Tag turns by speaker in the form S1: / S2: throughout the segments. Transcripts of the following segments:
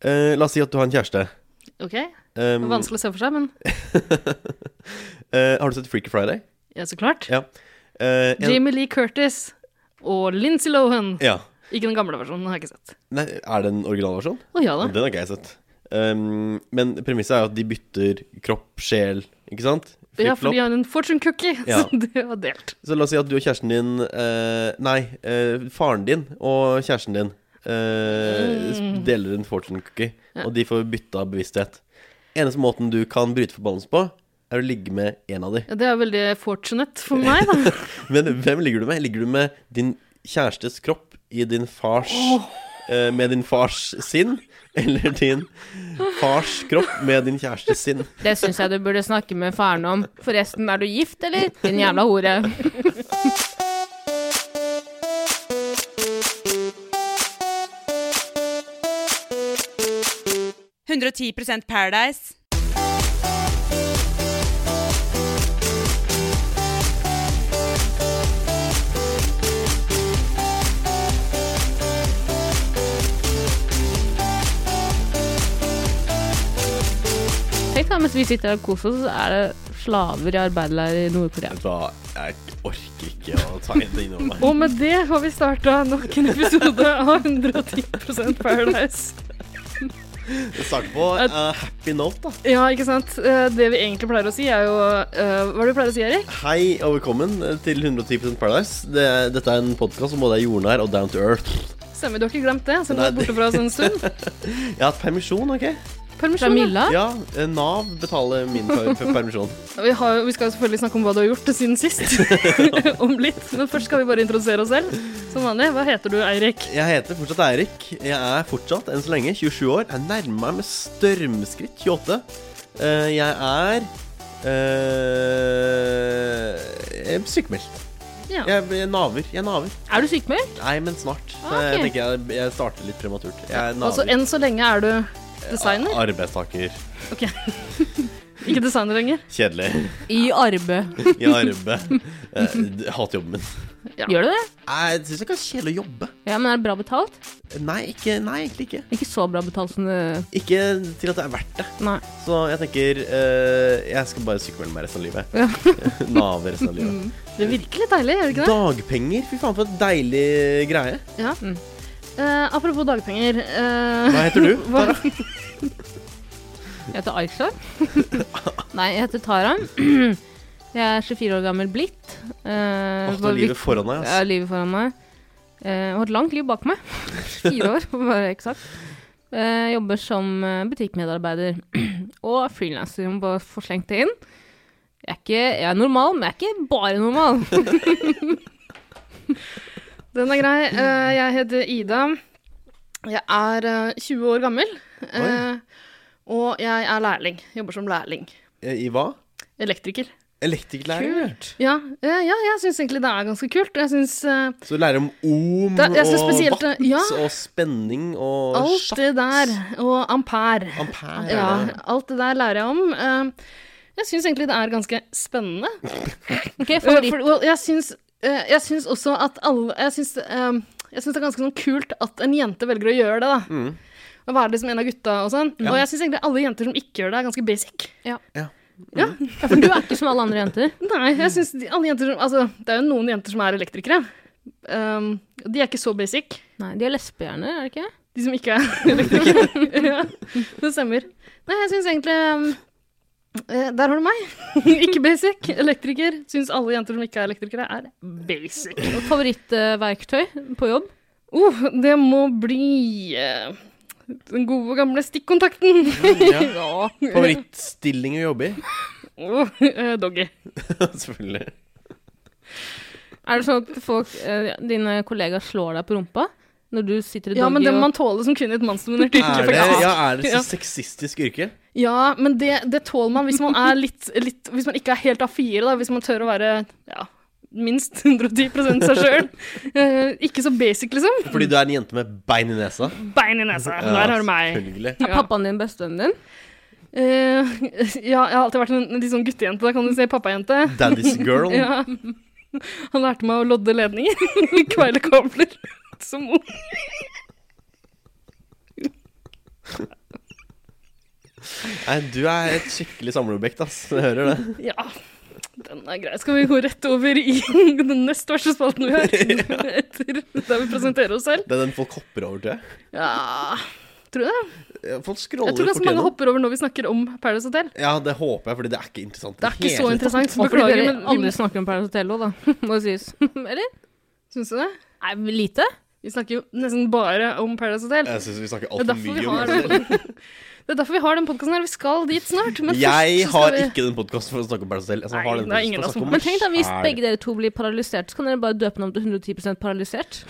S1: Eh, la oss si at du har en kjæreste.
S2: OK? Det
S1: Um,
S2: var vanskelig å se for seg, men
S1: eh, har du sett Freaky Friday?
S2: ja, så klart.
S1: Ja. Eh, en,
S2: Jamie Lee Curtis og Lindsay Lohan.
S1: ja.
S2: Ikke den gamle versjonen, den har jeg ikke sett.
S1: Nei, er det en originalversjon?
S2: Å ja da.
S1: Den har ikke jeg sett. Um, men premisset er jo at de bytter kropp, sjel, ikke sant?
S2: Ja, for
S1: Flip-flop.
S2: de har en fortune cookie,
S1: Ja.
S2: så det var delt.
S1: Så la oss si at du og kjæresten din eh, Nei, eh, faren din og kjæresten din eh,
S2: Mm.
S1: deler en fortune cookie,
S2: Ja.
S1: og de får bytte av bevissthet. Eneste måten du kan bryte forbannelsen på, er å ligge med en av de.
S2: Ja, det er veldig fortunate for meg, da.
S1: Men hvem ligger du med? Ligger du med din kjærestes kropp i din fars eh, Med din fars sinn? Eller din fars kropp med din kjærestes sinn?
S3: Det syns jeg du burde snakke med faren om. Forresten, er du gift, eller? Din jævla hore.
S4: Paradise.
S3: Tenk da, mens vi sitter her og koser oss, så er det slaver i arbeiderleir i Nord-Korea.
S1: Vet du hva, jeg orker ikke å ta det innover meg.
S2: Og med det har vi starta nok en episode av 110 Paradise.
S1: Start på eh, happy note, da.
S2: Ja, ikke sant. Eh, Det vi egentlig pleier å si, er jo eh, Hva er det du pleier å si, Erik?
S1: Hei og velkommen eh, til 110 Paradise. Det, er- dette er en podkast som både er jordnær og down to earth.
S2: Stemmer, du har ikke glemt det? Siden du
S1: Nei,
S2: var
S1: det-
S2: borte fra oss en stund?
S1: Jeg har hatt permisjon, OK?
S3: Fra
S2: Permisjon? da.
S3: Milla?
S1: Ja, eh, Nav betaler min per per- permisjon.
S2: Vi, har, jo- vi skal jo selvfølgelig snakke om hva du har gjort siden sist. om litt. Men først skal vi bare introdusere oss selv. Som vanlig. Hva heter du, Eirik?
S1: Jeg heter fortsatt Eirik. Jeg er fortsatt, enn så lenge, 27 år. Jeg nærmer meg med stormskritt 28. Eh, jeg er eh, jeg er sykemeldt.
S2: Ja.
S1: Jeg, jeg naver. Jeg naver.
S3: Er du sykmeldt?
S1: Nei, men snart. Så
S3: Ah,
S1: Jeg
S3: ok.
S1: tenker jeg, jeg starter litt prematurt. Jeg er naver.
S2: Altså, enn så lenge er du designer.
S1: Arbeidstaker.
S2: Ikke designer lenger.
S1: Kjedelig.
S3: I arbeid.
S1: I arbeid. Eh, d- Hater jobben min.
S3: Gjør du det?
S1: Jeg syns det er ganske kjedelig å jobbe.
S3: Ja, men er det bra betalt?
S1: Nei, ikke, nei, egentlig ikke.
S3: Ikke så bra betalt som det
S1: Ikke til at det er verdt det.
S3: Nei.
S1: Så jeg tenker eh, jeg skal bare sykemelde meg resten av livet.
S3: Ja.
S1: Nave resten av livet.
S2: Det virker litt deilig, gjør det Mm. ikke det?
S1: Dagpenger? Fy faen, for en deilig greie.
S2: Ja.
S3: Mm.
S2: Eh, apropos dagpenger. eh,
S1: Hva heter du?
S2: hva-
S3: Jeg heter Aisha. Nei, jeg heter Tara. Jeg er 24 år gammel blitt. Eh,
S1: Åh, du
S3: var
S1: har livet
S3: vikt-
S1: foran deg,
S2: Altså.
S3: Jeg har
S1: ass.
S3: livet foran meg. Eh, og har et langt liv bak meg. Fire år, for å være eksakt. Eh, jobber som eh, butikkmedarbeider og frilanser, om bare å få slengt det inn. Jeg er, ikke, jeg er normal, men jeg er ikke bare normal.
S2: Den er grei. Eh, jeg heter Ida. Jeg er eh, 20 år gammel. eh, og jeg er lærling. Jobber som lærling.
S1: I hva?
S2: Elektriker.
S1: Elektrikerlærer?
S2: Ja, eh, ja jeg syns egentlig det er ganske kult. og Jeg syns eh,
S1: Så du lærer om om
S2: Det- jeg synes
S1: og
S2: spesielt-
S1: watt
S2: ja.
S1: og spenning og
S2: alt
S1: sjakk.
S2: det der, og ampere
S1: Ampere.
S2: Ja, alt det der lærer jeg om. Eh, jeg syns egentlig det er ganske spennende.
S3: Ok,
S2: Eh,
S3: favoritt.
S2: for, well, jeg syns eh, Jeg syns også at alle Jeg syns eh, jeg syns det er ganske sånn kult at en jente velger å gjøre det. da.
S1: Mm.
S2: Å være liksom en av gutta og sånn. Og jeg syns egentlig alle jenter som ikke gjør det, er ganske basic.
S3: Ja, for du er ikke som alle andre jenter.
S2: Nei, jeg synes de, alle jenter som Altså, det er jo noen jenter som er elektrikere. Um, de er ikke så basic,
S3: Nei, de er lesbehjerner, er det ikke?
S2: de som ikke er elektrikere. ja, det stemmer. Nei, jeg syns egentlig um, eh, Der har du meg. ikke basic. Elektriker. Syns alle jenter som ikke er elektrikere, er basic.
S3: Favorittverktøy eh, på jobb?
S2: Uh, det må bli eh, den gode gamle stikkontakten.
S1: Ja.
S3: Ja.
S1: Favorittstilling å jobbe i?
S2: Uh, eh, doggy.
S1: Selvfølgelig.
S3: Er det sånn at folk, eh, dine kollegaer slår deg på rumpa når du sitter i
S2: Ja, men
S3: doggy
S2: det må
S3: og
S2: man tåle som kvinne i et mannsdominert yrke.
S1: Er det,
S2: faktisk.
S1: ja, er det
S2: Ja.
S1: så sexistisk yrke?
S2: Ja, men det, det tåler man hvis man er litt, litt Hvis man ikke er helt A4, da. Hvis man tør å være ja, minst 110 seg sjøl. ikke så basic, liksom.
S1: Fordi du er en jente med bein i nesa?
S2: Bein i nesa.
S1: Altså,
S2: Der har du meg.
S1: Selvfølgelig.
S3: Er pappaen din bestevennen din?
S2: Eh, ja, jeg har alltid vært en, en litt sånn guttejente. Da kan du si pappajente.
S1: Daddy's girl.
S2: Ja. Han lærte meg å lodde ledninger. Kveile kabler. Som ung.
S1: Nei, du er et skikkelig samleobjekt, ass. Jeg hører det.
S2: Ja, den er grei. Skal vi gå rett over i den nest verste spalten vi har? Etter der vi presenterer oss selv?
S1: Det er den folk hopper over til.
S2: Ja Tror du det?
S1: Folk
S2: Jeg
S1: scroller
S2: tror
S1: for
S2: ganske mange
S1: tiden.
S2: hopper over når vi snakker om Paradise Hotel.
S1: Ja, det håper jeg, fordi det er ikke interessant. i
S2: Det er ikke
S1: hele
S2: så
S1: tatt.
S2: interessant.
S3: Og fordi
S2: Beklager,
S3: dere
S2: men
S3: aldri
S2: vi,
S3: snakker om Paradise Hotel òg, da. Må det sies. Eller?
S2: syns du det?
S3: Nei, lite.
S2: Vi snakker jo nesten bare om Paradise Hotel.
S1: Jeg syns vi snakker
S2: Det er
S1: altfor
S2: derfor vi
S1: mye om
S2: har
S1: det.
S2: den. Det er derfor vi har den podkasten her. Vi skal dit snart. Men
S1: Jeg
S2: først så skal
S1: har
S2: vi
S1: ikke den podkasten for å snakke om meg selv. Jeg
S2: Nei,
S1: har den
S2: det er
S1: podcasten
S2: ingen
S1: for å
S2: av oss
S1: snakke om
S3: Men tenk da,
S1: meg
S3: hvis
S1: selv.
S3: begge dere to blir paralysert, så kan dere bare døpe den om til 110 paralysert.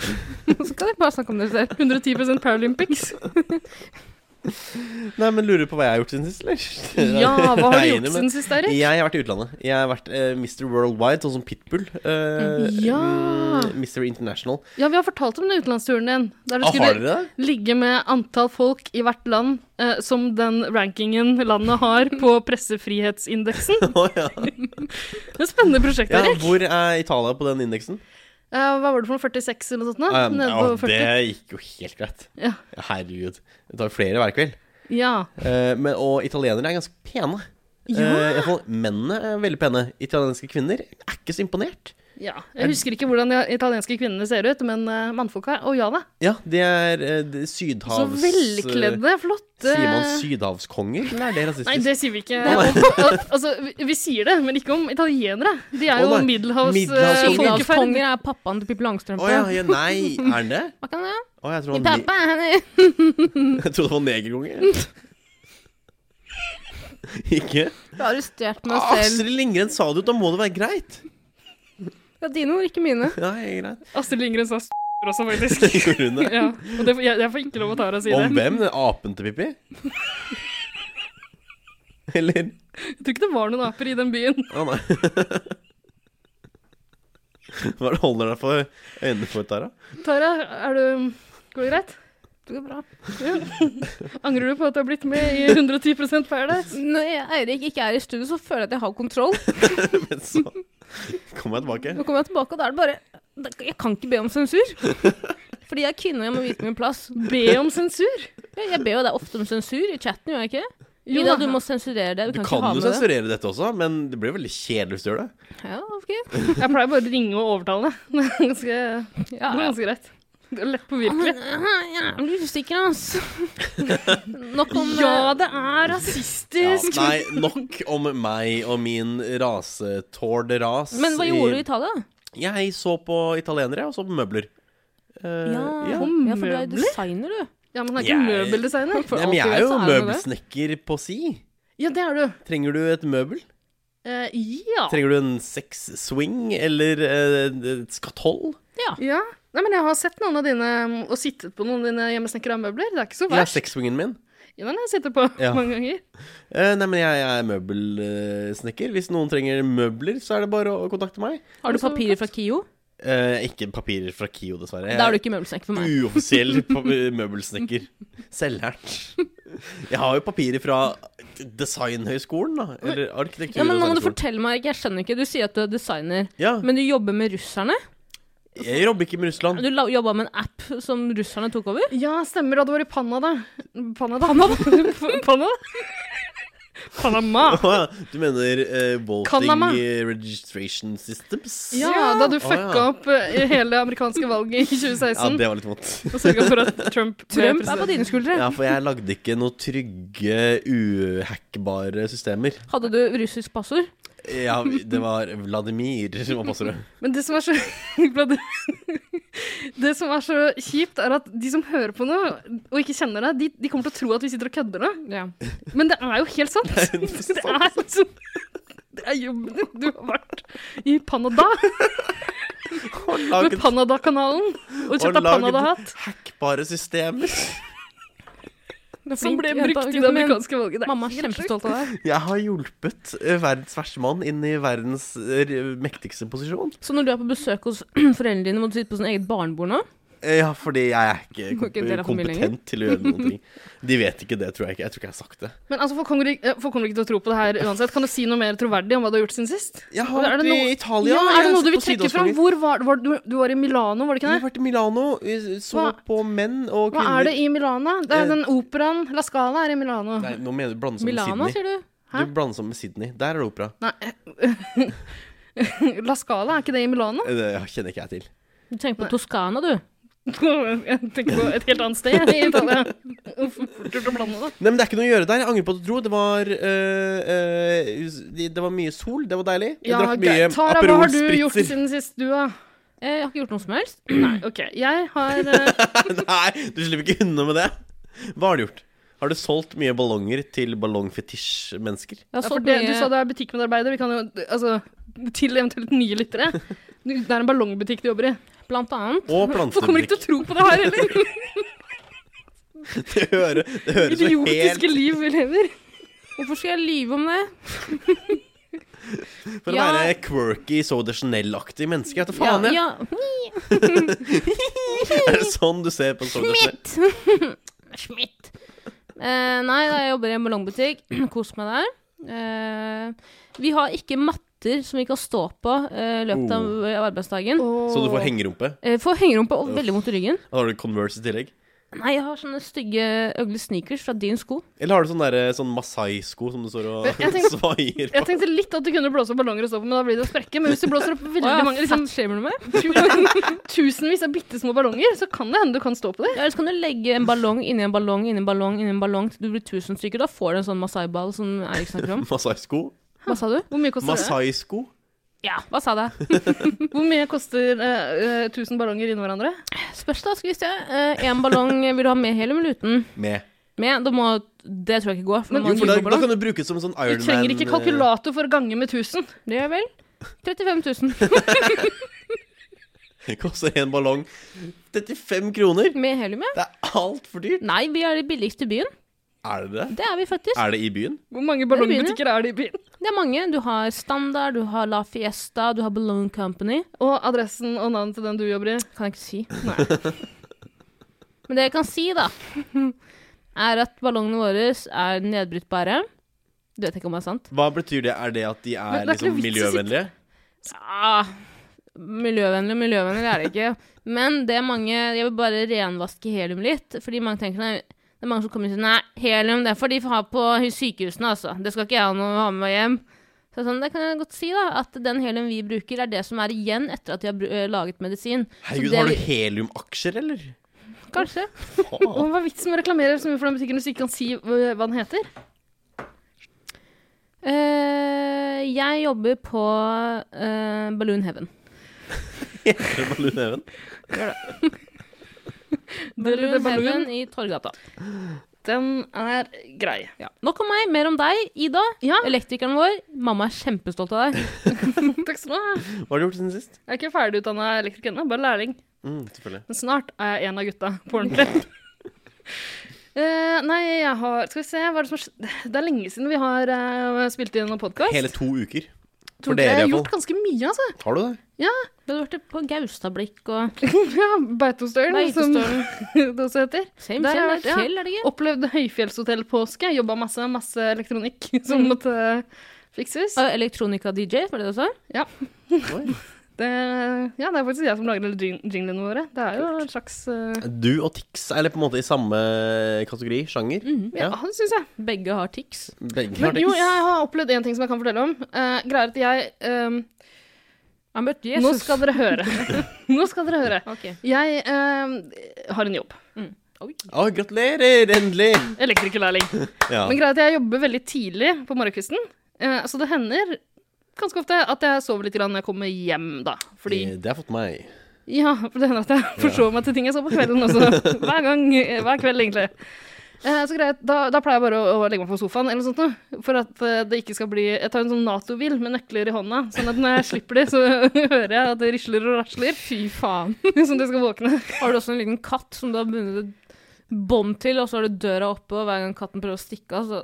S3: Så kan dere bare snakke om dere selv.
S2: 110 Paralympics.
S1: Nei, men lurer du på hva jeg har gjort siden sist, eller?
S2: Ja, hva har du
S1: Jeg er
S2: gjort
S1: enig med-
S2: siden sist, Eirik?
S1: Jeg har vært i utlandet. Jeg har vært eh, Mr. Worldwide, sånn som Pitbull. eh,
S2: Ja.
S1: mm, Mr. International.
S2: Ja, vi har fortalt om den utenlandsturen din. Der du
S1: Ah, har
S2: skulle
S1: dere det?
S2: ligge med antall folk i hvert land eh, som den rankingen landet har på pressefrihetsindeksen.
S1: Å, ja.
S2: Det er et spennende prosjekt,
S1: ja,
S2: Erik.
S1: hvor er Italia på den indeksen?
S2: Eh, hva var det for noe? 46 eller noe sånt? nå?
S1: Um,
S2: Nede
S1: ja,
S2: på 40.
S1: det gikk jo helt greit.
S2: Ja.
S1: Herregud. Det tar jo flere hver kveld.
S2: Ja.
S1: Eh, men, og italienere er ganske pene.
S2: Ja.
S1: Eh, i hvert fall mennene er veldig pene. Italienske kvinner er ikke så imponert.
S2: ja. Jeg husker ikke hvordan de italienske kvinnene ser ut, men eh, mannfolka Å ja da.
S1: Ja, de er eh, de, sydhavs...
S2: Så velkledde, flotte
S1: Sier man sydhavskonger, eller er det rasistisk?
S2: Nei, det sier vi ikke.
S1: Nei.
S2: Al- altså, vi, vi sier det, men ikke om italienere. De er jo eh,
S1: Å, nei. Middelhavs-
S2: middelhavsfolkeferd.
S3: Middelhavskonger er pappaen til Pippi Langstrømpe.
S1: Å ja, ja, nei, er han det?
S3: Hva kan det?
S1: Å, jeg trodde
S3: Min
S1: det var,
S3: pappa er henne.
S1: ne jeg trodde det var negerkonger. ikke?
S3: Du har arrestert meg
S1: Ah,
S3: selv.
S1: Astrid Lindgren sa det jo, da må det være greit.
S3: Det er dine ord, ikke mine.
S1: Ja, jeg er greit.
S2: Astrid Lindgren sa s*** også, faktisk.
S1: Gjorde hun det?
S2: Ja, og det, jeg, jeg får ikke lov å ta deg og si
S1: Om
S2: det.
S1: hvem? Den Apen til Pippi? Eller
S2: Jeg tror ikke det var noen aper i den byen.
S1: Å nei. Hva er det du holder deg for øynene for, Tara?
S2: Tara, er du Går det greit?
S3: Det går bra.
S2: Angrer du på at du har blitt med i 110 Paradise?
S3: Når jeg- Eirik ikke er i studio, så føler jeg at jeg har kontroll.
S1: Men så kommer jeg tilbake.
S3: Nå kommer jeg tilbake, og da er det bare da- Jeg kan ikke be om sensur. Fordi jeg er kvinne og jeg må vite min plass.
S2: Be om sensur?
S3: Jeg jeg ber jo deg ofte om sensur i chatten, gjør jeg ikke?
S2: Jo
S3: Ida,
S2: da.
S3: du må sensurere det. Du,
S1: Du
S3: kan,
S1: kan jo
S3: ikke ha med det.
S1: sensurere dette også, men det blir veldig kjedelig hvis du gjør det.
S3: Ja, ok.
S2: Jeg pleier bare å ringe og overtale. Det er ganske, det
S3: Ja,
S2: er
S3: ja.
S2: ganske greit. Det er lett påvirkelig.
S3: Jeg blir usikker, ass. Nok om
S2: Ja,
S3: eh,
S2: det er
S1: Ja,
S2: rasistisk!
S1: nei, nok om meg og min rasetårde
S2: eh,
S1: ras.
S3: Men hva gjorde du i Italia?
S1: Jeg så på italienere, og så på møbler. Eh,
S3: Ja, ja,
S1: ja.
S3: for du er
S2: møbler?
S3: jo designer, du.
S2: Ja, men han er
S1: Jeg-
S2: ikke møbeldesigner.
S3: For
S1: Nei, men jeg
S3: alt
S1: er
S3: du
S1: jo
S3: vet, så er det det.
S1: møbelsnekker på si.
S2: Ja, det er du.
S1: Trenger du et møbel?
S2: Eh, ja.
S1: Trenger du en sexswing eller eh, et skatoll?
S2: ja. Nei, men jeg har sett noen av dine, mm, og sittet på noen av dine hjemmesnekra møbler. Det er ikke så
S1: Ja,
S2: verst.
S1: sexswingen min.
S2: Ja, den har jeg sittet på
S1: Ja.
S2: mange ganger.
S1: Eh, nei, men jeg, jeg er møbelsnekker. Hvis noen trenger møbler, så er det bare å kontakte meg.
S3: Har du
S2: Altså,
S3: papirer fra KIO?
S1: Eh, ikke papirer fra KIO, dessverre.
S3: Da er du Eh, ikke møbelsnekker for meg.
S1: Uoffisiell pa- møbelsnekker. Selvlært. Jeg har jo papirer fra Designhøgskolen, da. Eller arkitektur-
S3: Ja, men nå må du
S1: designskolen.
S3: fortelle meg, jeg skjønner ikke. Du sier at du er designer,
S1: Ja,
S3: men du jobber med russerne?
S1: jeg jobber ikke med Russland.
S3: Du la- jobba med en app som russerne tok over?
S2: Ja, stemmer. Du hadde vært i Panada. Panada? Panada? Panama.
S1: Åja, Du mener eh, Voting
S2: Kanama.
S1: eh, Registration Systems?
S2: Ja, da du
S1: Å,
S2: fucka
S1: ja.
S2: opp eh, hele det amerikanske valget i 2016
S3: sånn.
S1: Ja, det var litt vondt.
S2: og sørga for at Trump ble
S3: Trump er på
S2: president.
S3: dine skuldre.
S1: Ja, for jeg lagde ikke noe trygge, uhackbare systemer.
S3: Hadde du russisk passord?
S1: Ja, det var Vladimir som var passordet.
S2: Men det som er så Det som er så kjipt, er at de som hører på nå og ikke kjenner deg, de, de kommer til å tro at vi sitter og kødder nå.
S3: Ja.
S2: Men det er jo helt sant.
S1: Det er jo
S2: Det er liksom Det er jobben din. Du har vært i Panada
S1: Og
S2: med
S1: laget
S2: Panada-kanalen og kjøpt deg
S1: laget-
S2: Panada-hatt.
S1: hackbare systemer.
S2: Som ble brukt i det amerikanske valget. Det er
S3: Mamma er
S2: helt sjukt.
S3: kjempestolt av deg.
S1: Jeg har hjulpet eh, verdens verste mann inn i verdens eh, mektigste posisjon.
S3: Så når du er på besøk hos foreldrene dine, må du sitte på sånn eget barnebord nå?
S1: Eh, Ja, fordi jeg er ikke
S3: Må ikke dele
S1: komp-
S3: familie lenger.
S1: kompetent til å gjøre noen ting. De vet ikke det, tror jeg ikke. Jeg tror ikke jeg har sagt det.
S2: Men altså, folk kommer, ikke- eh, folk kommer ikke til å tro på det her uansett. Kan du si noe mer troverdig om hva du har gjort siden sist?
S1: Jeg har
S2: Er det
S1: vært i
S2: noe-
S1: Italia.
S2: ja, er det noe du
S1: jeg
S2: vil
S1: har sett
S2: trekke
S1: på
S2: fram?
S1: Sydøstfolket.
S2: Hvor var, var du? Du var i Milano, var det
S1: Jeg
S2: ikke
S1: har
S2: det?
S1: vært i Milano, så
S2: Hva-
S1: på menn og
S2: Hva
S1: kvinner.
S2: er det i Milano? Det er
S1: Eh,
S2: den operaen La Scala er i Milano.
S1: Nei, nå mener du blande sammen med
S3: Milano,
S1: Sydney.
S3: sier du?
S2: Hæ?
S1: Du blander sammen med Sydney. Der er det opera.
S2: La Scala, er ikke det i Milano?
S1: Eh, Det kjenner ikke jeg til.
S3: Du tenker på Toskana, du.
S2: Jeg tenker på et helt annet sted jeg, i Italia. Hvorfor turte å blande det?
S1: Nei, men Det er ikke noe å gjøre der. Jeg angrer på at jeg dro. Det var, eh, eh, de- det var mye sol. Det var deilig. Jeg
S2: Ja,
S1: drakk mye
S2: greit. Tara, hva har du gjort
S1: Spritzer.
S2: siden sist, du, da?
S3: Eh, Jeg har ikke gjort noe som helst.
S2: Nei, OK. Jeg har eh,
S1: Nei, du slipper ikke unna med det. Hva har du gjort? Har du solgt mye ballonger til ballongfetisj-mennesker?
S3: Jeg har
S2: ja, for
S3: solgt
S2: det, Du
S3: mye-
S2: sa det er butikkmedarbeider. Vi kan jo Altså, til eventuelt nye lyttere. Det er en ballongbutikk du jobber i.
S3: Blant annet.
S1: Og
S2: Folk kommer
S1: plantebrikk.
S2: ikke til å tro på det her heller.
S1: Det hører- det høres jo helt
S2: Idiotiske liv vi lever.
S3: Hvorfor skal jeg lyve om det?
S1: For å
S3: Ja.
S1: være quirky, so de Chanel-aktig menneske. Jeg vet da faen, jeg.
S3: ja,
S1: Er det sånn du ser på so de Chanel?
S3: ja. Schmidt. Eh, nei, jeg jobber i en ballongbutikk. Kos meg der. Eh, vi har ikke matter som vi kan stå på eh, i løpet av
S1: Oh.
S3: av arbeidsdagen.
S1: Så du får hengerumpe?
S3: Eh, får hengerumpe og veldig vondt i ryggen.
S1: Da har du Converse i tillegg?
S3: Nei, jeg har sånne stygge ugly sneakers fra din sko.
S1: Eller har du sånn, der, sånn Masai-sko som du står og
S2: Jeg tenkte-
S1: svaier
S2: Jeg
S1: på?
S2: tenkte litt at du kunne blåse opp ballonger og stå på, men da blir det å sprekke. Men hvis du blåser opp veldig
S3: Åja,
S2: mange, liksom
S3: fatshamer du meg?
S2: tu- tusenvis av bitte små ballonger, så kan det hende du kan stå på det.
S3: Ja, Ellers kan du legge en ballong inni en ballong inni en ballong inni en ballong til du blir tusen stykker. Da får du en sånn Masai-ball som Eirik snakker om.
S1: Masai-sko?
S3: Hva sa du?
S2: Hvor mye koster det?
S1: Masai-sko?
S3: Ja, hva sa jeg?
S2: Hvor mye koster eh, eh, 1000 ballonger inni hverandre?
S3: Spørs da, skal vi se. Én Eh, ballong vil du ha med helium eller uten?
S1: Med.
S3: Med. Da må Det tror jeg ikke går. For
S2: Men-
S3: men,
S1: Jo,
S3: man
S1: for da, da
S3: ballong.
S1: kan du bruke det som en sånn
S2: Du
S1: Iron Man
S2: trenger ikke kalkulator for å gange med 1000.
S3: Det gjør vel 35 000
S1: eh, Koster en ballong 35 kroner?
S3: med helium, ja.
S1: Det er altfor dyrt.
S3: Nei, vi er de billigste i byen.
S1: Er det det?
S3: Det er vi faktisk.
S1: Er det i byen?
S2: Hvor mange
S3: er byen,
S2: ballongbutikker er det i byen?
S3: Det er mange. Du har Standard, du har La Fiesta, du har Ballon Company.
S2: Og adressen og navnet til den du jobber i.
S3: Kan jeg ikke si. Men det jeg kan si, da, er at ballongene våre er nedbrytbare. Du vet ikke om det er sant?
S1: Hva betyr det? Er det at de er,
S2: Men det er
S1: liksom
S2: ikke noe vits å sitte-
S1: miljøvennlige?
S3: Ah, miljøvennlig og miljøvennlig er det ikke. Men det er mange Jeg vil bare renvaske helium litt, fordi mange tenker nei, det er mange som kommer og sier nei, helium det får de ha på sykehusene, altså. Det skal ikke jeg ha noe å ha med meg hjem. Så sånn, det kan jeg godt si, da, at den helium vi bruker, er det som er igjen etter at de har bru- eh, laget medisin. Så
S1: Herregud,
S3: det
S1: har du
S3: vi-
S1: heliumaksjer, eller?
S3: Kanskje.
S1: Faen.
S2: Og hva er vitsen med å reklamere så mye for den butikken hvis du ikke kan si hva hva den heter?
S3: Eh, jeg jobber på eh, Balloon Heaven.
S1: Heter det Balloonheaven?
S2: Balloon
S3: Balloon Heaven
S2: Heaven
S3: i Torgata.
S2: Den er grei.
S3: Ja. Nok om meg, mer om deg, Ida.
S2: Ja,
S3: Elektrikeren vår. Mamma er kjempestolt av deg.
S2: takk skal du ha.
S1: Hva har du gjort siden sist?
S2: Jeg er ikke ferdigutdanna elektriker ennå, bare lærling.
S1: Mm, selvfølgelig.
S2: Men snart er jeg en av gutta på ordentlig. Eh, nei, jeg har Skal vi se hva er det, som har, skj- det er lenge siden vi har eh, spilt inn noen podkast.
S1: Hele to uker.
S2: Tror
S1: For dere,
S2: dere jeg har
S1: iallfall.
S2: gjort ganske mye, altså.
S1: Har du det?
S3: Du hadde vært på Gaustablikk og
S2: ja, Beitostølen, som
S3: Beitostølen.
S2: det også heter.
S3: Same,
S2: Der har
S3: same, det
S2: jeg vært,
S3: er
S2: ja.
S3: fjell, er det ikke?
S2: Opplevde høyfjellshotellpåske. Jobba masse, masse elektronikk som måtte fikses.
S3: Og Elektronika-DJ, var det det du sa?
S1: Oi.
S2: Det, ja, det er faktisk jeg som lager alle jing- jinglene våre. Det er jo en slags eh,
S1: Du og Tix er litt på en måte i samme kategori, sjanger.
S2: Mhm. Ja,
S1: Ja.
S2: det syns jeg.
S3: Begge har tics.
S1: Begge har
S2: Men
S1: Tix.
S2: jo, jeg har opplevd én ting som jeg kan fortelle om. Eh, greier at jeg eh,
S3: Jeg møtte
S2: Nå
S3: Jesus.
S2: skal dere høre. Nå skal dere høre.
S3: Ok.
S2: Jeg eh, har en jobb.
S1: Å, gratulerer! Endelig!
S2: Elektrikerlærling.
S1: Ja.
S2: Men greit, jeg jobber veldig tidlig på morgenkvisten. eh, så det hender ganske ofte at jeg sover litt grann når jeg kommer hjem, da. Fordi
S1: Eh, Det har fått meg.
S2: Ja, for det hender at jeg forsover meg til ting jeg så på kvelden også. Hver gang, eh, hver kveld, egentlig. Eh, så greit, da, da pleier jeg bare å, å legge meg på sofaen eller noe sånt noe. For at eh, det ikke skal bli Jeg tar en sånn Nato-bil med nøkler i hånda, sånn at når jeg slipper de, så hører jeg at det risler og rasler,
S3: Fy faen.
S2: sånn at jeg skal våkne.
S3: Har du også en liten katt som du har bundet et bånd til, og så har du døra oppe, og hver gang katten prøver å stikke av, så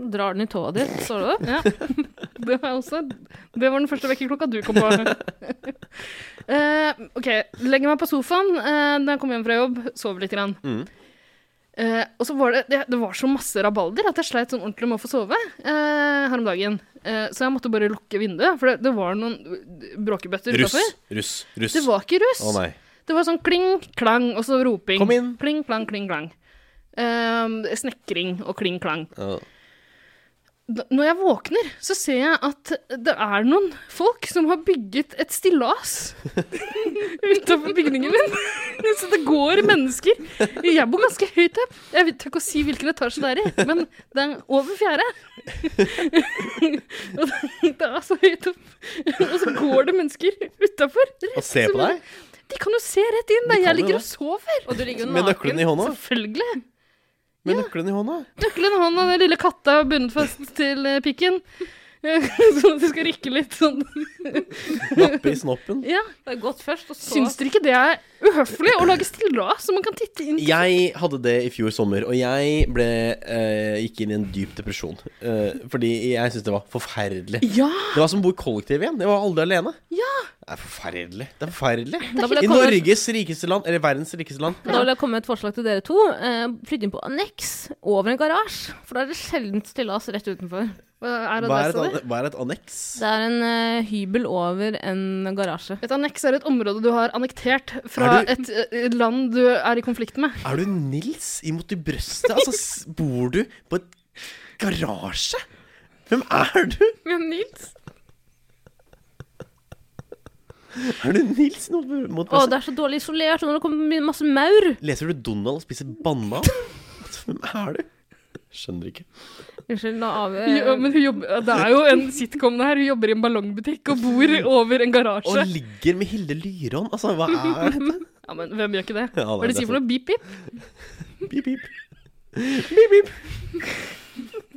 S3: Drar den i tåa di, så står du opp.
S2: Ja. Det var, også, det var den første vekkerklokka du kom på. Eh, OK. Legger meg på sofaen eh, da jeg kommer hjem fra jobb, sover litt. Grann.
S1: Mm.
S2: Eh, og så var det, det, det var så masse rabalder at jeg sleit sånn ordentlig med å få sove eh, her om dagen. Eh, så jeg måtte bare lukke vinduet, for det, det var noen bråkebøtter
S1: Russ,
S2: utafor.
S1: russ, russ.
S2: Det var ikke russ.
S1: Å nei.
S2: Det var sånn kling, klang, og så roping.
S1: Kom inn.
S2: Kling, klang, kling, klang. Eh, snekring og kling, klang.
S1: Ja.
S2: Da- Når jeg våkner, så ser jeg at det er noen folk som har bygget et stillas utafor bygningen min. Så det går mennesker. Jeg bor ganske høyt opp. Jeg vet ikke å si hvilken etasje det er i, men det er over fjerde. Og det- det er så høyt opp. Og så går det mennesker utafor.
S1: Og se på deg
S2: De kan jo se rett inn. da.
S1: De kan
S2: Jeg
S1: jo
S2: ligger og
S1: det. Sånn
S2: sover.
S3: Og du ligger jo
S1: med
S3: naken.
S1: nøkkelen i hånda.
S2: Selvfølgelig.
S1: Med nøkkelen i hånda.
S2: Nøkkelen i hånda, den lille katta er bundet fast til eh, pikken. Eh, Sånn at det skal rykke litt sånn.
S1: Nappe i snoppen.
S2: Ja.
S3: Det er godt først, og så
S2: Syns dere ikke det er uhøflig å lage stillas som man kan titte inn i?
S1: Jeg hadde det i fjor sommer, og jeg ble, eh, gikk inn i en dyp depresjon. Eh, fordi jeg syntes det var forferdelig.
S2: Ja!
S1: Det var som å bo i kollektiv igjen. Jeg var aldri alene. Det er forferdelig. Det er forferdelig.
S3: Da vil
S1: I
S3: jeg komme-
S1: Norges rikeste land, eller verdens rikeste land.
S3: Da vil jeg komme med et forslag til dere to. Eh, Flytt inn på anneks over en garasje. For da er det sjelden stillas rett utenfor.
S2: Hva er
S1: Hva er et,
S2: adressa di?
S1: an hva er et anneks?
S3: Det er en eh, hybel over en garasje.
S2: Et anneks er et område du har annektert fra
S1: Er du-
S2: et eh, land du er i konflikt med.
S1: Er du Nils imot i brøstet? Altså, s- bor du på et garasje? Hvem er du?
S3: Men Nils
S1: Er du Nils imot mot
S3: Å,
S1: brøstet?
S3: det er så dårlig isolert, og når det kommer masse maur
S1: Leser du Donald spiser banan? Altså, hvem er du? Skjønner ikke.
S3: Unnskyld, nå av...
S2: Ja, men hun jobber, det er jo en sitcom det her. Hun jobber i en ballongbutikk og bor over en
S1: Og
S2: garasje.
S1: ligger med Hilde Lyron. Altså, hva er dette?
S2: Ja, men hvem gjør ikke det?
S1: Ja, nei,
S2: Hva er det de
S1: det er
S2: sier for noe? Beep, beep?
S1: Pip, pip.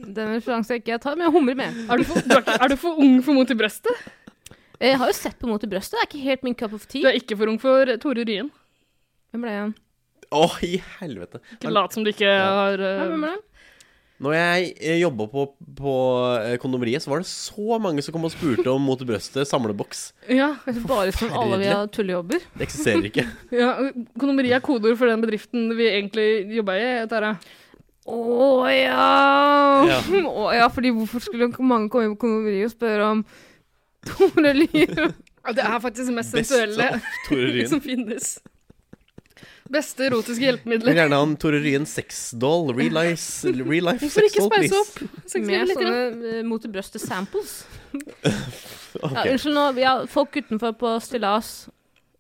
S3: Den referansen jeg ikke tar, men jeg humrer med.
S2: Er du for, du er, ikke- er du for ung for mot i brøstet?
S3: Jeg har jo sett på Mot i brøstet, det er ikke helt min cup of
S2: Du
S3: tea.
S2: er ikke for ung for Tore Ryen.
S3: Hvem ble han?
S1: Å, i helvete.
S2: Ikke lat som du ikke har
S3: Ja, hvem
S2: uh,
S3: ble han?
S1: Når jeg jobba på, på eh, kondomeriet, så var det så mange som kom og spurte om Mot i brøstet samleboks.
S2: Ja.
S3: Kanskje bare som alle vi har tullejobber.
S1: Det eksisterer ikke.
S2: ja Kondomeri er kodeord for den bedriften vi egentlig jobba i. Tara.
S3: Å ja.
S1: Ja.
S3: Å ja, fordi hvorfor skulle mange komme inn på kondomeriet og spørre om Tore Lyre?
S2: Ja, Det er faktisk det mest
S1: Beste
S2: sensuelle
S1: av Tore Ryen.
S2: som finnes. Beste erotiske
S1: Vil
S2: hjelpemidler.
S1: gjerne ha en Tore Ryen sexdoll. Real life, real life
S2: Hvorfor ikke
S1: sexdoll,
S2: speise
S1: please.
S2: opp? Seksuelle
S3: Med
S2: litt.
S3: sånne eh, Mot i brøstet-samples. Ja,
S1: Ok.
S3: unnskyld nå, vi har folk utenfor på stillas.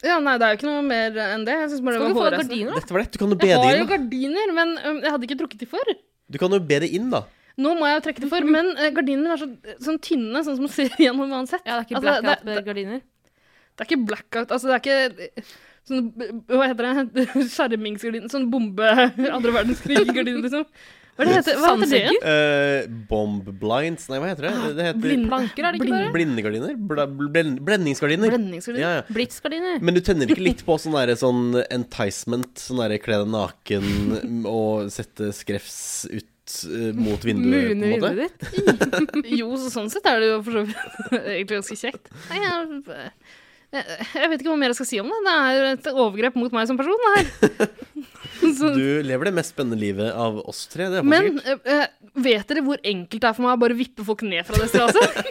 S2: Ja, nei, det er jo ikke noe mer enn det. Jeg synes bare
S3: Skal
S2: det
S3: vi få
S2: var hårresten.
S3: gardiner, da?
S1: Dette var lett. Du kan jo be
S2: Jeg
S1: det
S2: har jo
S1: inn. da.
S2: gardiner, men um, jeg hadde ikke trukket de for.
S1: Du kan jo be det inn, da.
S2: Nå må jeg jo trekke de for, men uh, gardiner er så, sånn tynne, sånn som man ser gjennom uansett.
S3: Ja, det er ikke
S2: Altså, det-
S3: blackout
S2: det-
S3: med gardiner.
S2: Det er ikke blackout, altså det er ikke sånn, Hva heter det? Skjermingsgardin? Sånn bombe andre verdenskrig-gardin, liksom. Hva er det heter, hva heter det igjen?
S1: Eh, bomb blinds Nei, hva heter det? Det heter
S3: Planker er det ikke bare?
S1: blindegardiner? Bla, blen, blendingsgardiner.
S2: Blendingsgardin?
S1: Ja, ja.
S3: Blitzgardiner.
S1: Men du tenner ikke litt på sånn derre sånn enticement? Sånn derre kle deg naken og sette skrevs ut eh, mot vinduet,
S3: Mune
S1: på en måte?
S3: vinduet ditt.
S2: Jo, så sånn sett er det jo for så vidt egentlig ganske kjekt. Nei, jeg, jeg, jeg vet ikke hva mer jeg skal si om det. Det er et overgrep mot meg som person, det her. Så,
S1: Du lever det mest spennende livet av oss tre. Det er
S2: men
S1: men,
S2: eh, eh, vet dere hvor enkelt det er for meg å bare vippe folk ned fra det straset?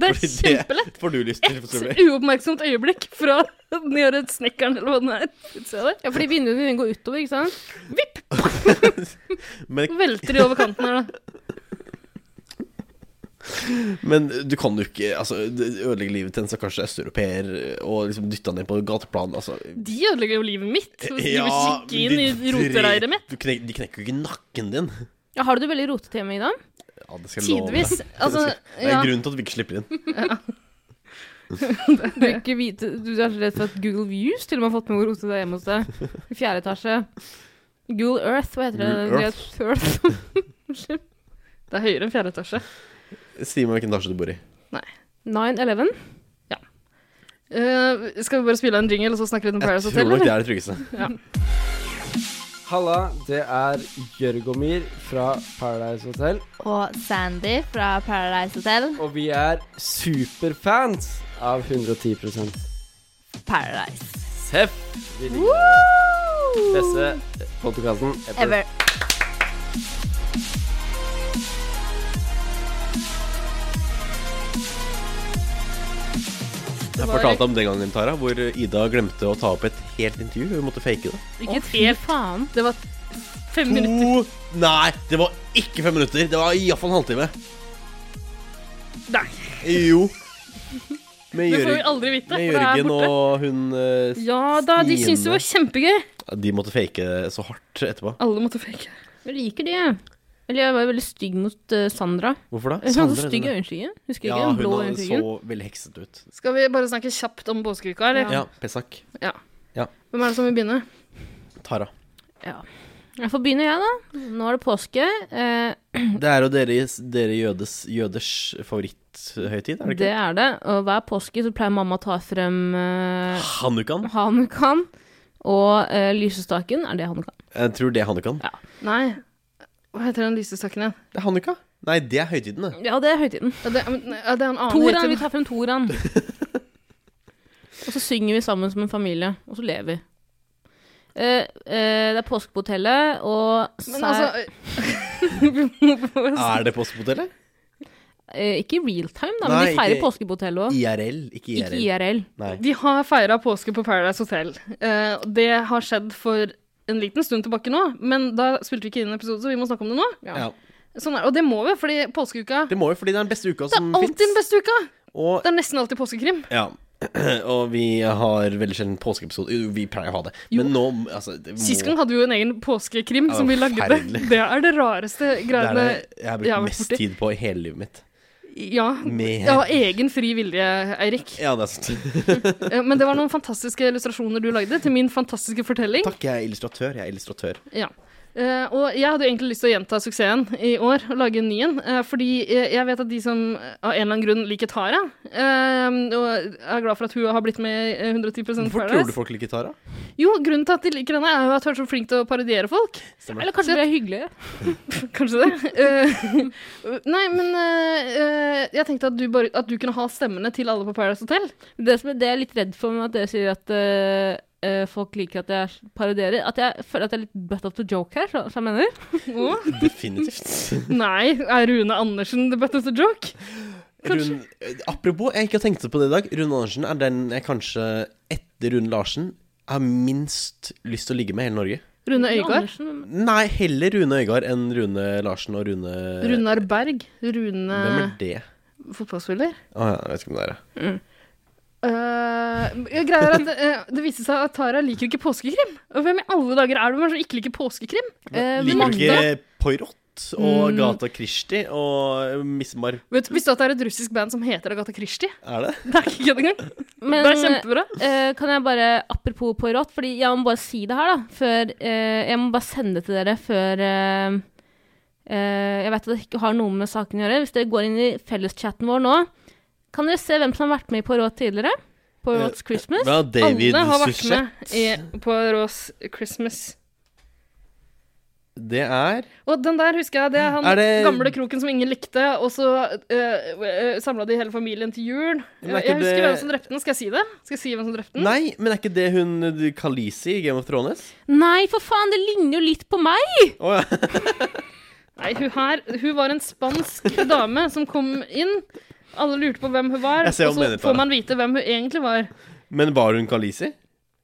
S2: Det er
S1: Fordi det-
S2: kjempelett.
S1: Får du lyst til
S2: Et
S1: det?
S2: uoppmerksomt øyeblikk fra den gjør et snekkeren eller hva den er. Se der.
S3: Ja, fordi vinduene dine går utover, ikke sant?
S1: Men,
S2: Velter de over kanten her, da.
S1: men du kan jo ikke altså, det ødelegge livet til en stakkars østeuropeer og liksom dytte han ned på gateplan. Altså.
S2: De ødelegger jo livet mitt. Hvis de vil kikke inn
S1: de
S2: i
S1: dre-
S2: rotereiret mitt.
S1: Du knek, de knekker jo ikke nakken din.
S3: Ja, har du det veldig rotete hjemme i dag?
S1: Ja, det skal jeg love deg.
S2: Tidvis. Altså,
S1: Det er
S2: ja.
S1: en grunn til at vi ikke slipper inn.
S3: Du, vil ikke vite, du er så redd for at Google Views til og med har fått med hvor rotete det er hjemme hos deg. I fjerde etasje. Google Earth, hva heter det?
S1: Google Earth.
S3: Det er et Earth.
S2: Det er høyere enn fjerde etasje.
S1: Si meg hvilken etasje du bor i.
S3: 9-11.
S2: Eh, skal vi bare spille en jingle og så snakke litt om
S1: Jeg
S2: Paradise
S1: tror
S2: Hotel,
S1: nok det
S2: eller?
S1: er det tryggeste.
S5: Halla, det er Jørgomir fra Paradise Hotel.
S6: Og Sandy fra Paradise Hotel.
S5: Og vi er superfans av 110
S6: Paradise.
S5: Seff! Vi liker det. Beste podkasten ever.
S6: Ever.
S1: Jeg fortalte om den gangen, Tara, hvor Ida glemte å ta opp et helt intervju. Hun måtte fake det.
S2: Ikke et
S3: Fy
S2: helt
S3: faen.
S2: Det var fem minutter.
S1: To Nei, det var ikke fem minutter. Det var iallfall en halvtime.
S2: Nei.
S1: Jo. Med,
S2: Det får vi
S1: Jørg,
S2: aldri vite.
S1: med
S2: for det er
S1: Jørgen
S2: borte.
S1: og hun eh,
S2: Ja da, de syntes det var kjempegøy.
S1: De måtte fake det så hardt etterpå.
S2: Alle måtte fake.
S3: Jeg liker de. Eller jeg var jo veldig stygg mot eh, Sandra.
S1: Hvorfor da?
S3: Hun hadde
S1: Sandra, er
S3: stygg
S1: det det?
S3: øyenskygge. Husker
S1: Ja,
S3: ikke. Den
S1: hun
S3: blå
S1: hadde
S3: øyenskyggen.
S1: så veldig hekset ut.
S2: Skal vi bare snakke kjapt om påskeuka, eller?
S1: Ja, Pessak.
S2: Hvem er det som vil begynne?
S1: Tara.
S3: Jeg får begynne, jeg, da. Nå er det påske. Eh,
S1: Det er jo deres, dere jødes, jøders favoritthøytid, er det
S3: det
S1: ikke?
S3: er det. Og hver påske så pleier mamma å ta frem eh,
S1: Hanukan.
S3: hanukan og eh, lysestaken. Er det hanukan?
S1: Jeg tror det er hanukan.
S2: Nei. Hva heter den lysestaken igjen?
S1: Det er hanuka? Nei, det er høytiden, det.
S3: Ja, det er høytiden.
S2: Ja, det, ja, det er en annen
S3: Toran. Vi
S2: høytid.
S3: tar frem toran. og så synger vi sammen som en familie, og så lever vi. Eh, eh, det er påske på hotellet, og
S2: Men
S3: sær-
S2: altså vi må få oss-
S1: Er det postmotellet?
S3: eh, Ikke real time, da,
S1: Nei,
S3: men de feirer
S1: ikke-
S3: påske på hotellet òg.
S1: IRL, ikke IRL.
S3: Ikke IRL.
S1: Nei.
S2: De har feira påske på Paradise Hotel. Eh, det har skjedd for en liten stund tilbake nå, men da spilte vi ikke inn en episode, så vi må snakke om det nå.
S1: Ja.
S2: Sånn er, og det må vi, fordi påskeuka
S1: Det må jo fordi det er den beste uka
S2: Det
S1: som
S2: er alltid den
S1: fins.
S2: beste uka!
S1: Og
S2: Det er nesten alltid påskekrim.
S1: Ja. Og vi har veldig sjelden påskeepisode. Jo, vi pleier å ha det. Men nå altså, det må,
S2: Sist gang hadde vi jo en egen påskekrim
S1: Ja,
S2: som vi lagde. Det
S1: forferdelig.
S2: Det er det rareste
S1: det er
S2: greiene
S1: det jeg har brukt
S2: jeg har vært
S1: mest
S2: borti.
S1: tid på i hele livet mitt.
S2: Ja.
S1: Med
S2: Jeg har egen fri vilje, Eirik.
S1: Ja, det er sant.
S2: Eh, Men det var noen fantastiske illustrasjoner du lagde til min fantastiske fortelling.
S1: Takk, jeg er illustratør. Jeg er illustratør.
S2: Ja. Eh, og jeg hadde jo egentlig lyst til å gjenta suksessen i år og lage en ny en. eh, fordi eh, jeg vet at de som eh, av en eller annen grunn liker Tara, eh, og er glad for at hun har blitt med i eh, 110
S1: Hvorfor tror du
S2: Paradise
S1: folk liker Tara?
S2: Jo, grunnen til at de liker henne, er jo at hun er så flink til å parodiere folk.
S3: Eller kanskje det er hyggelig.
S2: Kanskje det. Eh, nei, men eh, eh, jeg tenkte at du, bare, at du kunne ha stemmene til alle på Paradise Hotel.
S3: Det som er det jeg er litt redd for med at dere sier at eh, eh, folk liker at jeg parodierer, at jeg føler at jeg er litt butt up to joke her, så, så jeg mener.
S2: Å,
S1: Definitivt.
S2: nei, er Rune Andersen the best of the joke?
S1: Rune, apropos, jeg ikke har tenkt på det i dag. Rune Andersen er den jeg kanskje, etter Rune Larsen, har minst lyst til å ligge med i hele Norge.
S2: Rune Øygard?
S3: Andersen,
S1: Nei, heller Rune Øygard enn Rune Larsen og Rune
S2: Runar Berg?
S1: Hvem er
S2: Rune
S1: det?
S2: fotballspiller?
S1: Å ja, jeg vet ikke om det er det.
S2: Eh, jeg greier at eh, Det viste seg at Tara liker ikke påskekrim. Og hvem i alle dager er det med som ikke liker påskekrim?
S3: Eh,
S1: Liker du
S3: Magda.
S1: ikke Poirot
S2: Mm.
S1: og Gata Kristi og Mismar
S2: Vet, visste du at det er et russisk band som heter Agatha Christie?
S1: Er det?
S2: Det er ikke kødd engang.
S3: Men
S2: Det er kjempebra.
S3: eh, kan jeg bare, apropos Poirot, fordi jeg må bare si det her, da, før eh, Jeg må bare sende det til dere før eh, eh, Jeg vet at det ikke har noe med saken å gjøre. Hvis dere går inn i felleschatten vår nå, kan dere se hvem som har vært med i Poirot tidligere? Poirots Christmas.
S1: Ja, David
S2: alle har vært
S1: Suchet.
S2: med i, på Rås Christmas.
S1: Det er
S2: Og den der husker jeg, det er han
S1: Er det-
S2: gamle kroken som ingen likte, og så uh, samla de hele familien til jul.
S1: Men er ikke
S2: jeg husker
S1: det-
S2: hvem som drepte den, skal jeg si det? Skal jeg si hvem som drepte den?
S1: Nei, men er ikke det hun du, Khaleesi i Game of Thrones?
S3: Nei, for faen, det ligner jo litt på meg!
S1: Å ja.
S2: Nei, hun her, hun var en spansk dame som kom inn. Alle lurte på hvem hun var,
S1: Jeg ser hva
S2: og
S1: du mener,
S2: så
S1: Tara.
S2: får man vite hvem hun egentlig var.
S1: Men var hun Khaleesi?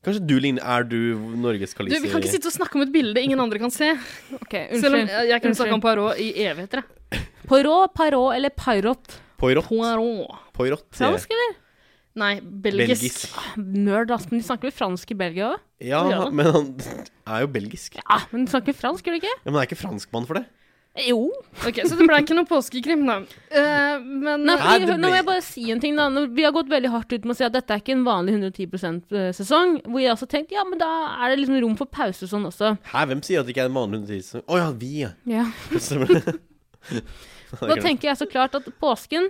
S1: Kanskje du ligner Er du Norges
S2: Du,
S1: Khaleesi?
S2: vi kan ikke sitte og snakke om et bilde ingen andre kan se.
S3: Ok,
S2: Selv om
S3: unnskyld.
S2: jeg, jeg kunne snakka om
S3: Unnskyld.
S2: Poirot i evigheter. jeg.
S3: Poirot, Parot eller Pyrot?
S1: Poirot.
S2: Poirot.
S1: Poirot. sier jeg.
S3: Fransk, eller?
S2: Nei, belgisk.
S1: Belgisk.
S3: Nerd, ass. Men de snakker vel fransk i Belgia òg?
S1: Ja,
S2: Ja.
S1: men han er jo belgisk.
S3: Ja, men de snakker fransk, gjør de ikke?
S1: Ja, men er ikke franskmann for det.
S3: Jo.
S2: Ok, Så det ble ikke noe påskekrim, da. Eh, men
S3: Nei,
S1: Nei, det
S3: fordi,
S1: ble-
S3: Nå må jeg bare si en ting, da. Nå- Vi har gått veldig hardt ut med å si at dette er ikke en vanlig 110 eh, %-sesong. Hvor jeg også tenkte ja, men da er det liksom rom for pause og sånn også.
S1: Hæ, hvem sier at det ikke er en vanlig hundetidssesong? Å ja, vi, ja.
S3: Ja.
S1: Stemmer det.
S3: Da tenker jeg så klart at påsken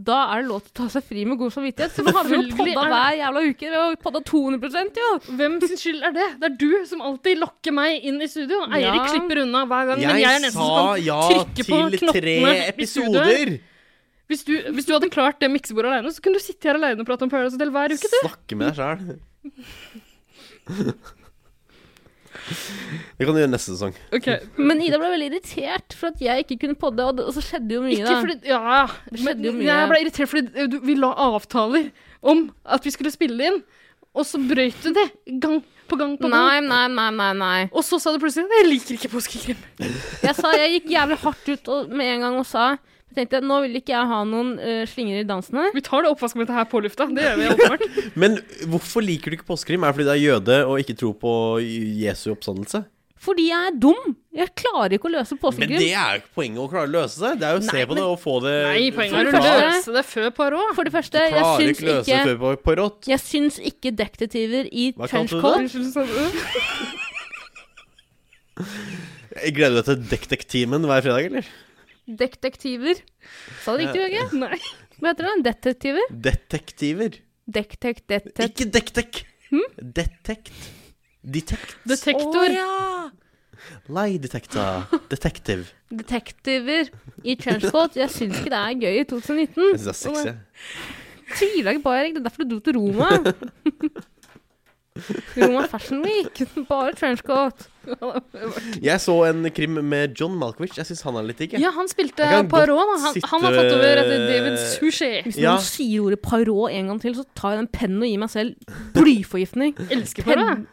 S3: Da er det lov til å ta seg fri med god samvittighet. Så nå har vi jo
S2: Selvfølgelig
S3: podda
S2: er det-
S3: hver jævla uke. Vi har podda 200 jo.
S2: Hvem sin skyld er det? Det er du som alltid lokker meg inn i studio. Eirik
S3: Ja.
S2: slipper unna hver gang. men jeg er
S1: Jeg
S2: den eneste
S1: sa
S2: som kan
S1: ja
S2: trykke på
S1: til tre
S2: knottene i studioet.
S1: episoder!
S2: Hvis du, hvis du hadde klart det miksebordet alene, så kunne du sitte her alene og prate om Paradise Hotel hver uke. du.
S1: Snakke med deg sjæl. Det kan du gjøre neste sesong.
S2: Ok.
S3: Men Ida ble veldig irritert for at jeg ikke kunne podde, og, det, og så skjedde jo mye,
S2: Ikke
S3: da.
S2: fordi Ja,
S3: Det
S2: men
S3: skjedde jo mye.
S2: jeg ble irritert fordi eh, du, vi la avtaler om at vi skulle spille inn, og så brøyt du det gang på gang på gang.
S3: Nei, nei, nei, nei, nei.
S2: Og så sa du plutselig 'Jeg liker ikke påskekrim'.
S3: Jeg, sa, jeg gikk jævlig hardt ut og, med en gang og sa jeg tenkte, Nå vil ikke jeg ha noen eh, slinger i dansen her.
S2: Vi tar det oppvaskmøtet her på lufta. Det gjør vi åpenbart.
S1: Men hvorfor liker du ikke påskekrim? Er det fordi du er jøde og ikke tror på Jesu oppstandelse?
S3: Fordi jeg er dum. Jeg klarer ikke å løse
S1: Men det
S3: påskegrim.
S1: er jo ikke poenget å klare å løse seg. Det er jo å se på det og få det
S2: Nei,
S1: få
S2: poenget
S3: For
S2: er
S3: det
S2: å
S3: første-
S2: løse det før Poirot.
S3: For det første, jeg
S1: Klarer
S3: syns
S1: ikke løse det
S3: ikke
S1: før på, på rått.
S3: jeg syns ikke detektiver i
S1: Hva kalte du
S3: trenchcoat
S2: Unnskyld, sa du det?
S1: Jeg gleder deg til Detektimen hver fredag, eller?
S3: Detektiver. Sa det riktig, Jørgen?
S2: Nei.
S3: Hva heter det? Detektiver?
S1: Detektiver.
S3: Dektek, detet...
S1: Ikke dektek.
S2: Hm?
S1: Detekt. Detekt.
S2: Detektor.
S1: Lie detector. Detective.
S3: Detektiver i trenchcoat. Jeg syns ikke det er gøy i 2019.
S1: Jeg synes det er sexy.
S3: tviler ikke på, Erik. Det er derfor du dro til Roma. Roma Fashion Week. Bare trenchcoat.
S1: Jeg så en krim med John Malkovich. Jeg syns han er litt digg. jeg.
S2: Ja, han spilte
S1: Jeg kan godt
S2: Poirot. da. Han, han har
S1: sitte-
S2: tatt over etter David Sushi.
S3: Hvis
S1: Ja.
S3: noen sier ordet Poirot en gang til, så tar jeg den pennen og gir meg selv blyforgiftning.
S2: Elsker Poirot.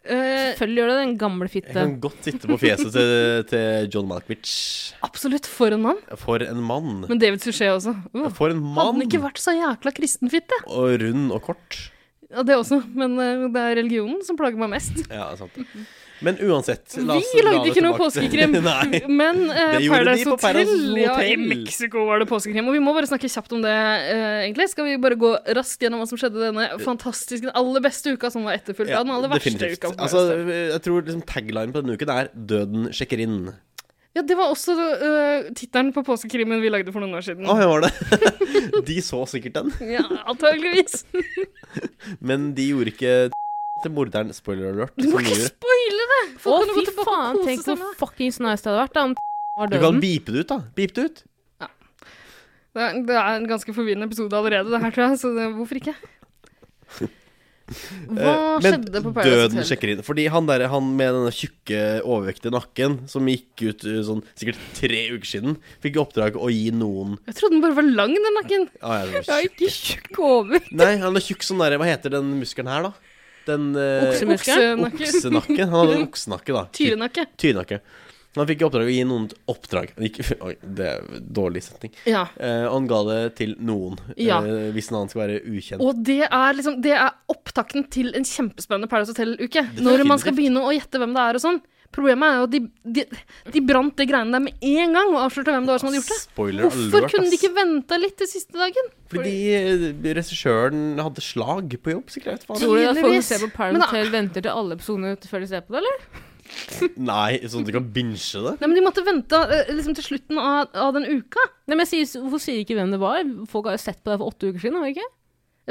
S2: Eh,
S3: Selvfølgelig gjør det, den gamle
S1: Jeg
S3: fitte.
S1: kan godt sitte på fjeset til, til John Malkovich.
S2: absolutt for en mann.
S1: For en mann.
S2: Men David Sushi også. Uh.
S1: For en
S2: Hadde
S1: mann!
S2: han ikke vært så jækla kristenfitte?
S1: Og rund og kort.
S2: Ja, det også, men eh, det er religionen som plager meg mest.
S1: Ja, sant. Men uansett la oss
S2: Mhm. Vi
S1: dra
S2: lagde
S1: det
S2: ikke noe
S1: tilbake til-
S2: påskekrim,
S1: Nei.
S2: men eh,
S1: Det gjorde de
S2: Paradise
S1: på
S2: Hotel,
S1: Paradise
S2: Ja, i
S1: Hotel.
S2: Mexico var det påskekrim. Og vi må bare snakke kjapt om det, eh, egentlig. Skal vi bare gå raskt gjennom hva som skjedde denne
S1: Eh,
S2: fantastiske, den aller beste uka, som var etterfulgt av den aller verste
S1: definitivt.
S2: uka. på
S1: Altså,
S2: Paradise Hotel.
S1: jeg tror liksom taglinen på denne uken er 'Døden sjekker inn'.
S2: ja, det var også eh, tittelen på påskekrimmen vi lagde for noen år siden.
S1: Å, jeg var det. De så sikkert den,
S2: Ja, antageligvis.
S1: men de gjorde ikke til morderen. Spoiler alert.
S2: Du må
S1: som de
S2: ikke
S1: gjorde.
S2: spoile det!
S3: Å,
S2: Folk kan jo
S3: fy
S2: gå tilbake og
S3: faen,
S2: kose
S3: tenk
S2: seg
S3: hvor
S2: med det.
S3: fuckings nice det hadde vært da om var
S1: Du kan
S3: døden.
S1: beepe det ut, da. Beep det ut.
S2: Det er, det er en ganske forvirrende episode allerede, det her, tror jeg, så det, hvorfor ikke? Hva
S1: Eh,
S2: skjedde på Paradise
S1: døden
S2: Hotel?
S1: sjekker inn. Fordi han der, han med denne tjukke, overvektige nakken, som gikk ut eh, sånn sikkert tre uker siden, fikk i oppdrag å gi noen
S2: Jeg trodde den bare var lang, den nakken.
S1: ah, jeg,
S3: Jeg er ikke tjukk over.
S2: Eh,
S1: Nei, han er tjukk sånn derre Hva heter den muskelen her, da? Den eh,
S3: Oksemuskelen. Oksemuskelen.
S2: Oksenakke.
S1: oksenakke. Han hadde en oksenakke, da. Ty-
S2: Tyrenakke.
S1: Tyrenakke. Han fikk i oppdrag å gi noen et oppdrag. Han gikk, oi, det er en dårlig setning.
S2: Ja.
S1: Eh, og han ga det til noen,
S2: Ja.
S1: eh, hvis en annen skal være ukjent.
S2: Og det er, liksom, det er opptakten til en kjempespennende Paradise Hotel-uke. Når man skal begynne å gjette hvem det er og sånn. Problemet er jo at de, de, de brant de greiene der med en gang og avslørte hvem det var som hadde gjort det.
S1: Spoiler
S2: Hvorfor
S1: alert,
S2: kunne de
S1: ass.
S2: ikke venta litt til siste dagen?
S1: Fordi eh, regissøren hadde slag på jobb, sikkert. jeg vet
S3: Tror du at folk som
S2: Tydeligvis.
S3: ser på
S2: Men
S3: Paradise
S2: da-
S3: Hotel venter til alle episodene ut før de ser på det, eller?
S1: faen. Nei, sånn at de kan binge det.
S2: Nei, men De måtte vente eh, liksom, til slutten av, av den uka.
S3: Nei, men jeg sier, Hvorfor sier de ikke hvem det var? Folk har jo sett på det for åtte uker siden, har de ikke?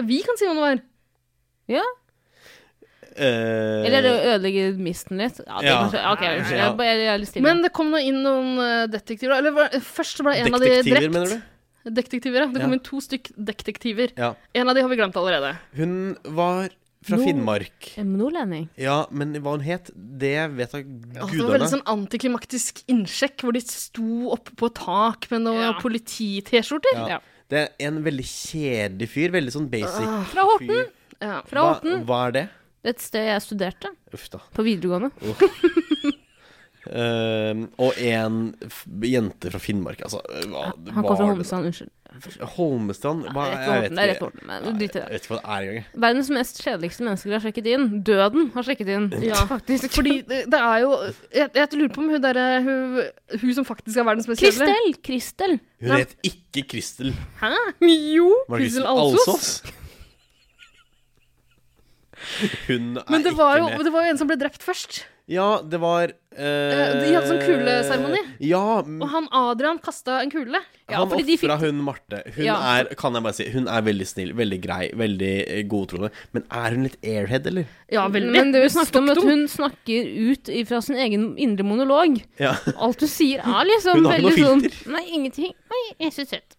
S2: Ja, vi kan si hvem det var.
S3: Ja?
S1: Eh,
S3: Eller det ødelegger misten litt. Ja, det
S1: Ja.
S3: kanskje, ok, unnskyld. Jeg,
S1: Ja.
S3: er bare- jeg, er litt stille.
S2: Men det kom nå inn noen eh, detektiver. Eller var, først så ble en av de
S1: Detektiver,
S2: drept.
S1: mener du?
S2: Detektiver, ja. Det kom
S1: Ja.
S2: inn to stykk detektiver.
S1: Ja.
S2: En av de har vi glemt allerede.
S1: Hun var fra
S3: Nå-
S1: Finnmark.
S3: En Eh, nordlending.
S1: Ja, men hva hun het, det vet jeg
S2: Ja, det var
S1: gudene.
S2: veldig sånn antiklimaktisk innsjekk, hvor de sto oppe på tak med noen
S3: Ja.
S2: politi-T-skjorter.
S1: Ja. Det er en veldig kjedelig fyr. Veldig sånn basic
S2: Ah.
S3: Fra Horten.
S1: fyr.
S2: Ja.
S3: Fra
S1: Hva,
S3: Horten.
S1: hva er det?
S3: Et sted jeg studerte.
S1: Uff da.
S3: På videregående.
S1: Ehm, og en f jente fra Finnmark, altså. Hva,
S3: Han kom fra Holmestrand, unnskyld.
S1: Holmestrand. Holmestrand? Hva,
S3: Rett ved
S1: jeg vet ikke.
S3: Horten, det er rett ved Horten, men drit i
S1: Jeg
S3: det.
S1: vet ikke hva det er engang.
S3: Verdens mest kjedeligste mennesker har sjekket inn. Døden har sjekket inn.
S2: Ja.
S3: faktisk.
S2: Fordi det, det er jo jeg, jeg lurer på om hun derre hun, hun som faktisk er verdens mest kjedelige.
S3: Kristel! Kristel!
S1: Hun
S2: Nei.
S1: het ikke Kristel.
S2: Hæ? Jo!
S1: Var det
S2: Kristel
S1: Kristel
S2: Alsos.
S1: Alsås? Hun er
S2: Men det var,
S1: ikke
S2: jo,
S1: med.
S2: det var jo en som ble drept først.
S1: Ja, det var
S2: Eh, de hadde sånn kuleseremoni.
S1: Ja,
S2: Og han Adrian kasta en kule.
S1: Mm. han
S3: fordi de
S1: ofra hun Marte. Hun
S3: Ja.
S1: er, kan jeg bare si, hun er veldig snill, veldig grei, veldig eh, godtroende. Men er hun litt airhead, eller?
S2: Ja, veldig.
S3: Men du
S2: Hun
S3: snakket om at
S2: stokk dum.
S3: hun snakker ut fra sin egen indre monolog.
S1: Ja.
S3: Alt du sier, er liksom
S1: Hun har ikke noe
S3: veldig sånn
S1: filter.
S3: Nei, ingenting. Oi, jeg er så søt.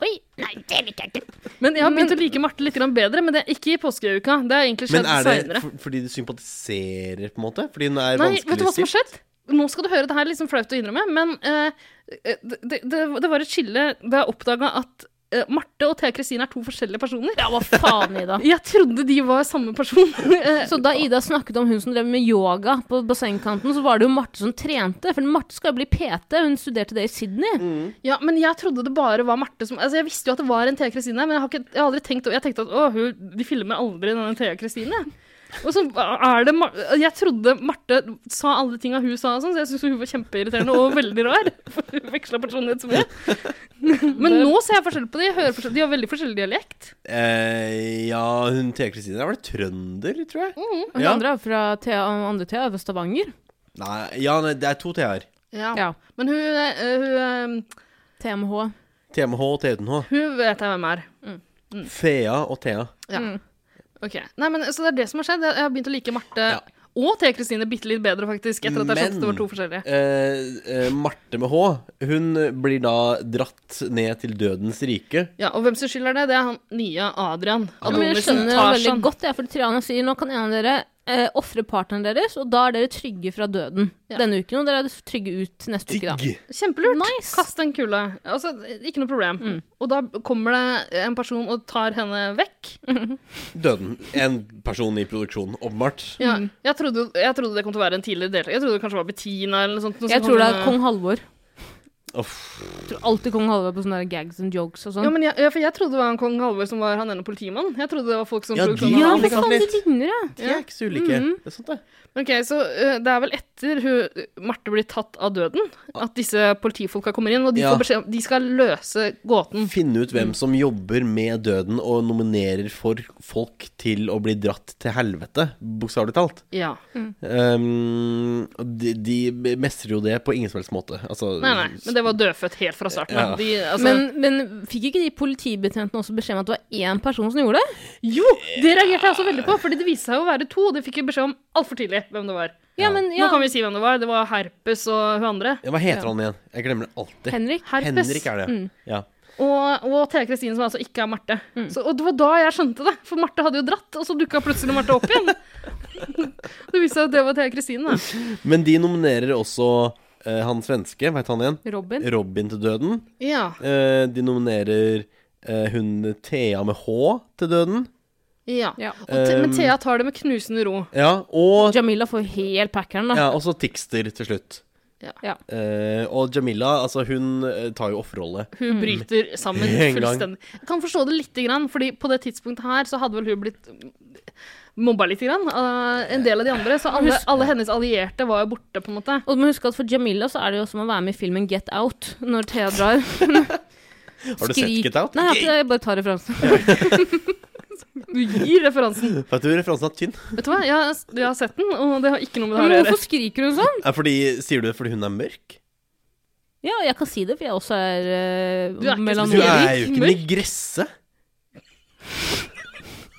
S3: Oi, nei, det liker jeg ikke.
S2: Men jeg har begynt å like Marte litt grann bedre, men det er ikke i påskeuka. Det har egentlig
S1: Men
S2: skjedd
S1: er det
S2: seinere.
S1: for, fordi du sympatiserer, på en måte? Fordi hun er
S2: Nei, vet du hva som har
S1: vanskeligstilt?
S2: skjedd? Nå skal du høre, det her er liksom flaut å innrømme, men eh, det, det, det, det var et skille da jeg oppdaga at eh, Marte og Thea Kristine er to forskjellige personer.
S3: Ja, hva faen, Ida.
S2: Jeg trodde de var samme person. Eh,
S3: Så da Ida snakket om hun som drev med yoga på bassengkanten, så var det jo Marte som trente. For Marte skal jo bli PT, hun studerte det i Sydney.
S2: ja, men jeg trodde det bare var Marte som Altså, jeg visste jo at det var en Thea Kristine, men jeg har, ikke, jeg har aldri tenkt over- Jeg tenkte at å, hun, de filmer aldri denne Thea Kristine. Og så er det Mar Jeg trodde Marte sa alle de tinga hun sa, og sånn, så jeg syntes hun var kjempeirriterende og veldig rar. For hun veksla personlighet så mye. Men nå ser jeg forskjell på dem. De har veldig forskjellig dialekt.
S1: Eh, ja, hun Thea Kristine er vel trønder, tror jeg?
S3: Og hun
S1: Ja.
S3: andre er fra Thea, andre Thea er fra Stavanger.
S1: Nei, ja, nei, det er to Thea-er.
S3: Ja.
S2: Men hun, eh, hun, eh,
S3: TMH.
S1: TMH og TUNH.
S2: hun vet jeg hvem er. Mm.
S1: Thea og Thea.
S2: Ja. Ok. Nei, men, så det er det som har skjedd. Jeg jeg har begynt å like Marte
S1: Ja.
S2: og Thea Kristine bitte litt bedre, faktisk. Etter at jeg skjønte at det
S1: Men-
S2: var to forskjellige.
S1: Eh, eh, Marte med H, hun blir da dratt ned til dødens rike.
S2: Ja, Og hvem som skylder det? Det er han nye Adrian. sånn
S3: Ja, men jeg
S2: Adonis
S3: skjønner det
S2: Tarzan.
S3: veldig godt, jeg, for Triana sier nå kan en av dere eh, ofre partneren deres, og da er dere trygge fra døden
S2: Ja.
S3: denne uken, og dere er trygge ut neste uke, da.
S1: Digg!
S2: Kjempelurt.
S3: Nice. Mm.
S2: Kast en kule. Altså, ikke noe problem. Og da kommer det en person og tar henne vekk.
S3: Mm.
S1: Døden. En person i produksjonen, åpenbart.
S2: Ja, jeg, trodde, jeg trodde det kom til å være en tidligere deltaker. Jeg trodde det kanskje var Bettina eller noe sånt.
S3: Jeg tror det er kong Halvor.
S1: Uff.
S3: Jeg tror alltid kong Halvor på sånne der gags and jokes og sånn.
S2: Ja, men jeg, ja, for jeg trodde det var en kong Halvor som var han ene politimannen. Jeg trodde det var folk som
S1: Ja,
S2: tok
S1: de- Ja,
S2: sånn-
S3: Ja,
S1: men
S3: for faen, de
S1: litt.
S3: ligner, ja.
S1: De er ikke så ulike.
S2: Mm-hmm.
S1: Det er sant, det.
S2: Ok, så eh, det er vel etter hun, Marte blir tatt av døden, at disse politifolka kommer inn, og de,
S1: Ja.
S2: får beskjed, om- de skal løse gåten.
S1: Mm. Finne ut hvem som jobber med døden og nominerer for folk til å bli dratt til helvete, bokstavelig talt.
S2: Ja.
S1: Um, og de, de mestrer jo det på ingen som helst måte. Altså,
S2: Nei, nei, men det var dødfødt helt fra starten. av.
S1: Ja.
S2: De, altså,
S3: Men, men fikk ikke de politibetjentene også beskjed om at det var én person som gjorde det?
S2: jo, det reagerte jeg også veldig på, fordi det viste seg å være to. Det fikk jeg beskjed om altfor tidlig hvem det var.
S3: Ja, men ja.
S2: Nå kan vi si hvem det var. Det var Herpes og hun andre.
S1: Ja, Hva heter han igjen? Jeg glemmer det alltid.
S3: Henrik. Mm,
S2: Herpes.
S1: Henrik er det. Ja.
S2: Og, og Thea Kristine, som altså ikke er Marte. Så, og det var da jeg skjønte det, for Marte hadde jo dratt, og så dukka plutselig Marte opp igjen. det viste seg at det var Thea Kristine. da.
S1: Men de nominerer også eh, han svenske, veit han igjen?
S3: Robin.
S1: Robin til døden.
S2: Ja.
S1: Eh, de nominerer eh, hun Thea med H til døden.
S2: ja.
S3: Ja.
S2: Og te,
S1: Um,
S2: men Thea tar det med knusende ro.
S1: Ja, og
S3: Jamila får helt packeren, da.
S1: ja, også Tixter til slutt.
S2: Ja.
S3: Ja.
S1: Eh, og Jamila, altså hun eh, tar jo offerrolle.
S2: Hun
S3: Mm.
S2: bryter sammen
S1: En gang.
S2: fullstendig. Jeg kan forstå det lite grann, fordi på det tidspunktet her så hadde vel hun blitt mobba lite grann av en del av de andre. Så alle, alle hennes allierte var jo borte, på en måte.
S3: Og du må huske at for Jamila så er det jo som å være med i filmen Get Out, når Thea drar.
S1: Har du sett
S3: Skrik-
S1: Get Out?
S3: Nei, jeg, jeg bare tar referansen.
S2: Du gir referansen.
S1: For at du referansen er tynn.
S2: Vet du hva, jeg, har- jeg har sett den, og det har ikke noe med det her
S3: Men
S2: å gjøre.
S3: hvorfor skriker hun sånn?
S1: Er fordi, sier du det fordi hun er mørk?
S3: Ja, jeg kan si det, for jeg også er
S2: Du er ikke
S3: uh,
S1: Du er jo
S3: melankolisk.
S1: ikke
S2: mørk.
S1: negresse.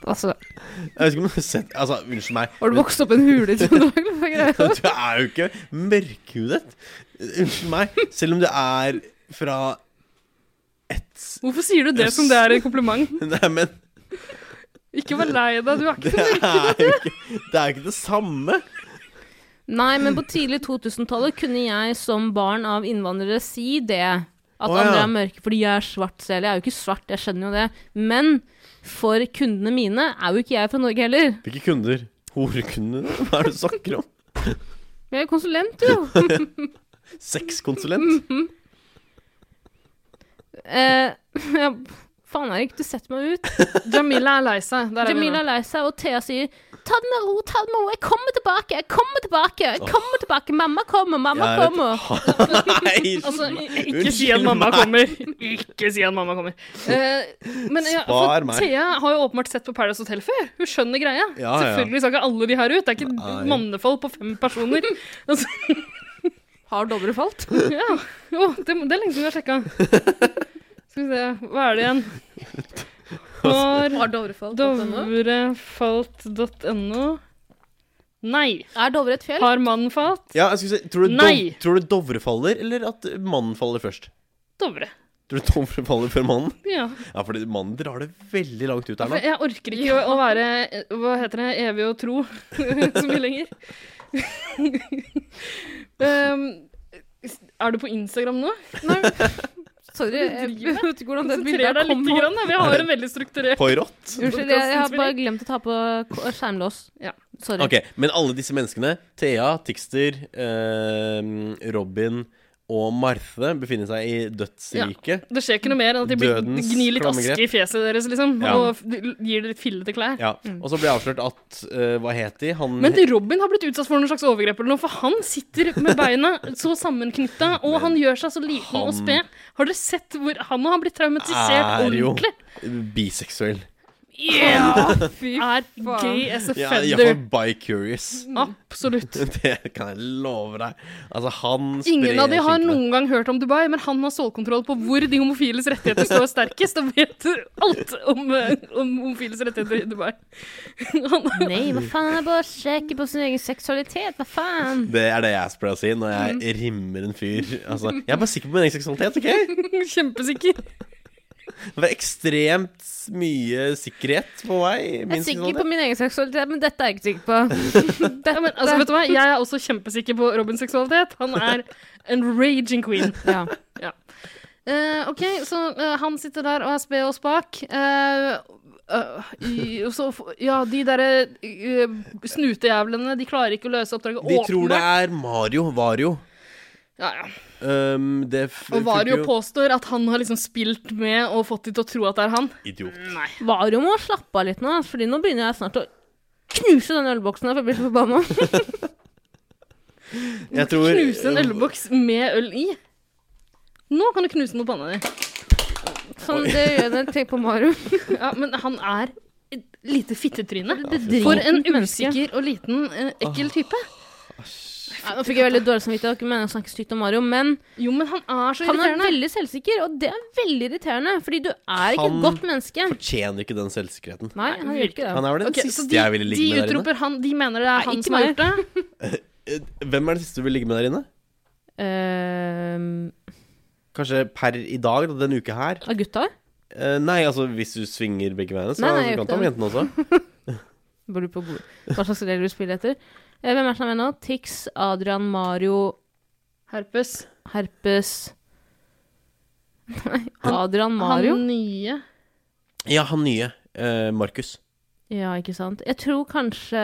S3: Altså,
S1: Jeg vet ikke om du har sett Altså, unnskyld meg.
S3: har du vokst opp i en hule til dag?
S1: Du er jo ikke mørkhudet. Unnskyld meg. Selv om du er fra et
S2: Hvorfor sier du det som det er en kompliment?
S1: Nei, men
S2: Ikke vær lei deg, du er
S1: det
S2: ikke
S1: er jo ikke det, er jo ikke det samme.
S3: Nei, men på tidlig 2000-tallet kunne jeg som barn av innvandrere si det. At
S1: Å, ja.
S3: andre er mørke fordi jeg er svart selv. Jeg er jo ikke svart, jeg skjønner jo det. Men for kundene mine er jo ikke jeg fra Norge heller.
S1: Hvilke kunder? Horekunder? Hva er det du snakker om?
S3: Jeg er jo konsulent, jo.
S1: Sexkonsulent?
S3: eh, jeg Faen, Erik, du setter meg ut.
S2: Jamila er lei seg. Der er vi nå.
S3: Jamila er lei seg, og Thea sier ta det med ro, ta det med ro. Jeg kommer tilbake, jeg kommer tilbake. jeg kommer tilbake, Mamma kommer, mamma
S1: Jeg
S3: kommer.
S1: vet- Nei!
S2: Altså, i- ikke
S1: Unnskyld
S2: si at mamma
S1: meg.
S2: kommer. Ikke si at mamma kommer. Eh, men ja,
S1: Spar
S2: for
S1: meg.
S2: Thea har jo åpenbart sett på Paradise Hotel før. Hun skjønner greia.
S1: Ja, ja.
S2: Selvfølgelig skal ikke alle de her ut. Det er ikke
S1: Nei.
S2: et mannefold på fem personer. Altså,
S3: Har Dovre falt?
S2: ja. Jo, det, det er lenge siden vi har sjekka. Skal vi se, hva er det igjen? Når
S3: Har Dovre falt?
S2: Dovrefalt.no Nei.
S3: Er Dovre et fjell?
S2: Har mannen falt?
S1: Ja, jeg skulle si, tror, du
S2: Nei.
S1: Dov, tror du Dovre faller, eller at mannen faller først?
S2: Dovre.
S1: Tror du Dovre faller før mannen?
S2: Ja.
S1: Ja, fordi mannen drar det veldig langt ut her
S2: For
S1: nå.
S2: jeg orker ikke å- å være eh, Hva heter det? Evig og tro så mye lenger. um, er du på Instagram nå?
S3: Sorry, jeg jeg vet ikke hvordan det
S2: Konsentrer
S3: bildet
S2: deg
S3: kom
S2: litt. Grann, da. Vi har en veldig strukturert
S1: Poirot.
S3: Unnskyld, jeg, jeg har bare glemt å ta på k- skjermlås.
S2: Ja.
S3: Sorry.
S1: Ok, men alle disse menneskene, Thea, Tixter, eh, Robin og Marthe, befinner seg i dødsriket.
S2: Det skjer ikke noe mer enn at de blir,
S1: Dødens
S2: gnir litt
S1: klammegrep.
S2: aske i fjeset deres, liksom.
S1: Ja.
S2: Og f- gir det litt fillete klær.
S1: Ja. Og så ble det avslørt at eh, Hva het de? Han
S2: Mm. Men Robin har blitt utsatt for noen slags overgrep eller noe, for han sitter med beina så sammenknytta, og han gjør seg så liten
S1: han-
S2: og sped. Har dere sett hvor han har blitt traumatisert
S1: Er jo-
S2: ordentlig?
S1: eh, biseksuell.
S3: Fy
S2: Er gay as a
S1: Ja,
S2: feather.
S1: Iallfall bicurious.
S2: Absolutt.
S1: Det kan jeg love deg. Altså, han
S2: Ingen av de har
S1: skinkene.
S2: noen gang hørt om Dubai, men han har stålkontroll på hvor de homofiles rettigheter står sterkest, og vet alt om, eh, om homofiles rettigheter i Dubai. Han,
S3: Nei, hva faen? Jeg bare sjekker på sin egen seksualitet. Hva faen?
S1: Det er det jeg pleier å si når jeg rimmer en fyr. Altså, jeg er bare sikker på min egen seksualitet. ok?
S2: er kjempesikker.
S1: Det var ekstremt mye sikkerhet på meg. i
S3: Jeg
S1: Min
S3: er sikker på
S1: seksualitet.
S3: min egen seksualitet, men dette er jeg ikke sikker på.
S2: Ja, men, altså, vet du hva? Jeg er også kjempesikker på Robins seksualitet. Han er en raging queen.
S3: Ja.
S2: Eh, ok, så eh, han sitter der og er sped og spak. Eh, øh, i- og så, f- ja, de derre eh, snutejævlene, de klarer ikke å løse oppdraget.
S1: De tror det
S2: åpenbart.
S1: er Mario. Vario.
S2: Ja, ja.
S1: Um, det f-
S2: Og Vario
S1: funker
S2: påstår at han har liksom spilt med og fått de til å tro at det er han.
S1: Idiot.
S3: Vario må slappe av litt nå, ass, Fordi nå begynner jeg snart å knuse den ølboksen her, for jeg blir så forbanna.
S1: Jeg tror
S2: Knuse en ølboks med øl i. Nå kan du knuse den på panna di.
S3: Sånn, det gjør jeg når jeg tenker på Mario.
S2: Ja, men han er et lite fittetryne.
S3: Det
S2: For en
S3: driter menneske.
S2: usikker og liten, eh, ekkel type.
S3: Ja, nå fikk jeg veldig dårlig samvittighet, jeg har ikke meningen å snakke stygt om Mario, men
S2: Jo, men han er så
S3: han er
S2: irriterende.
S3: veldig selvsikker, og det er veldig irriterende, fordi du er ikke
S1: Han-
S3: et godt menneske.
S1: Tjener ikke den selvsikkerheten.
S3: Nei, han gjør ikke det.
S1: Han er vel den
S2: Ok, så
S1: siste
S2: de,
S1: jeg ville
S2: de
S1: ligge med der inne.
S2: utroper han, de mener det er
S3: Nei,
S2: han
S3: ikke
S2: som har
S3: meg.
S2: gjort det.
S1: Eh, Hvem er den siste du vil ligge med der inne?
S3: Eh,
S1: Kanskje per i dag, da, denne uka her?
S3: Av gutta?
S1: Eh, nei, altså hvis du svinger begge veiene, så
S3: Nei, nei, jeg
S1: kan
S3: gjør
S1: du ta med
S3: ikke
S1: jentene også.
S3: Bor du på bord? Hva slags regler du spiller etter? Eh, hvem er det som er med nå? Tix, Adrian, Mario,
S2: Herpes.
S3: Herpes Nei, Adrian, Mario?
S2: Han nye.
S1: Ja, han nye. eh, Markus.
S3: Ja, ikke sant. Jeg tror kanskje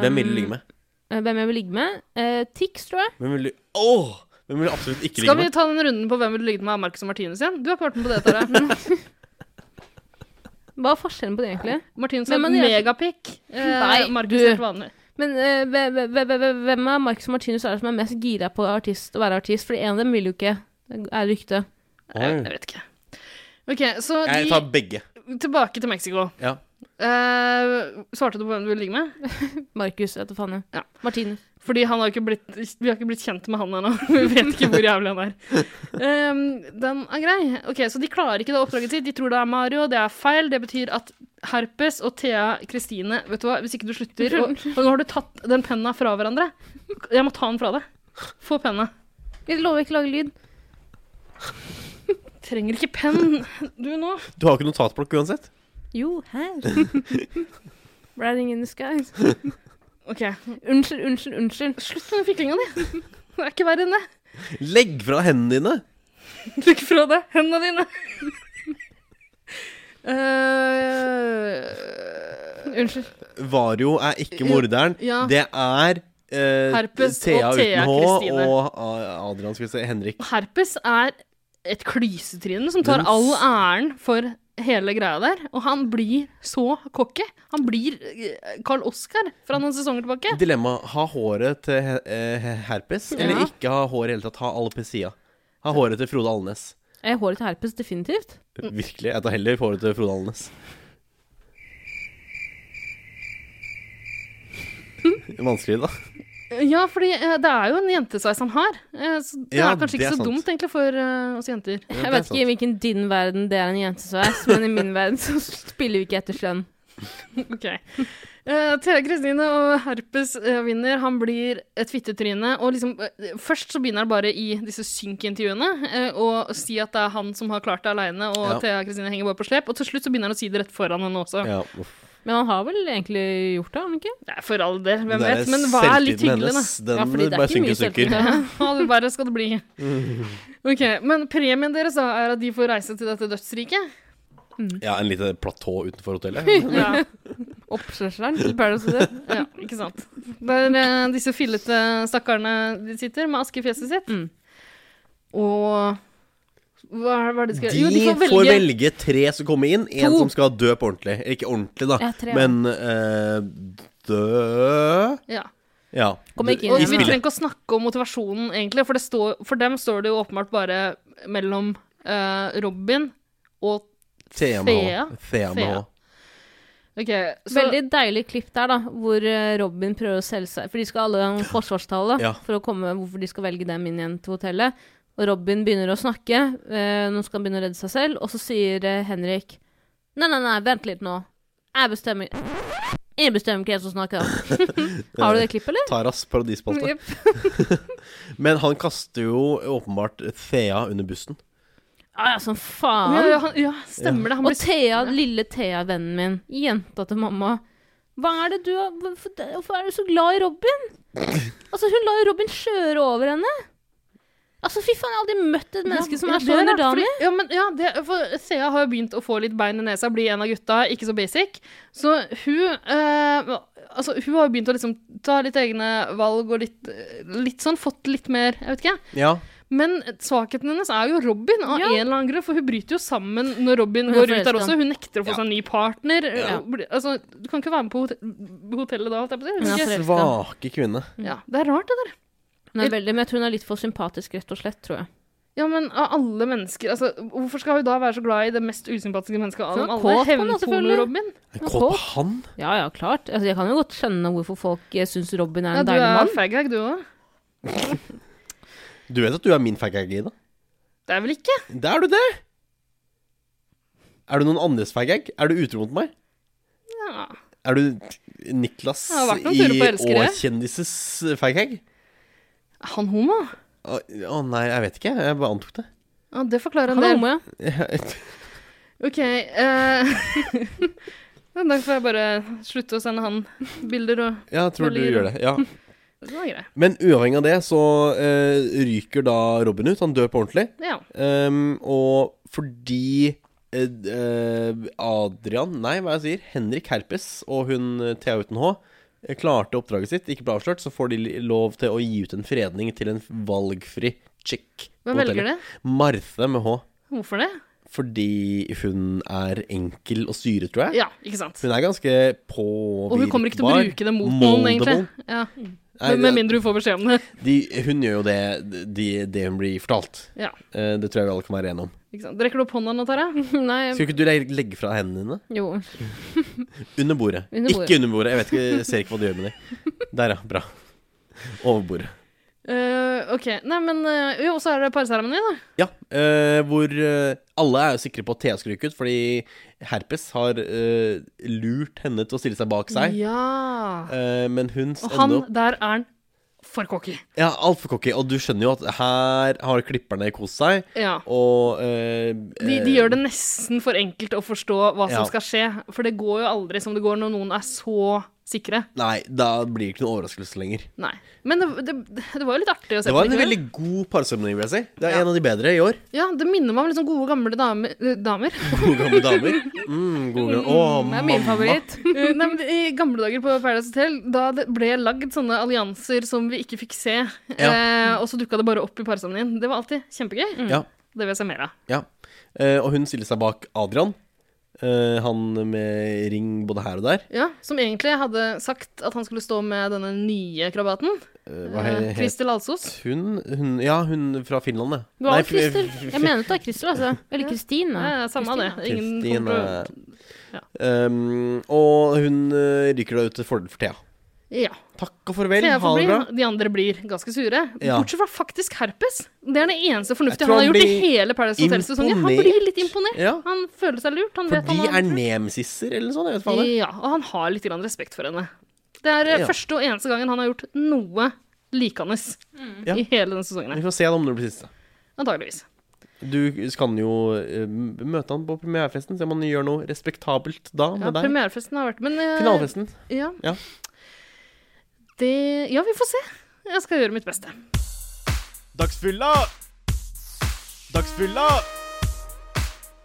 S1: Hvem vil du ligge med?
S3: Eh, Hvem jeg vil ligge med? Eh, Tix, tror jeg.
S1: Hvem vil du Åh! Hvem vil du absolutt ikke
S2: Skal
S1: ligge
S2: vi
S1: med?
S2: ta den runden på hvem ville ligget med av Marcus og Martinus igjen? Du har ikke vært med på det, Tara.
S3: Hva er forskjellen på det, egentlig?
S2: Martinus
S3: Hvem
S2: har
S3: er det?
S2: megapikk. Eh,
S3: Nei,
S2: Marcus
S3: du.
S2: er helt vanlig.
S3: Men eh, hve- hve- hve- hve- hve- hvem av Marcus og Martinus er det som er mest gira på artist, å være artist? Fordi en av dem vil jo ikke, det er rykte.
S2: Jeg, jeg vet ikke. Ok, så
S1: Oi. Mm. Jeg
S2: de,
S1: tar begge.
S2: tilbake til Mexico.
S1: Ja.
S2: Eh, svarte du på hvem du ville ligge med?
S3: Markus, vet du faen. jeg.
S2: Ja.
S3: Martinus.
S2: Fordi han har ikke blitt, vi har ikke blitt kjent med han ennå. Vi vet ikke hvor jævlig han er. Eh, den er grei. Ok, Så de klarer ikke det oppdraget sitt. De tror det er Mario. Det er feil. Det betyr at Herpes og Thea Kristine Vet du hva, hvis ikke du slutter og, og Nå har du tatt den penna fra hverandre. Jeg må ta den fra deg. Få penna.
S3: Jeg lover ikke å lage lyd.
S2: Trenger ikke penn, du nå.
S1: Du har ikke notatblokk uansett?
S3: Jo, her. Riding in the sky.
S2: Ok,
S3: Unnskyld, unnskyld, unnskyld.
S2: Slutt med den fiklinga di. Det er ikke verre enn det.
S1: Legg fra hendene dine!
S2: Trykk fra deg hendene dine. Eh,
S3: Unnskyld.
S1: Vario er ikke morderen.
S2: ja.
S1: Det er eh,
S2: Herpes og
S1: Thea
S2: Thea
S1: uten H
S2: Kristine.
S1: og A- Adrian, skal vi si. Henrik.
S2: Herpes er et klysetryne som tar
S1: Den s-
S2: all æren for hele greia der. Og han blir så cocky. Han blir eh, Carl Oskar fra noen sesonger tilbake.
S1: Dilemma ha håret til he- eh, herpes, eller
S3: Ja.
S1: ikke ha hår i hele tatt. Ha alopecia. Ha håret til Frode Alnes.
S3: Eh, Håret til herpes, definitivt.
S1: Virkelig. Jeg tar heller håret til Frode Alnes. Vanskelig, da.
S2: Ja, fordi eh, det er jo en jentesveis han har. Eh, så det
S1: Ja,
S2: er
S1: det er
S2: kanskje ikke så
S1: sant.
S2: dumt egentlig for eh, oss jenter.
S1: Ja, det
S3: Jeg
S1: er
S3: vet
S1: sant.
S3: ikke i hvilken din verden det er en jentesveis, men i min verden så spiller vi ikke etter skjønn.
S2: Ok. Eh, Thea Kristine og herpes eh, vinner. Han blir et fittetryne. Og liksom, eh, først så begynner han bare i disse synkintervjuene eh, å si at det er han som har klart det aleine, og
S1: Ja.
S2: Thea Kristine henger bare på slep. Og til slutt så begynner han å si det rett foran henne også.
S1: Ja, uff.
S3: Men han har vel egentlig gjort det, har han ikke?
S2: Det er for all del, hvem
S1: Den der
S2: vet. Men hva er litt
S1: selvtilliten
S2: hyggelig, da?
S1: hennes, Den
S3: Ja, fordi det er
S1: bare
S3: ikke mye
S1: synker og synker.
S3: selvtillit.
S2: Ja, det bare skal det bli. Ok, Men premien deres da er at de får reise til dette dødsriket?
S1: Ja, en liten platå utenfor hotellet.
S2: Ja.
S3: Oppslørseren til Paradise Hotel.
S2: ja, ikke sant. Der eh, disse fillete stakkarene de sitter med aske i fjeset sitt.
S3: Mm.
S2: Og hva er hva er det de skal
S1: De,
S2: Jo,
S1: får, velge. tre som kommer inn. En
S3: To.
S1: som skal dø på ordentlig. Ikke ordentlig, da,
S3: Ja, tre, ja.
S1: men eh, dø
S2: Ja.
S1: Ja.
S3: Kommer ikke inn
S2: Og
S1: I
S2: vi
S3: spillet.
S2: trenger ikke å snakke om motivasjonen, egentlig, for, det står, for dem står det jo åpenbart bare mellom eh, Robin og
S1: Thea med H. Thea med H.
S2: Thea. OK, så
S3: Veldig deilig klipp der, da, hvor eh, Robin prøver å selge seg For de skal alle ha en forsvarstale
S1: Ja.
S3: for å komme hvorfor de skal velge dem inn igjen til hotellet. Og Robin begynner å snakke, eh, nå skal han begynne å redde seg selv, og så sier eh, Henrik Nei, nei, nei, vent litt nå. Jeg bestemmer Jeg bestemmer hvem som snakker. har du det klippet, eller?
S1: Eh, Taras paradispalte.
S3: Jep.
S1: Men han kaster jo åpenbart Thea under bussen.
S3: Ja, ja, som
S2: ja,
S3: faen.
S2: ja, han- ja, stemmer det. Han
S3: Og
S2: blir
S3: Thea, lille Thea, vennen min, jenta til mamma. Hva er det du har Hvorfor hvorfor er du så glad i Robin? Altså, hun la jo Robin kjøre over henne. Altså, fy faen, jeg har aldri møtt et menneske som
S2: Ja,
S3: er
S2: det
S3: så
S2: rart,
S3: underdanig.
S2: fordi- Ja, men ja, det, for Thea har jo begynt å få litt bein i nesa, bli en av gutta, ikke så basic. Så hun eh, Altså, hun har jo begynt å liksom ta litt egne valg og litt, eh, litt sånn fått litt mer, jeg vet ikke.
S1: Ja.
S2: Men svakheten hennes er jo Robin, av
S3: Ja.
S2: en eller annen grunn, for hun bryter jo sammen når Robin
S3: Hun
S2: går
S3: forelsker
S2: ut der
S3: han.
S2: også. Hun nekter å få
S1: Ja.
S2: seg en ny partner.
S1: Ja.
S2: Og blir- Altså, du kan ikke være med på hotell- hotellet da, holdt jeg på å si.
S3: Hun
S2: Hun
S3: er
S2: er ikke-
S3: forelsket.
S1: Svake kvinne.
S2: Ja, det er rart, det der.
S3: Hun er veldig, men jeg tror hun er litt for sympatisk, rett og slett, tror jeg.
S2: Ja, men av alle mennesker altså, Hvorfor skal hun da være så glad i det mest usympatiske mennesket av
S3: For
S2: dem
S3: hun er
S2: alle?
S3: kåt på henne, selvfølgelig.
S2: Hevnporno-Robin.
S1: Er Kåt på han?
S3: Ja, ja, klart. Altså, jeg kan jo godt skjønne hvorfor folk eh, syns Robin er
S2: Ja,
S3: en
S2: du
S3: deilig
S2: er
S3: mann.
S2: faghag, du òg.
S1: Du vet at du er min fag-gag, Ida?
S2: Det er vel ikke?
S1: Det er du det! Er du noen andres fag-gag? Er du utro mot meg?
S2: Ja.
S1: Er du Niklas
S2: Jeg har vært noen
S1: i eh,
S2: turer på elskere.
S1: Å-kjendises fag-hag?
S2: Er Han homo?
S1: Å å nei, jeg vet ikke. Jeg bare antok det.
S2: Ja, det forklarer en
S3: Han er
S2: del.
S3: homo, ja.
S2: OK. eh, Da får jeg bare slutte å sende han bilder og
S1: Ja, jeg tror du
S2: Veldig
S1: gjør det. Ja.
S2: Det var greit.
S1: Men uavhengig av det så eh, ryker da Robin ut. Han dør på ordentlig.
S2: Ja.
S1: Ehm, og fordi eh, eh, Adrian Nei, hva er det jeg sier? Henrik Herpes og hun eh, Thea uten H eh, klarte oppdraget sitt, ikke ble avslørt, så får de li- lov til å gi ut en fredning til en valgfri chick. på
S2: Hvem velger
S1: hotellet.
S2: det?
S1: Marthe med H.
S2: Hvorfor det?
S1: Fordi hun er enkel å styre, tror jeg.
S2: Ja, ikke sant.
S1: Hun er ganske påvirkbar.
S2: Og hun kommer ikke til å bruke det mot noen, egentlig.
S1: moldable.
S2: Ja.
S1: Nei,
S2: Med med mindre hun får beskjed om det.
S1: de, hun gjør jo det, de, det hun blir fortalt.
S2: Ja,
S1: Eh, det tror jeg vi alle kan være enige om.
S2: ikke sant. Rekker du opp hånda nå, Tara?
S3: Nei,
S1: Skal ikke du legge legge fra hendene dine?
S3: jo.
S1: Under bordet.
S3: Under bordet.
S1: Ikke under bordet. Jeg vet ikke, jeg ser ikke hva de gjør med det. Der, ja. Bra. Over bordet.
S2: Eh, OK. Nei, men eh, Jo, og så er det parseremoni, da.
S1: Ja, eh, hvor eh, alle er jo sikre på at Thea skal ryke ut, fordi Herpes har eh, lurt henne til å stille seg bak seg.
S2: Ja.
S1: Eh, men hun
S2: Og
S1: ender
S2: han,
S1: opp
S2: der er han for cocky.
S1: Ja, altfor cocky. Og du skjønner jo at her har klipperne kost seg,
S2: Ja.
S1: og eh,
S2: De, de gjør det nesten for enkelt å forstå hva
S1: ja.
S2: som skal skje. For det går jo aldri som det går når noen er så sikre.
S1: eh, Nei, da blir det ikke noe overraskelse lenger.
S2: Nei. Men det, det, det var jo litt artig å se
S1: Det var
S2: på.
S1: en
S2: likevel.
S1: veldig god parseremoni, vil jeg si. Det er
S2: Ja.
S1: en av de bedre i år.
S2: Ja, det minner meg om liksom gode, gamle damer. eh, damer.
S1: Gode gamle damer. Mm, gode gamle. Å,
S3: Det er min
S1: mamma.
S3: favoritt.
S2: Eh, Nei, men I gamle dager på Paradise Hotel, da det ble lagd sånne allianser som vi ikke fikk se, eh, og så dukka det bare opp i parsammenhengen. Det var alltid kjempegøy.
S1: Ja.
S2: Det vil jeg se mer av.
S1: Ja. Eh, og hun stiller seg bak Adrian, eh, han med ring både her og der.
S2: Ja, som egentlig hadde sagt at han skulle stå med denne nye krabaten.
S1: Eh, hva he-
S2: eh,
S1: het
S2: Kristel Alsos.
S1: hun? hun? Ja, hun fra Finland, det.
S3: Du har
S1: Nei,
S3: jo Christer. Jeg mener at det er Christer, altså. Eller
S2: Ja.
S3: Kristine.
S2: Ja, ja, Eh, samme av det. Ingen kommer
S1: Kristine
S2: til å- Ja.
S1: um, eh, Og hun eh, ryker da ut til fordel for Thea.
S2: Ja.
S1: Takk og farvel, ha
S2: Thea får
S1: det
S2: bli,
S1: bra.
S2: de andre blir ganske sure.
S1: Ja.
S2: Bortsett fra faktisk herpes. Det er det eneste
S1: Jeg
S2: fornuftige
S1: tror han
S2: han har gjort i
S1: blir
S2: hele Paradise Hotel-sesongen. Han
S1: imponert.
S2: blir litt imponert.
S1: Ja,
S2: Han føler seg lurt. Han
S1: for
S2: vet
S1: de
S2: han har
S1: er nemsisser eller sånn, jeg vet faen det.
S2: Ja, og han har litt grann respekt for henne. Det er eh,
S1: Ja.
S2: første og eneste gangen han har gjort noe likende
S1: Mm. Ja.
S2: i hele denne sesongen. her.
S1: Vi får se da om det blir siste.
S2: Antageligvis.
S1: Du kan jo eh, m- møte han på premierefesten, se om han gjør noe respektabelt da
S2: Ja,
S1: med deg.
S2: premierefesten har vært Men eh,
S1: Finalefesten.
S2: Ja.
S1: Ja.
S2: Det Ja, vi får se. Jeg skal gjøre mitt beste.
S7: Dagsfylla! Dagsfylla!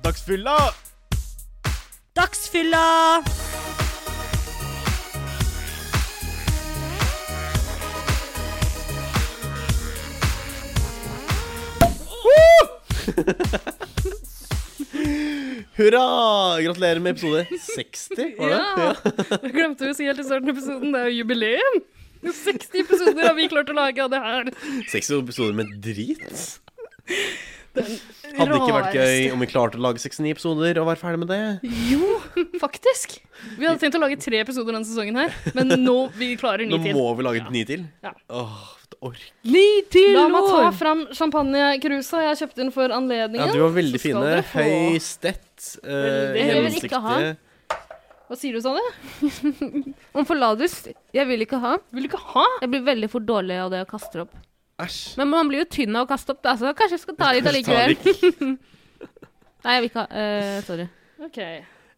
S7: Dagsfylla!
S4: Dagsfylla!
S1: Hurra! Gratulerer med episode 60, var det?
S2: Ja! Det glemte vi å si helt i starten av episoden. Det er jo jubileum! 60 episoder har vi klart å lage av det her.
S1: 60 episoder med drit. Hadde ikke vært gøy om vi klarte å lage 69 episoder og være ferdig med det.
S2: Jo, faktisk. Vi hadde tenkt å lage tre episoder denne sesongen her, men nå vi klarer ni
S1: Nå
S2: til.
S1: må vi lage ni til?
S2: Ja.
S1: Åh, det orker
S3: Ni til
S2: La meg ta
S3: år!
S2: fram champagnekrusa jeg kjøpte den for
S1: ja,
S2: anledningen.
S1: Du var veldig
S2: så skal
S1: fine.
S2: dere få-
S1: Høy stett, eh,
S2: Veldig.
S3: Jeg vil ikke
S1: gjennomsiktig
S3: ha den.
S2: Hva sier du, Sanne?
S3: Om Forladus, jeg vil ikke ha.
S2: Vil du ikke ha?
S3: Jeg blir veldig for dårlig av det å kaste opp.
S1: Æsj.
S3: Men man blir jo tynn av å kaste opp, da, så kanskje jeg skal ta litt allikevel.
S1: Ta litt.
S3: Nei, jeg vil ikke ha. eh, sorry.
S2: Ok,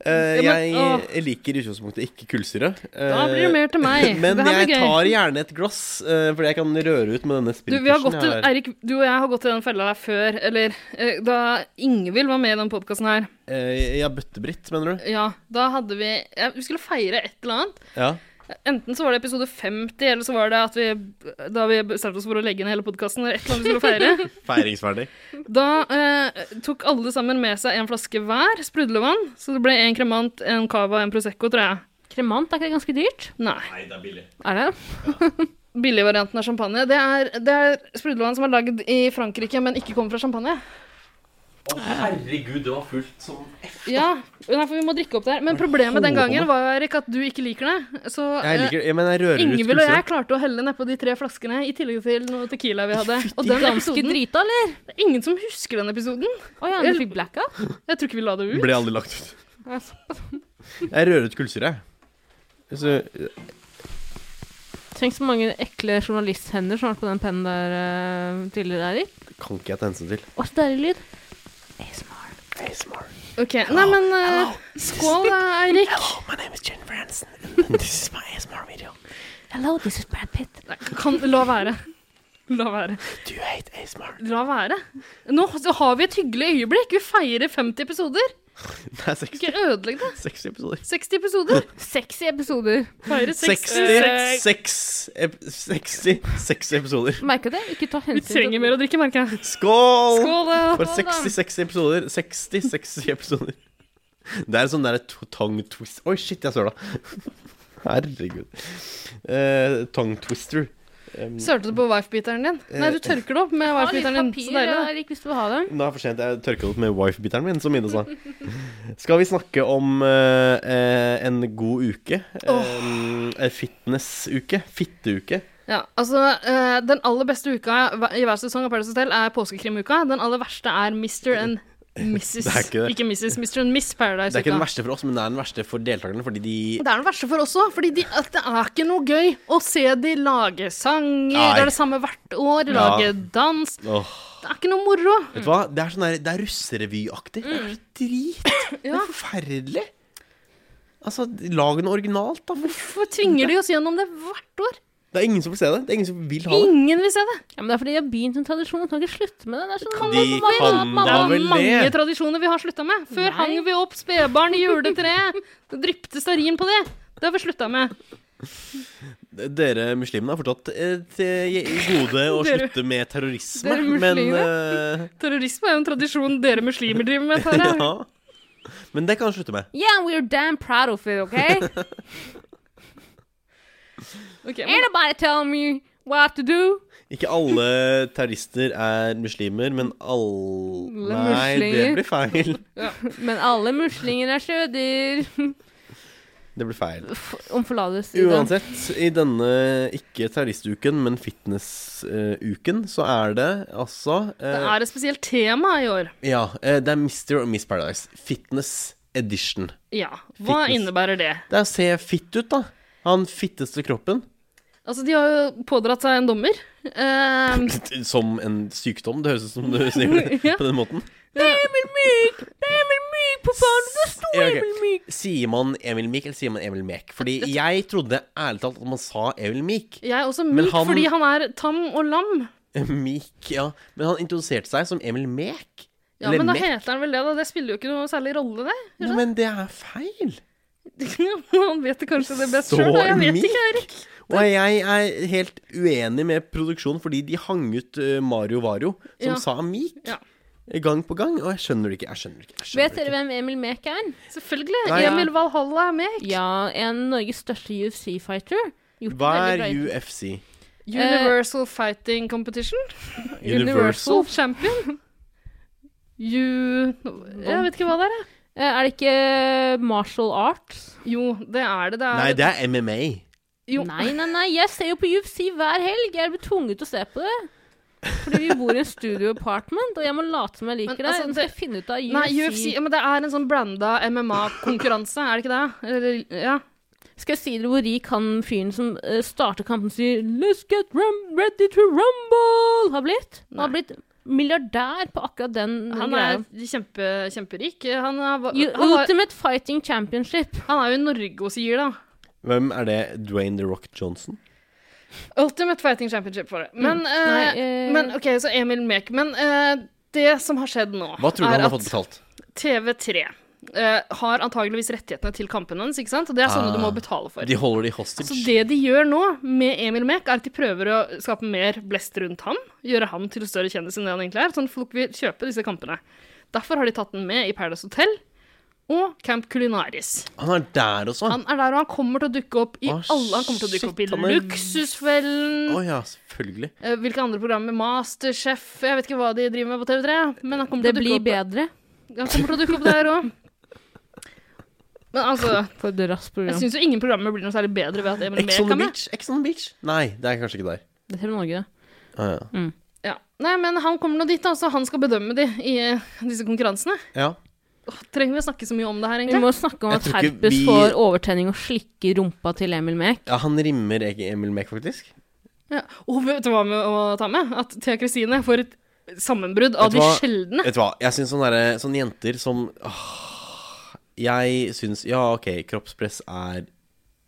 S1: Eh,
S2: Ja, men,
S1: jeg
S2: åh.
S1: jeg liker i utgangspunktet ikke kullsyre. Eh,
S2: Da blir det mer til meg.
S1: Men
S2: det her
S1: jeg
S2: blir gøy.
S1: tar gjerne et glass, eh, fordi jeg kan røre ut med denne
S2: Du, vi har gått til,
S1: sprittusjen her.
S2: Eirik, du og jeg har gått i den fella her før, eller eh, da Ingvild var med i den podkasten her,
S1: Eh, ja, Bøttebritt, mener du?
S2: ja, da hadde vi ja, Vi skulle feire et eller annet.
S1: Ja.
S2: Enten så var det episode 50, eller så var det at vi da vi bestemte oss for å legge ned hele podkasten, eller et eller annet vi skulle feire.
S1: Feiringsverdig.
S2: Da eh, tok alle sammen med seg en flaske hver sprudlevann, så det ble en kremant, en cava, en prosecco, tror jeg.
S3: Kremant, er ikke det ganske dyrt?
S2: Nei.
S3: Er det?
S2: Billigvarianten av champagne. Det er, det er sprudlevann som er lagd i Frankrike, men ikke kommer fra champagne.
S1: herregud, det var fullt som
S2: Ja, nei, for vi må drikke opp det her. Men problemet den gangen var jo, Erik, at du ikke liker det. Så
S1: Jeg liker det, men jeg rører ut
S2: Ingevild og jeg
S1: kullsyre.
S2: klarte å helle nedpå de tre flaskene i tillegg til noe tequila vi hadde. Og den
S3: Ganske
S2: episoden,
S3: drita, eller?
S2: det er ingen som husker den episoden.
S3: Å ja, du fikk blackout?
S2: Jeg tror ikke vi la det ut.
S1: Ble aldri lagt ut.
S3: Ja,
S1: Jeg rører ut kullsyre. Så
S3: Tenk så mange ekle journalisthender som har vært på den pennen der eh, tidligere, Erik.
S1: kan ikke jeg ta hensyn til.
S3: Å, så deilig lyd. ASMR.
S2: Ok, Nei, men eh, skål, da, Eirik.
S3: Hello, this is Brad Pitt.
S2: Nei, Kan, la være. La være. La være. Nå så har vi et hyggelig øyeblikk. Vi feirer 50 episoder.
S1: Det er 60,
S2: Ikke ødelegg det.
S1: 60 episoder.
S2: 60 episoder.
S3: Sexy episoder.
S2: Feire
S1: 60, 6, 60, 60 episoder.
S3: Merka det? Ikke ta
S2: Vi
S3: hensyn
S2: trenger mer å drikke, merker jeg.
S1: Skål!
S2: Skål, da.
S1: For 66 episoder. 60, 60 episoder. Det er en sånn der to- tongue twist Oi, shit, jeg søla. Herregud. Eh, tongue twister. Um,
S2: Sølte du på wife-biteren din? Nei, du tørker det opp med
S3: Ha litt
S2: wife-biteren din.
S3: papir, eh,
S2: Så deilig. da.
S3: Erik, hvis du vil ha det.
S1: nå er det for sent. Jeg tørka det opp med wife-biteren min, som Ine sa. Skal vi snakke om eh, eh, en god uke? Eh, Fitness-uke? Fitteuke?
S2: Ja, altså, eh, den aller beste uka hver- i hver sesong av Paradise Hotel er påskekrimuka. Den aller verste er Mr. and Mrs.
S1: Det er ikke det.
S2: Ikke Mrs. Mr. and Miss
S1: Det er ikke den
S2: Paradise-uka.
S1: verste for oss, men det er den verste for deltakerne, fordi de
S2: Det er den verste for oss òg, for det er ikke noe gøy å se de lage sanger.
S1: Nei.
S2: Det er det samme hvert år.
S1: Ja.
S2: Lage dans.
S1: Åh,
S2: Det er ikke noe moro.
S1: Vet du hva? Det er sånn der, det er russerevyaktig. Det
S2: Mm.
S1: er så drit. Det er forferdelig. Altså, lag noe originalt, da. for-
S2: Hvorfor tvinger de oss gjennom det hvert år?
S1: Det er ingen som vil se det. Det er ingen som vil ha det.
S2: Ingen vil se det.
S3: Ja, men det er fordi de har begynt en tradisjon. Kan ikke slutte med det. Det er sånn
S1: De
S3: mamma, mamma,
S1: kan da
S3: mamma, mamma.
S1: Ja, vel,
S2: mange
S1: det.
S2: tradisjoner vi har slutta med. Før
S3: Nei.
S2: hang vi opp spedbarn i juletreet. Det dryppet stearin på det. Det har vi slutta med.
S1: Dere muslimene har fortsatt eh, til gode å
S2: Dere-
S1: slutte med terrorisme,
S2: Dere
S1: men
S2: muslimene? Terrorisme er jo en tradisjon dere muslimer driver med.
S1: eh,
S2: Tara.
S1: ja. Men det kan han slutte med.
S3: Yeah, we're damn proud of it, okay? Ain't
S2: Ok, men-
S3: nobody telling me what to do.
S1: Ikke alle terrorister er muslimer, men alle
S3: Alle
S1: Nei, det
S3: muslinger.
S1: blir feil.
S3: Men alle muslinger er sjødyr.
S1: Det blir feil.
S3: Om forlatelse. i den.
S1: Uansett, i denne ikke terroristuken, men fitnessuken, så er det altså
S2: Det
S1: eh,
S2: er et spesielt tema i år.
S1: Ja, eh, det er Mister og Miss Paradise. Fitness edition.
S2: Ja. Hva
S1: Fitness.
S2: innebærer det?
S1: Det er å se fitt ut, da. Ha den fitteste kroppen.
S2: Altså, de har jo pådratt seg en dommer. Ehm,
S1: Som en sykdom. Det høres ut som du sier det
S2: Ja.
S1: på den måten.
S3: Emil Myk! Det er Emil Myk på banen! Det står
S1: Ja, ok.
S3: Emil Myk!
S1: Sier man Emil Meek, eller sier man Emil Mek? Fordi jeg trodde ærlig talt at man sa Emil Meek.
S2: jeg er også
S1: Men
S2: myk
S1: han-
S2: fordi han er tam og lam.
S1: Meek, ja. Men han introduserte seg som Emil Mek.
S2: Ja, men da heter han vel det, da. Det spiller jo ikke noe særlig rolle, det.
S1: Nei, men det er feil.
S2: han vet det kanskje det
S1: Så
S2: best sjøl, da. Jeg vet
S1: myk.
S2: ikke, Erik.
S1: Og jeg er helt uenig med produksjonen, fordi de hang ut eh, Mario Vario, som
S2: Ja.
S1: sa Meek,
S2: Ja.
S1: gang på gang. Og jeg skjønner det ikke. Jeg skjønner det ikke. Jeg skjønner
S3: Vet
S1: det
S3: dere
S1: ikke.
S3: hvem Emil Mek er?
S2: Selvfølgelig.
S1: Nei, ja.
S2: Emil Valhalla er myk.
S3: Ja, en Norges største UFC-fighter. Gjort
S1: Hva
S3: det veldig
S1: er
S3: bra.
S1: UFC?
S2: Eh, Universal Fighting Competition. Universal Champion. U... Jeg vet ikke hva det er, jeg.
S3: Eh, Er det ikke eh, martial arts?
S2: Jo, det er det. Det er
S1: Nei, det er MMA.
S2: Jo.
S3: Nei, nei, nei. Jeg ser jo på UFC hver helg. Jeg blir tvunget til å se på det. Fordi vi bor i en studio apartment, og jeg må late som jeg liker
S2: Men, altså,
S3: det. Så skal jeg finne ut av UFC.
S2: Nei, UFC ja, Men det er en sånn branda MMA-konkurranse, er det ikke det? Eller, ja.
S3: Skal jeg si dere hvor rik han fyren som eh, starter kampen sier 'Let's get rum ready to rumble' har blitt? Han har blitt milliardær på akkurat den, den
S2: Han
S3: greia.
S2: er kjempe, kjemperik. Han er,
S3: U-
S2: han, er,
S3: Ultimate Fighting Championship.
S2: han er jo norgesier, da.
S1: Hvem er det? Dwayne The Rock Johnson?
S2: Ultimate Fighting Championship for det. Men,
S3: Nei,
S2: eh,
S3: eh,
S2: men OK, så Emil Mek. Men eh, det som har skjedd nå,
S1: Hva tror du han
S2: er
S1: har fått
S2: at
S1: betalt?
S2: TV3 eh, har antageligvis rettighetene til kampene hans, ikke sant? Og det er sånne
S1: Ah.
S2: du må betale for.
S1: De holder de hostage.
S2: Så det Altså, de gjør nå med Emil Mek, er at de prøver å skape mer blest rundt ham. Gjøre ham til større kjendis enn det han egentlig er. Sånn folk vil kjøpe disse kampene. Derfor har de tatt den med i Paradise Hotel og Camp Culinaris.
S1: Han er der også? Å
S2: Han er der, og han kommer til å dukke opp i
S1: Å,
S2: alle. Han kommer til å dukke
S1: shit,
S2: opp i
S1: han er-
S2: Luksusfellen.
S1: ja, selvfølgelig.
S2: eh, Hvilke andre programmer? Masterchef? Jeg vet ikke hva de driver med på TV3. Men han kommer,
S3: Det
S2: til å, dukke
S3: blir
S2: opp,
S3: bedre.
S2: han kommer til å dukke opp der òg. Men altså
S3: For et raskt
S2: Jeg
S3: program.
S2: syns jo ingen programmer blir noe særlig bedre ved at Emil
S1: Ex
S2: Mek
S1: on the
S2: er med.
S1: beach? Ex on the beach? Nei, det er kanskje ikke der.
S3: Det er Norge, det.
S1: Ah, ja.
S2: Ja. Nei, men han kommer nå dit, da, så han skal bedømme de i eh, disse konkurransene.
S1: ja.
S2: Trenger vi å snakke så mye om det her,
S3: Vi
S2: egentlig?
S3: må snakke om
S1: Jeg
S3: at
S1: tror ikke
S3: herpes
S1: vi-
S3: får overtenning og slikker rumpa til Emil Mek.
S1: ja, han rimmer ikke Emil Mek, faktisk.
S2: Ja. Og vet du hva med å ta med? At Thea Kristine får et sammenbrudd av
S1: Vet du
S2: de
S1: hva?
S2: sjeldne.
S1: Vet du hva, jeg syns sånne, derre- sånne jenter som åh, Jeg syns Ja, ok, kroppspress er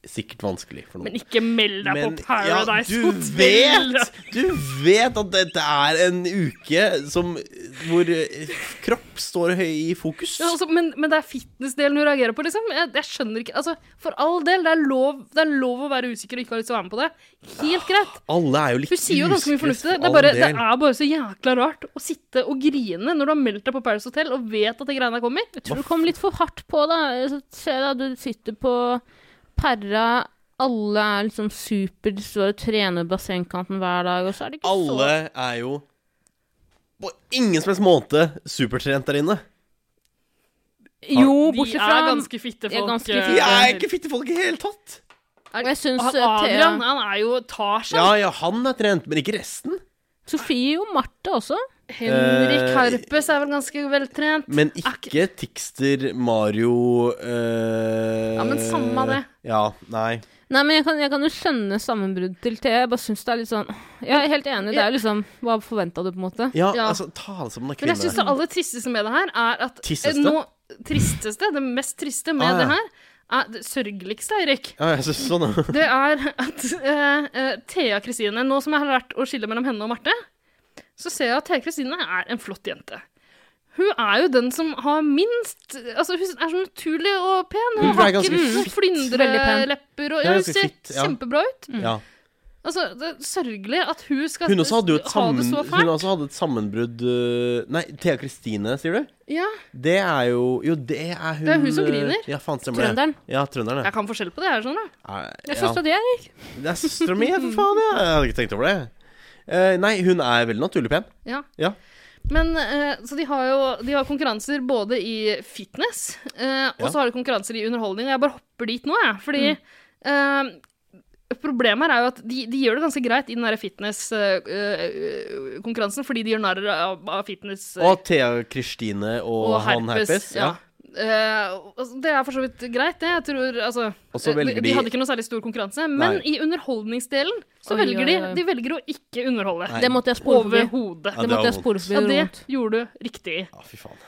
S1: sikkert vanskelig for noen.
S2: Men ikke meld deg
S1: Men-
S2: på Paradise
S1: ja, du vet, du vet at dette er en uke som, hvor eh, kropp står høy i fokus.
S2: Ja, altså, men, men det er fitnessdelen hun reagerer på, liksom. Jeg, jeg skjønner ikke Altså, for all del, det er lov, det er lov å være usikker og ikke ha lyst til å være med på det. Helt greit.
S1: Alle er jo litt
S2: Hun sier jo ganske mye
S1: usikre Ah, for
S2: fornuftig. Det er,
S1: all
S2: bare, det
S1: del.
S2: er bare så jækla rart å sitte og grine når du har meldt deg på Paradise Hotel og vet at de greiene der kommer.
S3: Tror du kom litt for hardt på, da. Så Se da, du sitter på perra. Alle er liksom super, de står og trener i bassengkanten hver dag, og så er det ikke
S1: Alle er jo på ingen som helst måte supertrent der inne.
S3: så Jo,
S2: De
S3: bortsett
S2: er
S3: fra
S2: ganske fitte
S3: de er
S2: folk.
S3: ganske
S2: eh,
S1: De
S3: fitte.
S1: er ikke fittefolk i det hele tatt.
S3: Og Jeg syns
S2: Han,
S3: eh, Thea
S2: Adrian han er jo tar seg.
S1: Ja, ja, han er trent, men ikke resten.
S3: Sofie og Marte også.
S2: Henrik
S1: Eh,
S2: Harpes er vel ganske veltrent.
S1: Men ikke Tixter, Mario eh,
S2: Ja, men samme det.
S1: Ja, nei.
S3: Nei, men jeg kan, jeg kan jo skjønne sammenbrudd til Thea. Jeg bare syns det er litt sånn Jeg er helt enig. Det er jo liksom Hva forventa du, på en måte?
S1: Ja,
S2: Ja.
S1: altså, ta det som en
S2: Men jeg
S1: kvinne.
S2: syns det aller tristeste med det her er at eh,
S1: Tristeste?
S2: Nå, tristeste, det mest triste med
S1: Ah, ja.
S2: det her, er det sørgeligste, Eirik.
S1: Ja, jeg synes sånn ja.
S2: Det er at eh, eh, Thea Kristine Nå som jeg har lært å skille mellom henne og Marte, så ser jeg at Thea Kristine er en flott jente. Hun er jo den som har minst Altså, hun er så naturlig og pen.
S1: Hun
S2: Hun
S1: er
S2: har ikke
S1: ganske
S2: noen
S1: fit.
S3: Veldig pen.
S2: flyndrelepper
S1: Hun
S2: og
S1: er
S2: ja, Hun
S1: ganske
S2: ser
S1: fit, ja.
S2: kjempebra ut.
S1: ja.
S2: Altså, det er sørgelig at hun skal
S1: Hun også hadde jo et,
S2: ha
S1: sammen,
S2: det så
S1: hun
S2: fælt.
S1: også hadde et sammenbrudd øh, Nei, Thea Kristine, sier du?
S2: Ja,
S1: Det er jo Jo, det er hun
S2: Det er hun som
S1: øh,
S2: griner.
S1: Ja, faen, stemmer det.
S3: Trønderen.
S1: Ja, trønderen, ja.
S2: jeg kan forskjell på det sånn, her, skjønner du.
S1: Er-
S3: Jeg
S1: ja.
S3: syns det er
S1: Det er søstera mi, for faen. Ja. Jeg hadde ikke tenkt over det. Eh, nei, hun er veldig naturlig pen.
S2: Ja.
S1: Ja.
S2: Men, eh, så de har jo de har konkurranser både i fitness, eh, og
S1: Ja.
S2: så har de konkurranser i underholdning, og jeg bare hopper dit nå, jeg. Fordi
S1: Mm.
S2: eh, problemet her er jo at de, de gjør det ganske greit i den derre fitness-konkurransen, eh, fordi de gjør narr av, av fitness. eh,
S1: Og Thea Kristine og, han herpes. Ja.
S2: Eh, altså, det er for så vidt greit, det. Jeg tror, altså,
S1: Og så
S2: eh,
S1: velger
S2: de,
S1: de-
S2: de hadde ikke noe særlig stor konkurranse. Men
S1: Nei.
S2: i underholdningsdelen så
S3: Oi,
S2: velger de
S3: oi, oi.
S2: De velger å ikke underholde.
S1: Nei.
S3: Det måtte jeg spore forbi.
S2: Overhodet.
S1: Ja,
S3: Det
S1: det var
S3: måtte jeg spore
S2: Ja,
S3: forbi.
S2: det
S3: rundt.
S2: gjorde du riktig.
S1: Ja, ah, fy faen.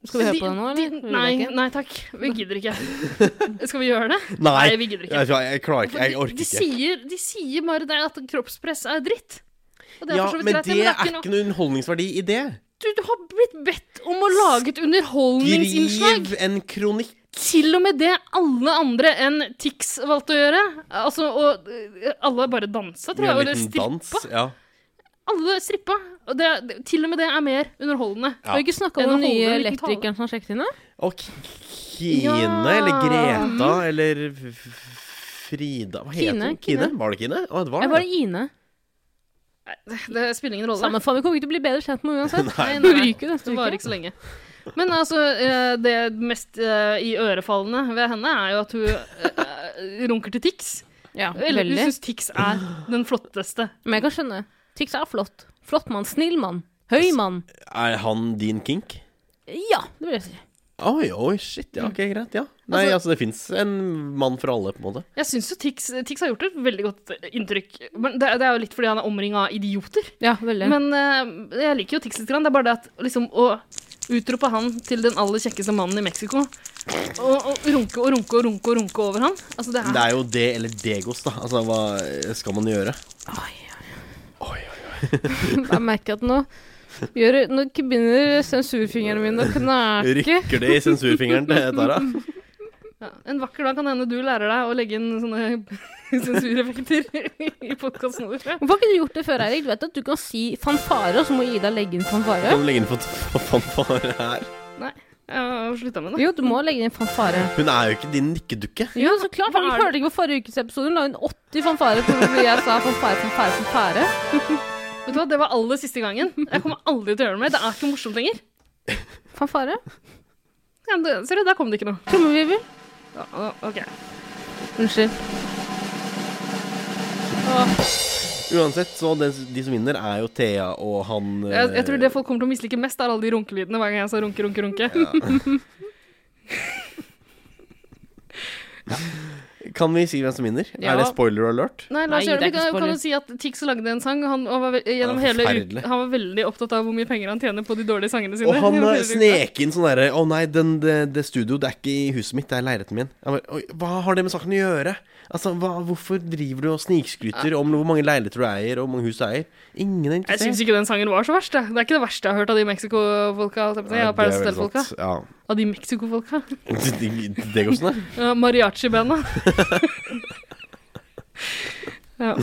S3: Skal vi høre
S2: De-
S3: på det nå,
S2: de-
S3: eller? Vil
S2: Nei,
S3: dere ikke?
S2: nei takk. Vi gidder ikke. Skal vi gjøre det?
S1: Nei,
S2: vi gidder ikke.
S1: jeg, jeg klarer ikke. Jeg
S2: For de,
S1: orker
S2: de,
S1: ikke.
S2: sier, de sier bare det at kroppspress er dritt. Og det er
S1: Ja,
S2: for så vidt
S1: men
S2: greit,
S1: det er ikke
S2: noe
S1: noe underholdningsverdi i det.
S2: Du, du har blitt bedt om å lage et underholdningsinnslag.
S1: Skriv en kronikk.
S2: Til og med det alle andre enn Tix valgte å gjøre. Altså, og eh, alle bare dansa, tror
S1: med
S2: jeg.
S1: en
S2: Eller
S1: liten dans.
S2: strippa.
S1: Ja.
S2: Alle strippa. Og det, det- til og med det er mer underholdende.
S1: Ja.
S3: Har vi ikke snakka om
S2: Den
S3: den nye
S2: holder en liten tale.
S3: elektrikeren som har sjekket inn? da?
S1: Og Kine,
S2: Ja.
S1: eller Greta, eller F- F- Frida Hva heter
S3: Kine,
S1: hun?
S3: Kine.
S1: Kine? Var det Kine? Å, det var
S3: Jeg
S1: det.
S3: var Ine.
S2: Det, det spiller ingen rolle.
S3: Samme faen, vi kommer ikke til å bli bedre kjent med henne uansett.
S2: Nei,
S3: Hun
S2: nei,
S3: ryker jo neste
S2: det varer
S3: uke.
S2: ikke så lenge. Men altså, eh, det mest eh, iørefallende ved henne er jo at hun eh, runker til Tix.
S3: Ja,
S2: Eller hun
S3: veldig.
S2: syns Tix er den flotteste.
S3: Men jeg kan skjønne. Tix er flott. Flott mann. Snill mann. Høy mann.
S1: Er han din kink?
S3: Ja, det vil jeg si.
S1: Oi, oi, shit. Ja, ok, greit. Ja. Nei, Mm. altså, det fins en mann for alle, på en måte.
S2: Jeg syns jo Tix, Tix har gjort et veldig godt eh, inntrykk. Men det, det er jo litt fordi han er omringa av idioter.
S3: Ja, veldig.
S2: Men eh, jeg liker jo Tix litt. grann. Det er bare det at liksom å utrope han til den aller kjekkeste mannen i Mexico, og, og runke og runke og runke og runke over han Altså, det er,
S1: Men det er jo det eller Degos, da. Altså, hva skal man gjøre?
S3: Oi, oi, oi. Jeg merker at nå gjør, Nå ikke begynner sensurfingrene mine å knake.
S1: Rykker det i sensurfingeren til Tara?
S2: ja. En vakker dag kan det hende du lærer deg å legge inn sånne sensureffekter i podkasten vår. tror jeg.
S3: Hvorfor har ikke du gjort det før, Eirik? Du vet at du kan si fanfare, og så må Ida legge inn fanfare?
S1: Kan du legge inn fant- fanfare her?
S2: Jeg har slutta med det.
S3: Jo, du må legge inn fanfare.
S1: Hun er jo ikke din nikkedukke.
S3: Jo, så klart.
S2: Hva
S3: for Du
S2: er det?
S3: hørte ikke på forrige ukes episode. Hun la inn 80 fanfarer på hvor jeg sa fanfare, fanfare, fanfare.
S2: Vet du hva, Det var aller siste gangen. Jeg kommer aldri til å gjøre det mer. Det er ikke morsomt lenger.
S3: Fanfare?
S2: Ja, det- Ser du, der kom det ikke noe.
S3: Trommevirvel?
S2: Ja, ja, ok.
S3: Unnskyld.
S1: Uansett, så den, de som vinner, er jo Thea og han
S2: Jeg, jeg tror
S1: eh,
S2: det folk kommer til å mislike mest, er alle de runkelydene hver gang jeg sa runke, runke, runke.
S1: Kan vi si hvem som vinner?
S2: Ja.
S1: Er det spoiler alert?
S2: Nei, Lars
S3: Nei, det er
S2: Gjørvik
S3: ikke
S2: kan, kan
S3: spoiler.
S2: jo si at Tix lagde en sang. Han og var, ve- gjennom
S1: Ja,
S2: hele
S1: forferdelig.
S2: uka, han var veldig opptatt av hvor mye penger han tjener på de dårlige sangene sine.
S1: Og han
S2: Gjennom
S1: eh,
S2: hele uka.
S1: snek inn sånn derre Å nei, den, det, det studio, det er ikke i huset mitt, det er i leiligheten min. Jeg bare, Oi, hva har det med saken å gjøre? Altså, hva, Hvorfor driver du og snikskryter om hvor mange leiligheter du eier, og hvor mange hus du eier? Ingen er
S2: Jeg
S1: interessert.
S2: syns ikke den sangen var så verst. jeg. Det er ikke det verste jeg har hørt av de Mexico-folka. holdt jeg på å si,
S1: Nei,
S2: Av Paris
S1: det er veldig
S2: Hotel-folka.
S1: sant. Ja.
S2: Av de Mexico-folka.
S1: Det går sånn,
S2: Ja, Mariachi-banda. ja.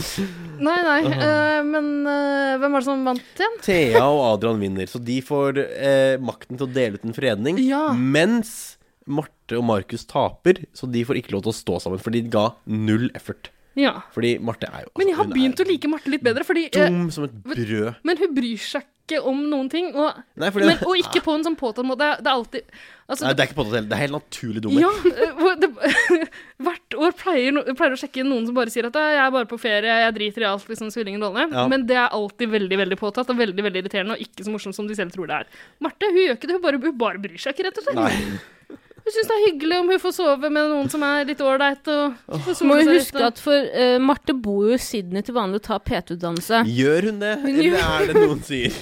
S2: Nei, nei. eh, men eh, hvem var det som vant igjen?
S1: Thea og Adrian vinner, så de får eh, makten til å dele ut en fredning.
S2: Ja.
S1: Mens Marte og Markus taper, så de får ikke lov til å stå sammen. For de ga null effort.
S2: Ja.
S1: Fordi Marte er jo altså,
S2: Men jeg har
S1: hun er
S2: begynt å like Marte litt bedre, fordi eh,
S1: Dum som et brød.
S2: Men hun bryr seg ikke om noen ting. Og,
S1: Nei, fordi-
S2: men, og ikke på en sånn påtatt måte. Det er, det er alltid altså,
S1: Nei, det er ikke på det hele. Det er helt naturlig dumhet.
S2: Ja, eh, hvor det, hvert år pleier, no, pleier å sjekke inn noen som bare sier at «Ah, 'jeg er bare på ferie, jeg driter i alt', liksom, spiller ingen rolle.
S1: Ja.
S2: Men det er alltid veldig veldig påtatt og veldig veldig irriterende og ikke så morsomt som de selv tror det er. Marte hun gjør ikke det, hun bare, hun bare bryr seg ikke, rett og slett.
S1: Nei.
S2: Hun syns det er hyggelig om hun får sove med noen som er litt ålreit. Og får
S3: Så
S2: sole
S3: må vi
S2: seg litt,
S3: huske
S2: og-
S3: at for eh, Marte bor jo i Sydney til vanlig og tar PT-utdannelse.
S1: Gjør hun det, eller er det noen sier?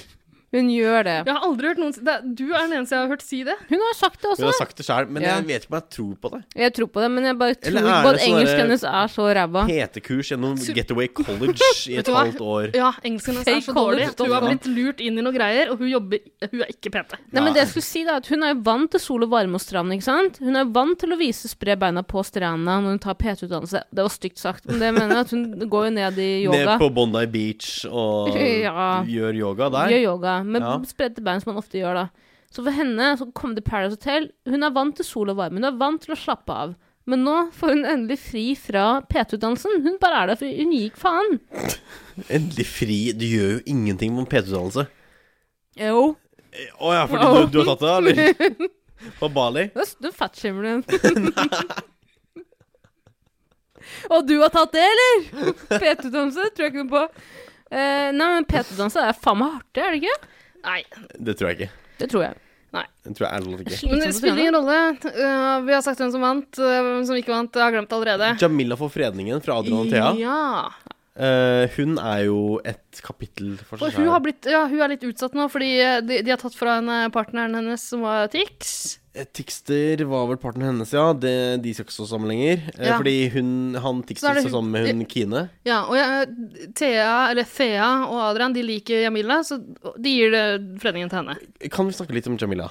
S3: Hun gjør det.
S2: Jeg har aldri hørt noen si det. er- Du er den eneste jeg har hørt si det.
S3: Hun har sagt det
S1: Hun
S3: også.
S1: har sagt det sjøl, men
S3: Ja.
S1: jeg vet ikke om jeg tror på det.
S3: Jeg tror på det, men jeg bare tror
S1: Eller
S3: ikke
S1: er
S3: på
S1: det
S3: at
S1: sånn
S3: engelsken
S1: der-
S3: hennes er så ræva.
S1: PT-kurs gjennom
S2: Sur-
S1: Getaway College i
S2: Vet
S1: et
S2: du hva?
S1: halvt år.
S2: Ja, engelsken hennes
S3: Fake
S2: er så dårlig.
S3: college,
S2: at Hun har
S3: da.
S2: blitt lurt inn i noe greier, og hun jobber Hun er ikke PT.
S3: Nei, men
S1: Ja.
S3: det jeg skulle si da, er at Hun er jo vant til sol og varme og strand. ikke sant? Hun er vant til å vise spre beina på stranda når hun tar PT-utdannelse. Det var stygt sagt, men det mener jeg at hun går jo ned i
S1: Ned
S3: yoga.
S1: på Bondi Beach og
S3: Ja.
S1: gjør yoga der.
S3: Gjør yoga med
S1: Ja.
S3: spredte bein, som man ofte gjør da. Så for henne så kom det Paradise Hotel. Hun er vant til sol og varme. Hun er vant til å slappe av. Men nå får hun endelig fri fra PT-utdannelsen. Hun bare er der for hun gikk faen.
S1: Endelig fri. Du gjør jo ingenting med PT-utdannelse.
S3: Jo.
S1: Eh, Å ja, fordi du, du har tatt det, eller? På Bali?
S3: Nå s- nå fatshamer du henne. Og du har tatt det, eller? PT-danse tror jeg ikke noe på. Eh, nei, men PT-danse er faen meg hardt, er det ikke?
S2: Nei.
S1: Det tror jeg ikke.
S3: Det tror jeg.
S1: Det tror jeg ærlig talt ikke.
S2: Men det
S3: Slitsomt å
S2: spiller
S3: trene.
S2: ingen rolle. Uh, vi har sagt hvem som vant, uh, hvem som ikke vant. Jeg har glemt det allerede.
S1: Jamila får fredningen fra Adrian og Thea.
S2: Ja.
S1: Eh, hun er jo et kapittel for
S2: For
S1: seg
S2: hun, har
S1: selv.
S2: blitt, ja, hun er litt utsatt nå, fordi eh, de, de har tatt fra henne partneren hennes, som var Tix.
S1: Eh, Tixter var vel partneren hennes, ja. Det, de skal ikke stå sammen lenger. Eh,
S2: Ja.
S1: Fordi hun, han
S2: Så er
S1: Tixter
S2: det
S1: står
S2: hun-
S1: sammen med hun Kine.
S2: Ja, og jeg, Thea, eller Thea og Adrian de liker Jamila, så de gir det fredningen til henne.
S1: Kan vi snakke litt om Jamila?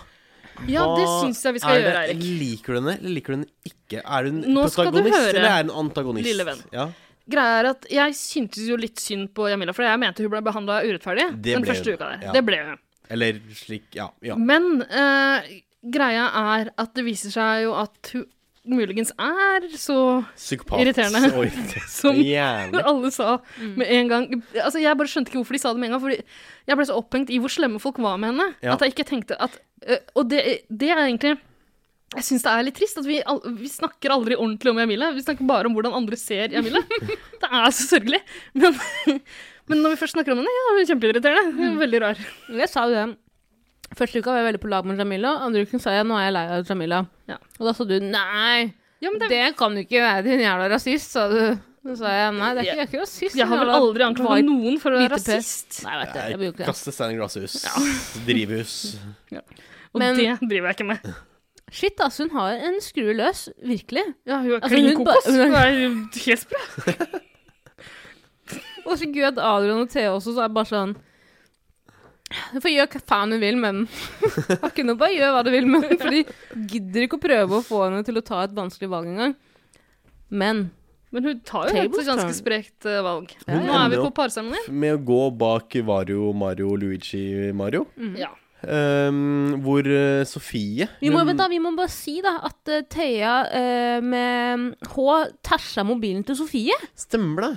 S2: Ja, det
S1: Hva
S2: syns jeg vi skal
S1: er det-
S2: gjøre, Eirik.
S1: Liker du henne, eller liker du henne ikke? Er hun
S2: Nå skal du
S1: protagonist,
S2: høre,
S1: eller er hun antagonist?
S2: lille venn.
S1: Ja.
S2: Greia er at Jeg syntes jo litt synd på Jamila, for jeg mente hun ble behandla urettferdig
S1: Det
S2: den
S1: ble
S2: første
S1: hun,
S2: uka der.
S1: ja.
S2: Det ble hun.
S1: Eller slik Ja. ja.
S2: Men eh, greia er at det viser seg jo at hun muligens er så
S1: Psykopat.
S2: Irriterende.
S1: Og irriterende.
S2: Som
S1: Jævlig.
S2: alle sa
S1: Mm.
S2: med en gang Altså, jeg bare skjønte ikke hvorfor de sa det med en gang, Fordi jeg ble så opphengt i hvor slemme folk var med henne.
S1: Ja.
S2: At jeg ikke tenkte at øh, Og det, det er egentlig Jeg syns det er litt trist at vi, al- vi snakker aldri ordentlig om Jamila. Vi snakker bare om hvordan andre ser Jamila. det er så sørgelig. Men, men når vi først snakker om henne, ja, hun er kjempeirriterende.
S1: Mm.
S2: Hun er Veldig rar.
S3: Men Jeg sa jo det. Første uka var jeg veldig på lag med Jamila. Andre uken sa jeg nå er jeg lei av Jamila.
S2: Ja.
S3: Og da sa du nei,
S2: Ja, men det,
S3: det kan du ikke være, din jævla rasist, sa du. Så sa jeg nei, det er ikke, jeg er ikke rasist.
S2: jeg har vel
S3: jævla
S2: aldri
S3: white
S2: anklaget noen for å være
S3: hvite pest.
S2: rasist.
S3: Nei, vet du, jeg blir jo ikke det.
S1: Kaste stein i glasshus. Drivhus.
S2: Og
S3: Men-
S2: det driver jeg ikke med.
S3: Shit, altså, hun har en skrue løs, virkelig.
S2: Ja, hun er
S3: Altså,
S2: klin
S3: hun ba-
S2: kokos.
S3: hun er-
S2: Hun er helt sprø.
S3: Og så gud, Adrian og Thea også, så er det bare sånn Du får gjøre hva faen du vil med den. Har ikke noe, bare gjør hva du vil med den. For de gidder ikke å prøve å få henne til å ta et vanskelig valg engang. Men
S2: Men hun tar jo et
S3: Tables turn.
S2: ganske sprekt eh, valg.
S1: Hun
S2: Nå er
S1: ender
S2: vi på
S1: opp-
S2: parseremoni.
S1: Med å gå bak Vario, Mario, Luigi, Mario.
S2: Ja.
S1: Ehm, hvor eh, Sofie
S3: vi må,
S1: hun-
S3: vent da, vi må bare si da at eh, Thea eh, med H tæsja mobilen til Sofie.
S1: Stemmer det?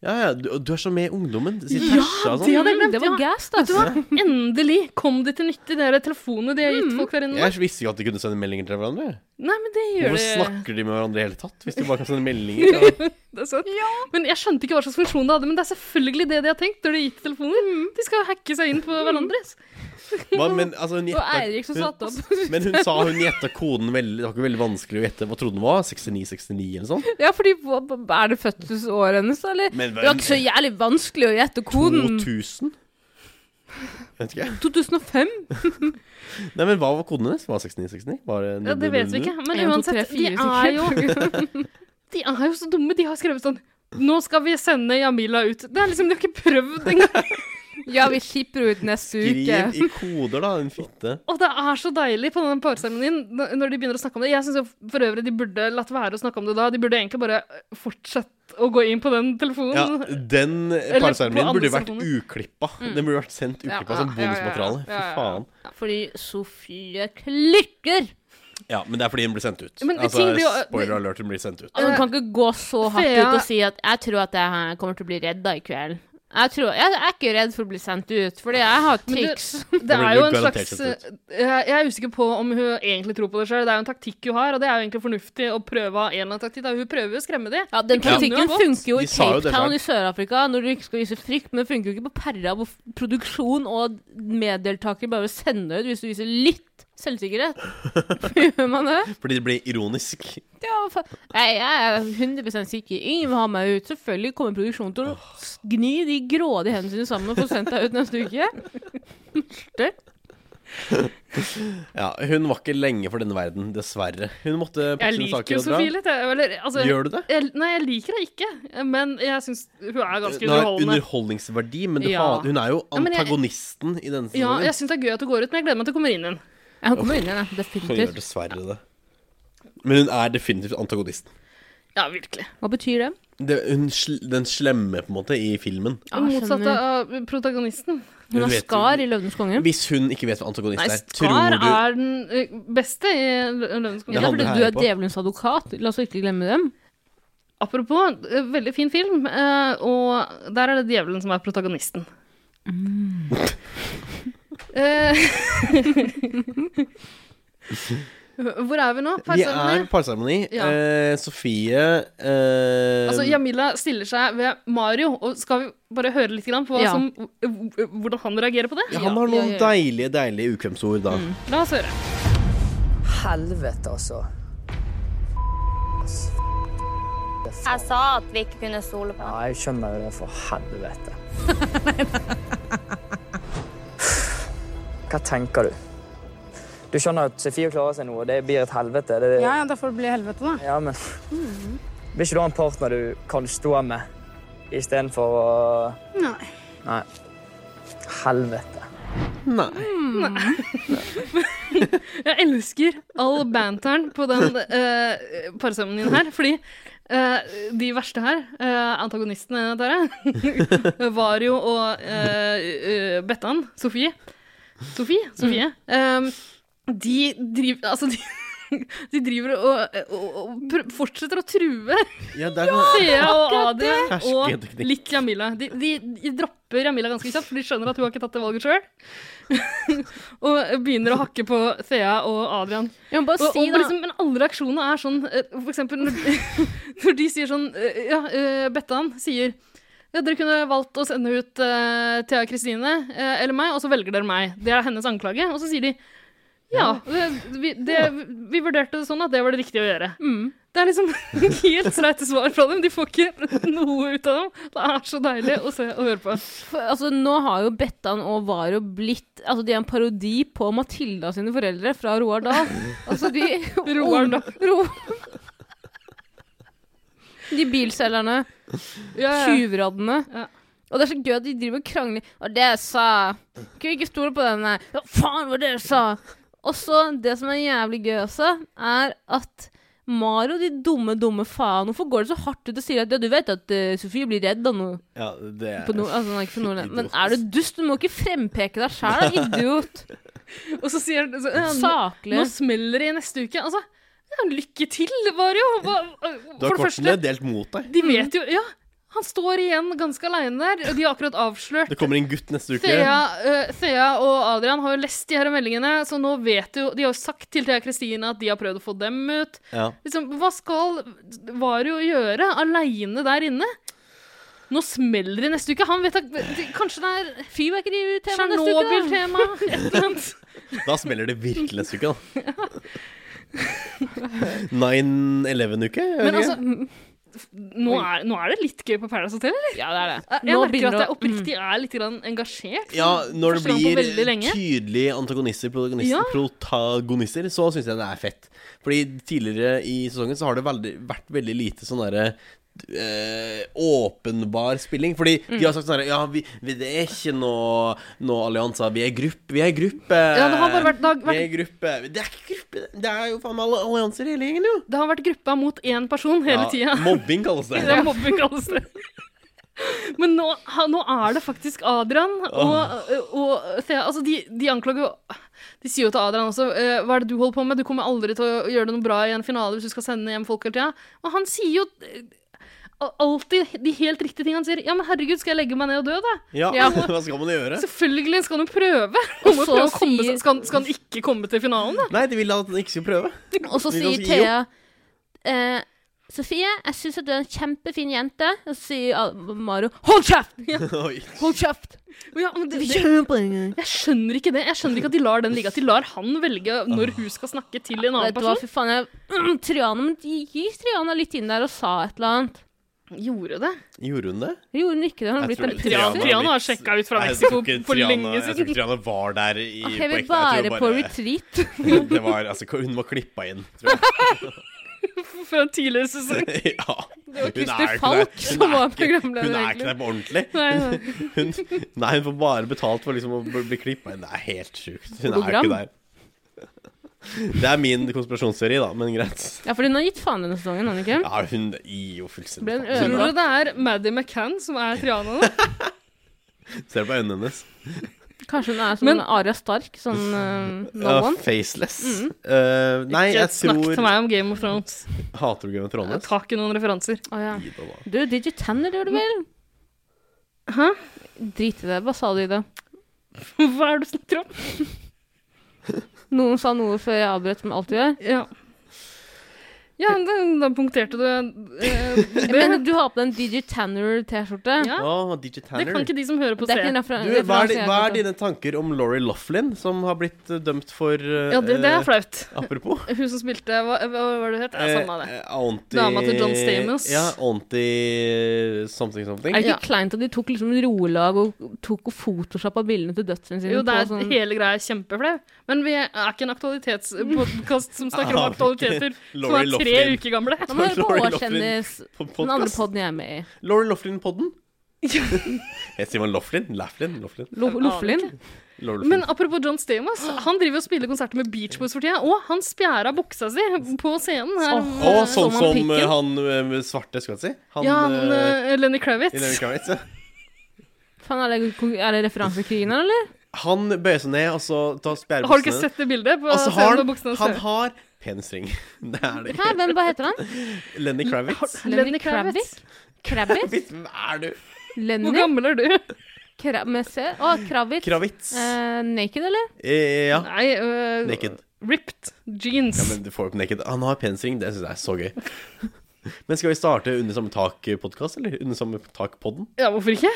S1: Ja, ja, du, du er så med i ungdommen. Sier
S2: Ja,
S1: tæsja og
S2: det
S1: sånn.
S2: hadde jeg glemt,
S3: Det var altså.
S2: ja.
S3: gass, da.
S2: Endelig kom det til nytte, de der telefonene de har gitt folk der inne.
S1: Jeg visste ikke at de kunne sende meldinger til hverandre.
S2: Nei, men det gjør
S1: Hvorfor
S2: det.
S1: snakker de med hverandre i hele tatt? Hvis de bare kan sende meldinger? Ja.
S2: det er sant. Men jeg skjønte ikke hva slags funksjon det hadde, men det er selvfølgelig det de har tenkt når de gikk telefoner. De skal hacke seg inn på hverandre.
S1: Hva- Men, altså, hun
S3: Og
S1: gjetta-
S3: Eirik som
S1: hun-
S3: satte opp.
S1: men hun sa hun gjetta koden veldig Det var ikke veldig vanskelig å gjette. Hva trodde hun var? 6969 eller sånn?
S3: Ja, fordi hva- Er det fødselsåret hennes, da, eller?
S1: Men
S3: Det var ikke så jævlig vanskelig å gjette koden.
S1: 2000? Vet ikke.
S3: 2005?
S1: Nei, men hva var koden hennes? Var det 6969? Var det
S2: Ja, det vet vi
S1: Mm.
S2: ikke. Men uansett, de er jo De er jo så dumme. De har skrevet sånn Nå skal vi sende Jamila ut. Det er liksom, De har ikke prøvd engang.
S3: Ja, vi slipper ut neste uke.
S1: Skriv i koder, da, din fitte.
S2: Og det er så deilig på den parseremonien n- når de begynner å snakke om det. Jeg syns for øvrig de burde latt være å snakke om det da. De burde egentlig bare øh, fortsette å gå inn på den telefonen.
S1: Ja, den
S2: Eller på
S1: parseremonien
S2: andre
S1: burde vært
S2: telefoner.
S1: uklippa. Den burde vært sendt uklippa
S3: Ja,
S1: som
S3: ja, ja, ja,
S1: bonusmateriale.
S3: ja, ja,
S1: Fy faen.
S3: Fordi Sofie klikker!
S1: Ja, men det er fordi den blir sendt ut.
S2: Men
S1: altså,
S2: ting blir jo-
S1: spoiler alert, den blir sendt ut.
S3: Altså, hun kan ikke gå så hardt
S2: Thea-
S3: ut og si at 'jeg tror at jeg her kommer til å bli redda i kveld'. Jeg, tror, jeg er ikke redd for å bli sendt ut, fordi jeg har
S2: Men det-
S3: triks.
S2: Det
S1: blir
S2: er jo
S1: jo
S2: en
S1: garantert
S2: slags
S1: sendt
S2: jeg, jeg er usikker på om hun egentlig tror på det sjøl. Det er jo en taktikk hun har, og det er jo egentlig fornuftig å prøve av en eller annen taktikk. Da. Hun prøver jo å skremme de.
S3: Ja, Den
S2: kunne
S3: taktikken
S2: jo gått.
S3: funker jo i
S1: De sa jo
S3: Cape
S1: det
S3: Town
S1: selv.
S3: i Sør-Afrika, når du ikke skal vise frykt, men det funker jo ikke på Perra, hvor f- produksjon og meddeltakere bare vil sende deg ut hvis du viser litt Selvsikkerhet. Gjør man det?
S1: Fordi det blir ironisk.
S3: Ja, fa Nei, jeg er 100 sikker. Ingen vil ha meg ut. Selvfølgelig kommer produksjonen til å gni de grådige hendene sine sammen og få sendt deg ut neste uke. Det.
S1: Ja, Hun var ikke lenge for denne verden, dessverre. Hun måtte pakke
S2: Jeg
S1: sine
S2: liker jo
S1: saker og dra.
S2: Sofie litt, jeg. Eller, altså,
S1: Gjør du det?
S2: jeg, nei, jeg liker henne ikke, men jeg syns hun er ganske
S1: Hun har
S2: underholdende.
S1: underholdningsverdi, men du
S2: Ja.
S1: faen- hun er jo
S2: Ja, men jeg-
S1: antagonisten i denne sesongen.
S2: Ja, jeg syns det er gøy at hun går ut, men jeg gleder meg til hun kommer inn igjen.
S3: Ja, hun kommer inn igjen,
S1: Hun
S3: ja.
S1: gjør
S3: definitivt.
S1: dessverre det. Men hun er definitivt antagonisten.
S2: Ja, virkelig.
S3: Hva betyr det?
S1: Det, hun, sl- den slemme, på en måte, i filmen.
S3: Ah,
S2: Motsatt
S3: skjønner.
S2: av protagonisten.
S1: Hun
S3: Hun har
S1: vet jo-
S3: skar i 'Løvenes konge'.
S1: Hvis hun ikke vet hva antagonist
S2: Nei,
S1: er, tror
S2: Skar
S1: du
S2: er den eh, beste i
S1: Det
S2: Lø-
S3: Ja, det
S2: Lønnskongen.
S3: er
S1: handler
S3: fordi
S1: her
S3: du er
S1: på.
S3: djevelens advokat. La oss ikke glemme dem.
S2: Apropos, eh, veldig fin film, eh, og der er det djevelen som er protagonisten.
S1: Mm.
S2: Eh, Hvor er vi nå?
S1: Vi
S2: Parseremoni?
S1: er parseremoni.
S2: Ja.
S1: Eh, Sofie eh,
S2: Altså, Jamila stiller seg ved Mario, og skal vi bare høre litt grann på hva
S3: Ja.
S2: som, h- h- hvordan han reagerer på det?
S1: ja, Han har
S3: ja,
S1: noen
S3: ja, ja.
S1: deilige, deilige ukvemsord, da.
S2: La oss høre.
S8: Helvete, altså.
S6: Jeg sa at vi ikke kunne stole på
S8: Ja,
S6: ham.
S8: jeg skjønner jo det, for helvete. Hva tenker du? Du skjønner at Sofie klarer seg nå, og det blir et helvete. Det,
S9: Ja, ja, da får det bli helvete, da.
S8: Ja, men Vil ikke du ha en partner du kan stå med istedenfor å
S9: Nei.
S8: Nei. Helvete.
S1: Nei.
S2: Jeg elsker all banteren på den uh, parseremonien her, fordi eh, de verste her, eh, antagonistene der, var jo og eh, eh, Bettan, Sofie Sofie? Sofie. eh, de driver Altså, de, de driver og, og, og pr- fortsetter å true
S1: Ja, der,
S2: Thea og Adrian og
S1: Hersketeknikk.
S2: litt Jamila. De, de, de dropper Jamila ganske kjapt, for de skjønner at hun har ikke tatt det valget sjøl. og begynner å hakke på Thea og Adrian.
S3: Jeg må bare
S2: Og, og
S3: si, da
S2: liksom, men alle reaksjonene er sånn eh, For eksempel når, når de sier sånn eh, Ja, eh, Bettan sier ja, dere kunne valgt å sende ut eh, Thea Kristine eh, eller meg, og så velger dere meg. Det er hennes anklage. Og så sier de ja, det, vi, det, vi vurderte det sånn at det var det riktige å gjøre.
S3: Mm.
S2: Det er liksom helt streite svar fra dem. De får ikke noe ut av dem. Det er så deilig å se og høre på.
S3: For, altså, nå har jo Bettan og Varo blitt Altså, de er en parodi på Matilda sine foreldre fra Roar Dahl. Altså, de
S2: Roar Dahl.
S3: Ro, de bilselgerne,
S2: Ja, ja.
S3: tjuvraddene.
S2: Ja.
S3: Og det er så gøy at de driver og krangler. Og det jeg sa Kunne ikke stole på denne. Ja, faen, hva dere sa! Og så, det som er jævlig gøy også, er at Mario, de dumme, dumme faen, hvorfor går det så hardt ut og sier at ja, du vet at eh, Sofie blir redd av noe?
S1: ja, det
S3: På nord- altså, nei, ikke på Nordland. Men er du dust? Du må ikke frempeke deg sjæl, idiot.
S2: Og så sier han så, ja, nå,
S3: Saklig.
S2: nå smeller det i neste uke. Altså, ja, lykke til, Vario. Hva,
S1: Du har
S2: for det
S1: kortene
S2: første,
S1: delt mot deg.
S2: de vet jo Ja, han står igjen ganske aleine der, og de har akkurat avslørt
S1: Det kommer en gutt neste uke.
S2: Thea, eh, Thea og Adrian har jo lest de her meldingene, så nå vet jo De har jo sagt til Thea Kristine at de har prøvd å få dem ut.
S1: Ja.
S2: Liksom, hva skal Vario gjøre aleine der inne? Nå smeller det neste uke. Han vet at Kanskje det er
S3: Fyrverkeritema neste uke, da.
S2: Tsjernobyl-tema. Et eller annet.
S1: Da smeller det virkelig neste uke, da. 9-11-uke?
S2: Men altså nå er, nå er det litt gøy på Paradise Hotel, eller?
S3: Ja, det er det.
S2: Jeg
S3: Nå
S2: merker
S3: begynner
S2: at jeg
S3: å-
S2: oppriktig er litt grann engasjert.
S1: ja, når det
S2: Første gang på
S1: blir
S2: veldig lenge.
S1: tydelige antagonister, protagonister,
S2: Ja.
S1: protagonister så syns jeg det er fett. Fordi tidligere i sesongen så har det veldig, vært veldig lite sånn derre eh, åpenbar spilling. Fordi
S2: Mm.
S1: de har sagt sånn her Ja, vi, vi, det er ikke noe, noe allianser. Vi er gruppe. Vi er gruppe.
S2: Ja, det har bare vært, det har
S1: Vi
S2: vært,
S1: er gruppe. Det er ikke gruppe. Det er jo faen meg alle allianser i hele gjengen, jo.
S2: det har vært gruppa mot én person hele tida.
S1: Ja, mobbing kalles det.
S2: Det er mobbing, kalles det. Men nå, ha, nå er det faktisk Adrian og, og Thea Altså, de, de anklager jo De sier jo til Adrian også eh, Hva er det du holder på med? Du kommer aldri til å gjøre det noe bra i en finale hvis du skal sende hjem folk hele tida. Og han sier jo eh, alltid de helt riktige tingene. Han sier ja, men herregud, skal jeg legge meg ned og dø, da?
S1: Ja,
S3: Ja.
S1: hva skal man
S2: Sånn.
S1: gjøre?
S2: Selvfølgelig skal han jo prøve. Han må
S3: så
S2: prøve å komme,
S3: sier-
S2: seg- skal, han- skal han ikke komme til finalen, da?
S3: Mm.
S1: Nei, de ville at han ikke skulle prøve.
S3: Og så
S1: Vi kan
S3: sier
S1: si
S3: Thea eh, Sofie, jeg syns at du er en kjempefin jente. Og så sier al- Mario Hold kjeft! Ja,
S1: Oi.
S3: hold kjeft!
S2: Men ja, men det,
S3: Vi
S2: det,
S3: kjører på en gang.
S2: jeg skjønner ikke det. Jeg skjønner ikke at de lar den ligge. At de lar han velge når hun skal snakke til en annen
S3: Vet du hva,
S2: person.
S3: fy faen. Jeg, mm, Triana, men de gikk Triana litt inn der og sa et eller annet.
S2: Gjorde det?
S1: Gjorde hun det?
S3: Gjorde hun ikke det? Hun har
S1: Jeg
S3: blitt
S1: tror
S3: en
S1: ikke
S2: Triana,
S1: Triana
S3: pusser.
S2: Triana
S1: har
S2: har
S1: blitt-
S2: sjekka ut fra
S1: Nei, jeg
S2: Mexico
S1: tror ikke
S2: for
S1: Triana-
S2: lenge
S1: Jeg tror ikke
S2: siden.
S1: Triana var der i, på
S3: Ok,
S1: ekte.
S3: vi
S1: Jeg tror
S3: bare på
S1: bare-
S3: retreat.
S1: Det var, altså, hun var klippa inn, tror jeg.
S2: Fra en tidligere sesong.
S1: ja. Det
S3: var Christer Falk som var programleder,
S1: Hun er
S3: egentlig.
S1: ikke der på ordentlig.
S2: Nei, nei.
S1: Hun, nei, hun får bare betalt for liksom å bli- bli klippa inn. Det er helt sjukt. Hun er jo
S3: Hologram.
S1: ikke der. Det er min konspirasjonsteori, da, men greit.
S3: Ja, for hun har gitt faen denne sesongen, har hun ikke?
S1: Ja, hun gir jo
S3: Ble hun
S1: fullstendig
S3: ødelagt?
S1: faen.
S2: Tror du det er Maddie McCann som er Triana nå?
S1: Ser på øynene hennes.
S3: Kanskje hun er som
S2: Men-
S3: Aria Stark, sånn eh, no
S1: Ja,
S3: one.
S1: faceless.
S3: Mm.
S1: Eh, nei,
S2: Ikke
S1: jeg
S2: snakk til
S1: tror
S2: meg om Game of Thrones.
S1: Hater du Game of Thrones?
S2: Ta ikke noen referanser.
S3: Å, ja.
S1: Gi det da.
S3: Du, DJ Tanner gjør det vel?
S2: Hæ?
S3: Drit i det. Hva sa de da?
S2: Hva er det du snakker om?
S3: Noen sa noe før jeg avbrøt, som jeg alltid gjør.
S2: Ja, ja da, da punkterte du eh, det.
S3: Men du har på deg en DJ Tanner-T-skjorte.
S2: Ja,
S1: Å, DJ Tanner.
S2: det kan ikke de som hører på,
S3: Det er ikke en
S2: se.
S3: refer-
S1: Du, hva, er
S3: referanse
S1: di,
S3: jeg
S1: hva er
S3: har fått.
S1: dine tanker om Laurie Loughlin, som har blitt eh, dømt for eh,
S2: Ja, det, det
S1: eh,
S2: er flaut.
S1: Apropos.
S2: Hun som spilte Hva, hva var det hun het? Ja, samme av det.
S1: Eh, eh, anti,
S2: Dama til John Stamos.
S1: Ja, anti eh, something something.
S3: Er det
S2: Ja.
S3: ikke kleint at de tok liksom rolag og tok og photoshoppa bildene til døtrene sine?
S2: Jo, det er
S3: på sånn...
S2: hele greia er kjempeflau. Men vi er ikke en aktualitetspodkast som snakker
S1: Ah,
S2: om aktualiteter som
S1: Lori
S2: er tre
S1: Loughlin.
S2: uker gamle.
S3: Ja, men hør
S1: Lori
S3: på
S1: Loughlin
S3: Årskjendis,
S1: På
S3: den andre
S1: podcast.
S3: podden jeg er med i.
S1: Laurie Loughlin-podden. Jeg sier man Loughlin? Laughlin? Loughlin?
S3: Lo-
S2: Jeg aner
S3: Loffelin.
S1: Laurie Loughlin.
S2: Men eh, apropos John Stamos, han driver og spiller konserter med Beach Boys for tida. Og han spjæra buksa si på scenen her.
S3: Åh.
S1: Og
S3: eh,
S1: sånn
S3: som han
S1: som
S3: pikken.
S1: eh, han eh, med svarte, skal jeg si. Han,
S2: ja, han,
S1: eh,
S2: eh, Lenny
S1: i Lenny
S2: Kravitz.
S1: Kravitz, ja.
S3: Faen, er det, er det referansekrigen her, eller?
S1: Han bøyer seg ned, og så tar spjærbuksene
S2: Har du ikke sett det bildet? På
S1: Altså,
S2: scenen
S1: har
S2: med buksene
S1: han, han har penisring. Det er det.
S3: Hæ, hvem, hva heter han?
S1: Lenny Kravitz.
S3: Lenny Kravitz? Kravitz?
S1: Hvem er du?
S2: Hvor
S3: Lenny
S2: gammel er du?
S3: Kra med C? Å, Kravitz.
S1: Kravitz.
S3: Eh, naked, eller?
S1: Eh, ja.
S2: Nei, øh,
S1: Naked.
S2: ripped jeans.
S1: Ja, men du får opp naked. Han har pensring, det syns jeg er så gøy. Men skal vi starte Under samme tak-podkast, eller? Under samme tak-podden?
S2: Ja, hvorfor ikke?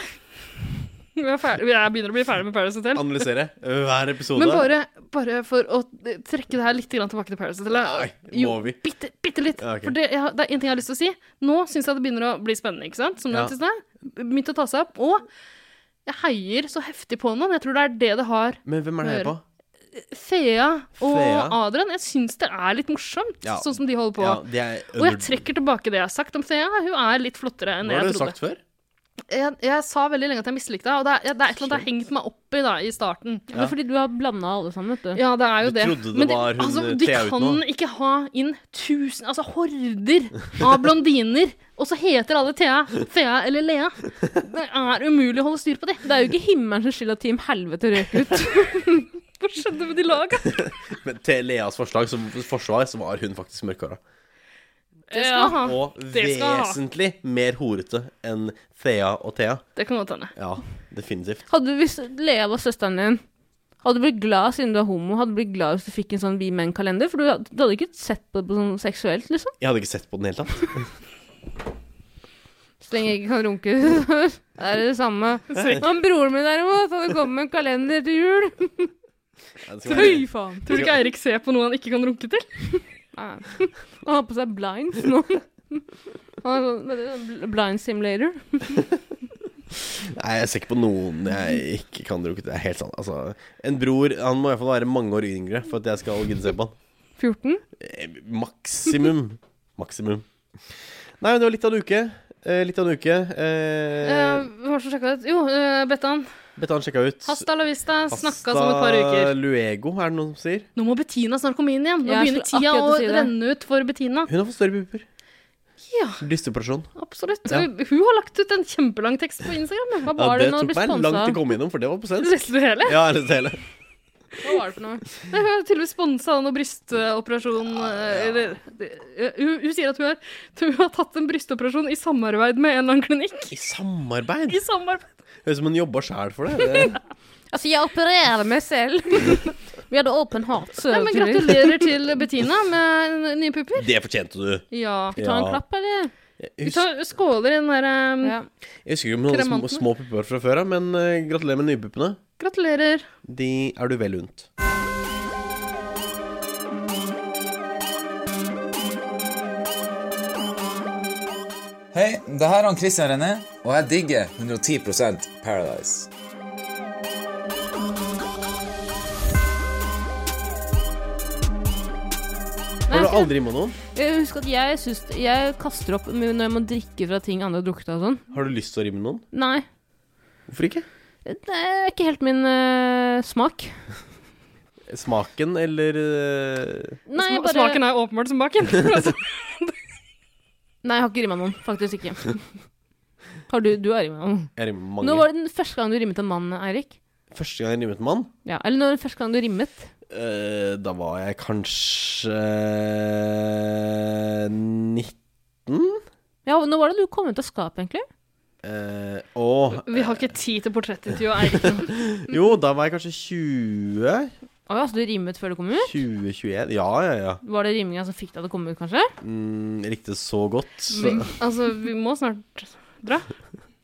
S2: Vi er ferdig. Jeg begynner å bli ferdig med Paradise Hotel.
S1: Analysere hver episode.
S2: Men bare, bare for å trekke det her litt grann tilbake til Paradise Hotel
S1: Nei, må
S2: Jo,
S1: vi?
S2: bitte, bitte litt.
S1: Ja, ok.
S2: For det, jeg, har- det er én ting jeg har lyst til å si. Nå syns jeg det begynner å bli spennende. ikke sant? Som
S1: Ja.
S2: nevnt i sted. Begynt å ta seg opp. Og jeg heier så heftig på noen. Jeg tror det er det det har.
S1: Men hvem er det her på?
S2: Thea og
S1: Thea.
S2: Adrian. Jeg syns det er litt morsomt,
S1: Ja.
S2: sånn som de holder på.
S1: Ja, det er
S2: Og jeg trekker tilbake det jeg har sagt om Thea. Hun er litt flottere enn
S1: Hva har
S2: jeg
S1: du
S2: trodde.
S1: sagt før?
S2: Jeg, jeg sa veldig lenge at jeg mislikte henne, og det er, det er et eller annet jeg har hengt meg opp i da, i starten.
S3: Det er fordi du har blanda alle sammen, vet du.
S2: Ja, det er jo
S1: Du
S2: det.
S1: trodde det
S2: Men
S1: var hun,
S2: altså,
S1: eh,
S2: du
S1: Thea uten
S2: kan
S1: noe.
S2: ikke ha inn tusen, altså horder av blondiner, og så heter alle Thea, Thea eller Lea. Det er umulig å holde styr på det.
S3: Det er jo ikke himmelen som skylder at Team Helvete røk ut.
S2: Hva skjedde med de laga?
S1: Men til Leas forslag som forsvar, så var hun faktisk mørkhåra.
S2: Det skal ha.
S1: Og
S2: det skal jeg ha.
S1: vesentlig mer horete enn Thea og Thea.
S2: Det kan godt hende.
S1: Ja, definitivt.
S3: Hadde du, hvis Lea var søsteren din, hadde du blitt glad siden du er homo? Hadde du blitt glad hvis du fikk en sånn Vi menn-kalender? For du, had- du hadde ikke sett på det på sånn seksuelt, liksom.
S1: Jeg hadde ikke sett på den i det hele tatt.
S3: Så lenge jeg ikke kan runke. Det er det samme. Men broren min derimot, hadde kommet med en kalender til jul.
S1: Ja, det skal være-
S3: Fy faen.
S2: Tror du ikke Eirik ser på noe han ikke kan runke til?
S3: Nei. Han har på seg blinds nå. Han har sånn- hva heter det, Blind simulator.
S1: Nei, jeg ser ikke på noen jeg ikke kan drukke. Det er helt sant. Altså, en bror han må iallfall være mange år yngre for at jeg skal gidde se på han.
S3: 14.
S1: Eh, Maksimum. Maksimum. Nei, men det var litt av en uke. Eh, litt av en uke. Eh,
S2: Eh, hva var det som sjekka ut? Jo, uh, Bettan.
S1: Betan sjekka ut.
S2: Hasta la vista.
S1: Hasta
S2: Snakka som et par uker.
S1: Luego, er det noen som sier.
S2: Nå må Bettina snart komme inn igjen. Nå
S3: Jeg
S2: begynner
S3: skulle
S2: tida å
S3: akkurat til å si det.
S2: renne ut for Bettina.
S1: Hun har fått større pupper.
S2: Ja.
S1: Dystoperasjon.
S2: Absolutt.
S1: Ja.
S2: Hun, hun har lagt ut en kjempelang tekst på Instagram.
S3: Hva var det
S1: det
S3: hun hadde
S1: tok
S3: blitt
S1: meg langt å
S3: sponsa av?
S1: komme innom, for det var på svensk.
S2: Leste du det hele?
S1: Ja, jeg leste hele.
S3: Hva var det for noe?
S2: Nei, Hun har tydeligvis sponsa noe brystoperasjon eh, eller, eh, hun, hun sier at hun, er, hun har tatt en brystoperasjon i samarbeid med en eller annen klinikk.
S1: I samarbeid.
S2: I samarbeid.
S1: Høres ut som hun jobba sjæl for det. det.
S3: Altså, jeg opererer meg selv. Vi hadde åpen hat.
S2: Nei, men gratulerer til Bettina med n- nye pupper.
S1: Det fortjente du.
S2: Ja.
S3: Skal vi ta en klapp, eller?
S2: Vi
S1: Jeg husker,
S2: tar skåler ehm, i den derre
S3: Ja.
S1: jeg husker ikke om hun hadde små,
S2: Kremantene.
S1: små pupper fra før av, men eh, gratulerer med nypuppene.
S2: Gratulerer.
S1: De er du vel unt.
S10: Hei, det her er han Christian René, og jeg digger 110 Paradise.
S3: Nei,
S1: Har du
S3: jeg
S1: aldri med noen?
S3: skal- Husk at jeg, syns- jeg kaster opp når jeg må drikke fra ting andre har drukket av og sånn.
S1: Har du lyst til å rimme noen?
S3: Nei.
S1: Hvorfor ikke?
S3: Det er ikke helt min eh, smak.
S1: Smaken eller eh,
S3: Nei, jeg
S2: Sma-
S3: bare
S2: Smaken er åpenbart som baken. Altså,
S3: Nei, jeg har ikke rima noen. Faktisk ikke. Har du, du har rima noen.
S1: Jeg rimmer mange.
S3: Nå var det den første gang du rimmet en mann, Eirik.
S1: Første gang jeg rimmet en mann,
S3: Ja, eller når den første gang du rimmet.
S1: eh, da var jeg kanskje eh, 19?
S3: Ja, nå var det du kom ut av skapet, egentlig.
S1: Eh, og
S2: vi har ikke tid til portrettintervju av Eirik.
S1: Jo, da var jeg kanskje 20?
S3: Å ja, så du rimet før du kom ut?
S1: 2021? Ja, ja, ja.
S3: Var det riminga som fikk deg til å komme ut, kanskje?
S1: Mm, jeg likte det så godt. Så
S2: Vi- Altså, vi må snart dra.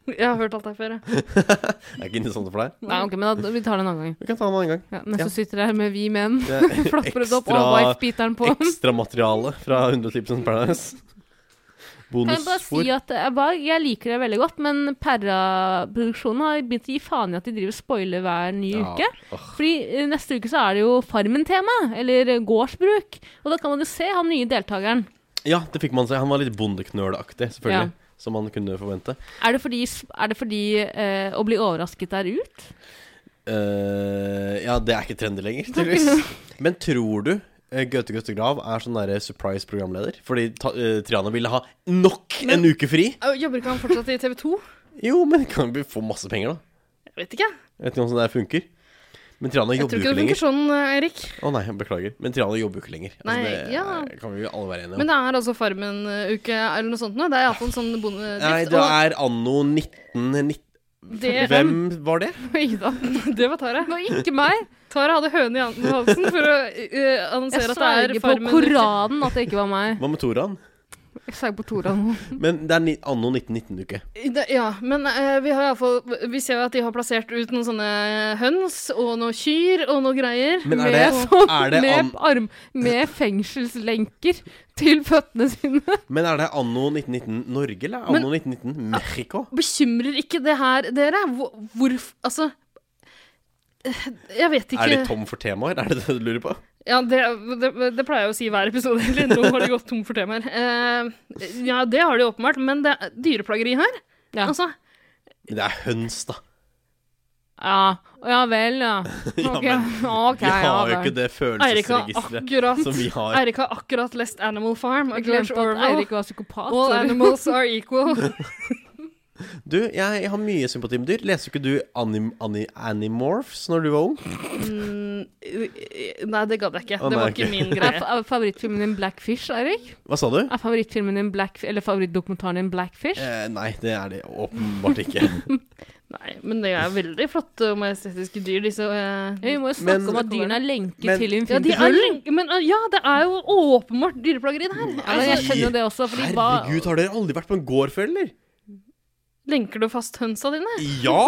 S2: Jeg har hørt alt her før. jeg.
S1: jeg er ikke interessant for deg.
S3: Nei, ok, men da, vi tar det en annen gang.
S1: Vi kan ta den en annen gang.
S3: Ja, mens
S1: Ja.
S3: du sitter her med vi menn,
S1: Det er
S3: flapper det opp og
S1: ekstra-
S3: wife-beateren på.
S1: Ekstramateriale fra 110 Paradise.
S3: Kan jeg bare
S1: Bonusspor.
S3: si at jeg, bare, jeg liker det veldig godt, men Perra-produksjonen har begynt å gi faen i at de driver og spoiler hver ny
S1: Ja,
S3: uke. Fordi eh, neste uke så er det jo Farmen-tema, eller eh, gårdsbruk. Og da kan man jo se han nye deltakeren.
S1: Ja, det fikk man se. Han var litt bondeknølaktig, selvfølgelig.
S3: Ja.
S1: Som man kunne forvente.
S3: Er det fordi, er det fordi eh, å bli overrasket er ut?
S1: Eh, ja, det er ikke trendy lenger, tydeligvis. Men tror du eh, Gaute Gaute Grav er sånn derre surprise programleder? Fordi ta, eh, Triana ville ha nok en uke fri?
S2: Au, Jobber ikke han fortsatt i TV 2?
S1: Jo, men kan vi få masse penger, da?
S2: Jeg vet ikke.
S1: Jeg vet ikke om sånn der funker. Men Triana
S2: Jeg
S1: jobber
S2: tror
S1: jo
S2: ikke
S1: ikke
S2: det funker
S1: lenger.
S2: sånn, Eirik.
S1: Å nei, jeg beklager. Men Triana jobber jo ikke lenger. Altså,
S2: Nei,
S1: det
S2: ja.
S1: er- kan vi jo alle være enige om.
S2: Men det er altså Farmen-uke eller noe sånt nå. Det er iallfall en sånn bondedrift.
S1: nei, det er anno 1990
S2: Det-
S1: Hvem var det?
S3: Oi da.
S2: Og det var Tara.
S3: Det var ikke meg.
S2: Tara hadde høne i handen- halsen for å eh,
S3: Jeg
S2: annonsere at
S3: sverger
S2: det er
S3: på
S2: Farmen-uke.
S3: Koranen at det ikke var meg.
S1: Hva med Toran?
S3: Jeg sverger på Toran.
S1: Men det er ni- anno 1919-uke.
S2: Det- Ja, men eh, vi, har i alle fall, vi ser jo at de har plassert ut noen sånne høns og noen kyr og noe greier.
S1: Men er det,
S3: Med, sånn,
S1: er det an,
S3: med, arm, med fengselslenker til føttene sine.
S1: Men er det anno 1919 Norge, eller anno 1919 Mexico?
S2: Bekymrer ikke det her dere? Hvor, hvorf- Altså eh, Jeg vet ikke.
S1: Er de tom for temaer? Er det det du lurer på?
S2: Ja, det, det, det pleier jeg å si i hver episode. egentlig. Nå har de gått tom for temaer. Eh, ja, det har de åpenbart, men det er dyreplageri her.
S3: Ja.
S2: Altså,
S1: Men Det er høns, da.
S3: Ja, ja vel, ja.
S1: Ja,
S3: Ok,
S1: men
S3: ok,
S1: Vi har jo
S3: vel.
S1: ikke det
S2: Eirik har
S1: følelsesregisteret
S3: ah.
S2: akkurat
S1: som vi har.
S2: Eirik har akkurat lest Animal Farm av
S3: Jeg
S2: George
S3: glemte at
S2: Orwell.
S3: Eirik var psykopat.
S2: All
S3: sorry.
S2: animals are equal.
S1: Du, jeg, jeg har mye sympati med dyr. Leser ikke du anim, ani, Animorphs når du var ung?
S2: Mm, nei, det gadd jeg ikke.
S1: Å,
S2: det
S1: nei,
S2: var ikke
S1: ok.
S2: min
S3: Er,
S2: greie.
S3: fa- er favorittfilmen din Blackfish, Eirik?
S1: Hva sa du?
S3: Er favorittfilmen din Black, eller favorittdokumentaren din Blackfish?
S1: Eh, nei, det er det åpenbart ikke.
S2: Nei, men det er veldig flotte og majestetiske dyr, disse.
S3: Ja, vi
S2: eh.
S3: må jo snakke
S1: Men-
S3: om at dyrene er lenket
S1: Men-
S3: til
S2: Ja, de
S3: Infinity
S2: er
S3: Pool.
S2: lenke, men eh, ja, det er jo åpenbart dyreplageri, det her.
S3: Ja, men jeg skjønner jo det også, fordi hva
S1: Herregud, har dere aldri vært på en gård før, eller?
S2: Lenker du fast hønsa dine?
S1: Ja!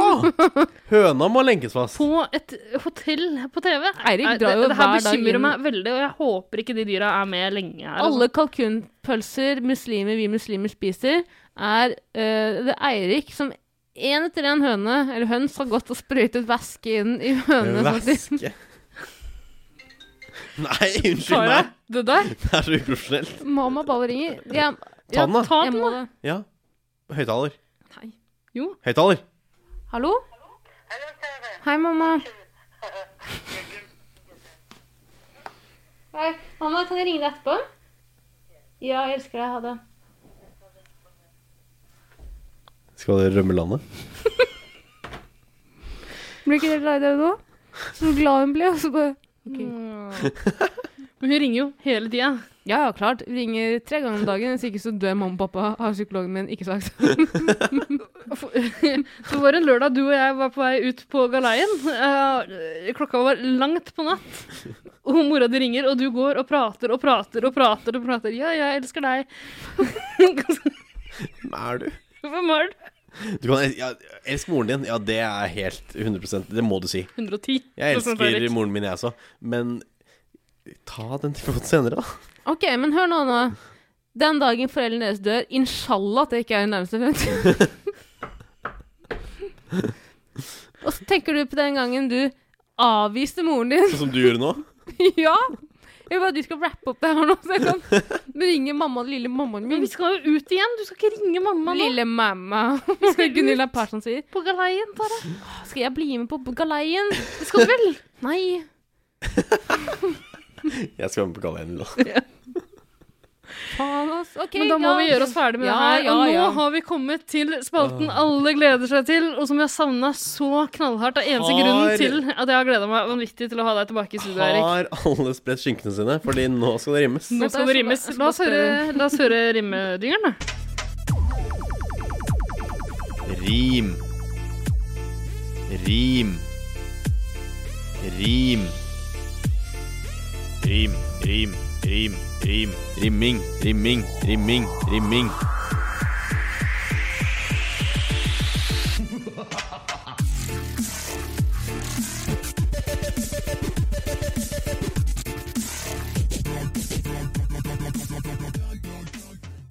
S1: Høna må lenkes fast.
S2: På et hotell på TV?
S3: Eirik
S2: Nei,
S3: drar
S2: det-
S3: jo
S2: Det her
S3: hver dag
S2: bekymrer
S3: inn.
S2: meg veldig, og jeg håper ikke de dyra er med lenge her. altså.
S3: Alle kalkunpølser muslimer vi muslimer spiser, er eh, det er Eirik som en etter en høne, eller høns, har gått og sprøytet væske inn i hønene. sånn at de-
S1: Væske. Nei, unnskyld
S2: Tara,
S1: meg.
S2: det der?
S1: Det er så uprofesjonelt.
S3: Mamma bare ringer. Jeg,
S1: Ta den, da.
S2: Ta
S3: jeg
S2: den,
S3: må
S2: da.
S3: det.
S1: Ja. Høyttaler.
S3: Nei.
S2: Jo.
S1: Høyttaler.
S3: Hallo? Hei, mamma. Hei, mamma, kan jeg ringe deg etterpå? Ja, jeg elsker deg. Ha det.
S1: Skal dere rømme landet?
S3: Blir ikke dere lei dere nå? Så glad hun ble, og så altså, bare
S2: Men hun ringer jo hele tida.
S3: Ja, ja, klart. Ringer tre ganger om dagen, hvis ikke så dør mamma og pappa, har psykologen min ikke sagt.
S2: Det var en lørdag du og jeg var på vei ut på galeien. Eh, klokka var langt på natt. Og mora di ringer, og du går og prater og prater og prater. og prater. Ja, jeg elsker deg.
S1: Hvem er du?
S2: Hvem er du?
S1: du kan, ja, elsk moren din. Ja, det er helt 100 Det må du si.
S2: 110.
S1: Jeg
S2: Sånn som
S1: elsker
S2: Erik.
S1: moren min, jeg også. Men ta den telefonen senere, da.
S3: Ok, men hør nå, nå. Den dagen foreldrene deres dør, inshallah at det ikke er i nærmeste fremtid. Og så tenker du på den gangen du avviste moren din.
S1: Sånn som du gjør nå.
S3: ja! Jeg vil bare at du skal rappe opp det her nå, så jeg kan ringe mamma og lille mammaen
S2: Men
S3: min.
S2: vi skal jo ut igjen. Du skal ikke ringe mamma nå.
S3: Lille mamma, Gunilla Persson sier.
S2: På galeien, Tara.
S3: Skal jeg bli med på galeien?
S2: Det skal du vel?
S3: Nei.
S1: Jeg skal være med på galeien nå.
S3: Faen, ass. Ok,
S2: Men da må
S3: ja.
S2: vi gjøre oss ferdig med
S3: Ja,
S2: det her. Og
S3: ja,
S2: nå
S3: ja.
S2: har vi kommet til spalten alle gleder seg til, og som vi har savna så knallhardt. Det er eneste
S1: Har-
S2: grunnen til at jeg har gleda meg vanvittig til å ha deg tilbake i studio, Erik.
S1: Har alle spredt skinkene sine? Fordi nå skal det rimes.
S2: Nå skal det rimes. La oss høre, la oss høre rimedyngeren, da.
S7: Rim. Rim. Rim. Rim, rim, rim, rim. Rimming, rimming, rimming, rimming.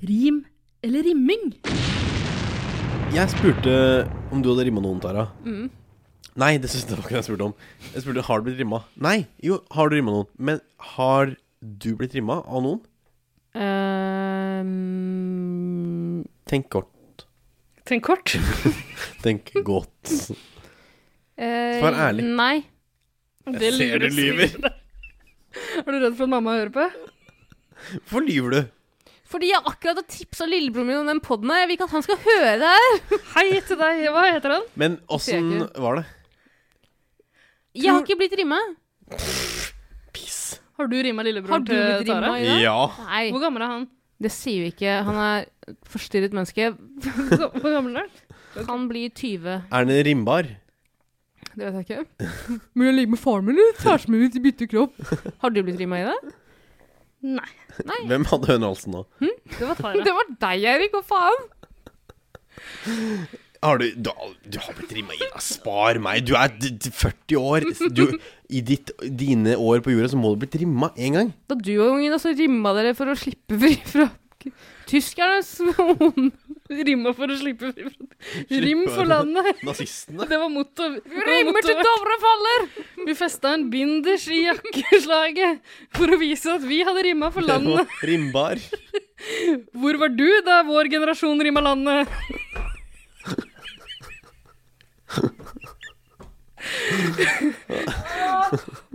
S11: Rim eller rimming?
S1: Jeg spurte om du hadde rimma noen, Tara.
S3: Mm.
S1: Nei, det synes jeg var ikke det jeg spurte om. Jeg spurte har du blitt rimma. Nei, jo, har du rimma noen. Men har du blitt rimma av noen?
S3: Ehm,
S1: Tenk kort.
S2: Tenk kort.
S1: Tenk godt.
S3: eh,
S1: Svar ærlig.
S3: Nei.
S2: Det
S1: Jeg ser du
S2: lyver
S1: lyver.
S2: Er du redd for at mamma hører på?
S1: Hvorfor lyver du?
S3: Fordi jeg akkurat har tipsa lillebroren min om den poden her. Jeg vil ikke at han skal høre det her.
S2: Hei til deg. Hva heter han?
S1: Men
S3: ser jeg
S1: åssen var det?
S3: Jeg har ikke blitt rimma.
S1: Piss.
S2: Har du rima
S3: Har
S2: lillebroren
S3: du blitt
S2: til Tara?
S3: rimma i dag?
S1: Ja.
S3: Nei,
S2: Hvor gammel er han?
S3: det sier vi ikke. Han er et forstyrret menneske.
S2: Hvor gammel er han?
S3: Han blir 20.
S1: Er den rimbar?
S3: Det vet jeg ikke. Må jeg ligge med faren min eller kjæresten min hvis de bytter kropp? Har du blitt rimma i det?
S2: Nei,
S1: Hvem hadde hønehalsen nå?
S2: det var Tara.
S3: Det var deg, Erik. Hva faen?
S1: Har du, du, har- du har blitt rimma i deg. Spar meg. Du er d- d- 40 år. Du, I ditt, dine år på jorda så må du ha blitt rimma én gang.
S3: Da du var ungen, så rimma dere for å slippe fri fra tyskernes ond
S2: Rima for å slippe fri fra Rim for landet.
S1: Nazistene.
S2: Det var motto. det var
S3: Rimmer til
S2: motto-
S3: Dovre faller!
S2: Vi festa en binders i jakkeslaget for å vise at vi hadde rimma for landet.
S1: Rimbar.
S2: Hvor var du da vår generasjon rimma landet?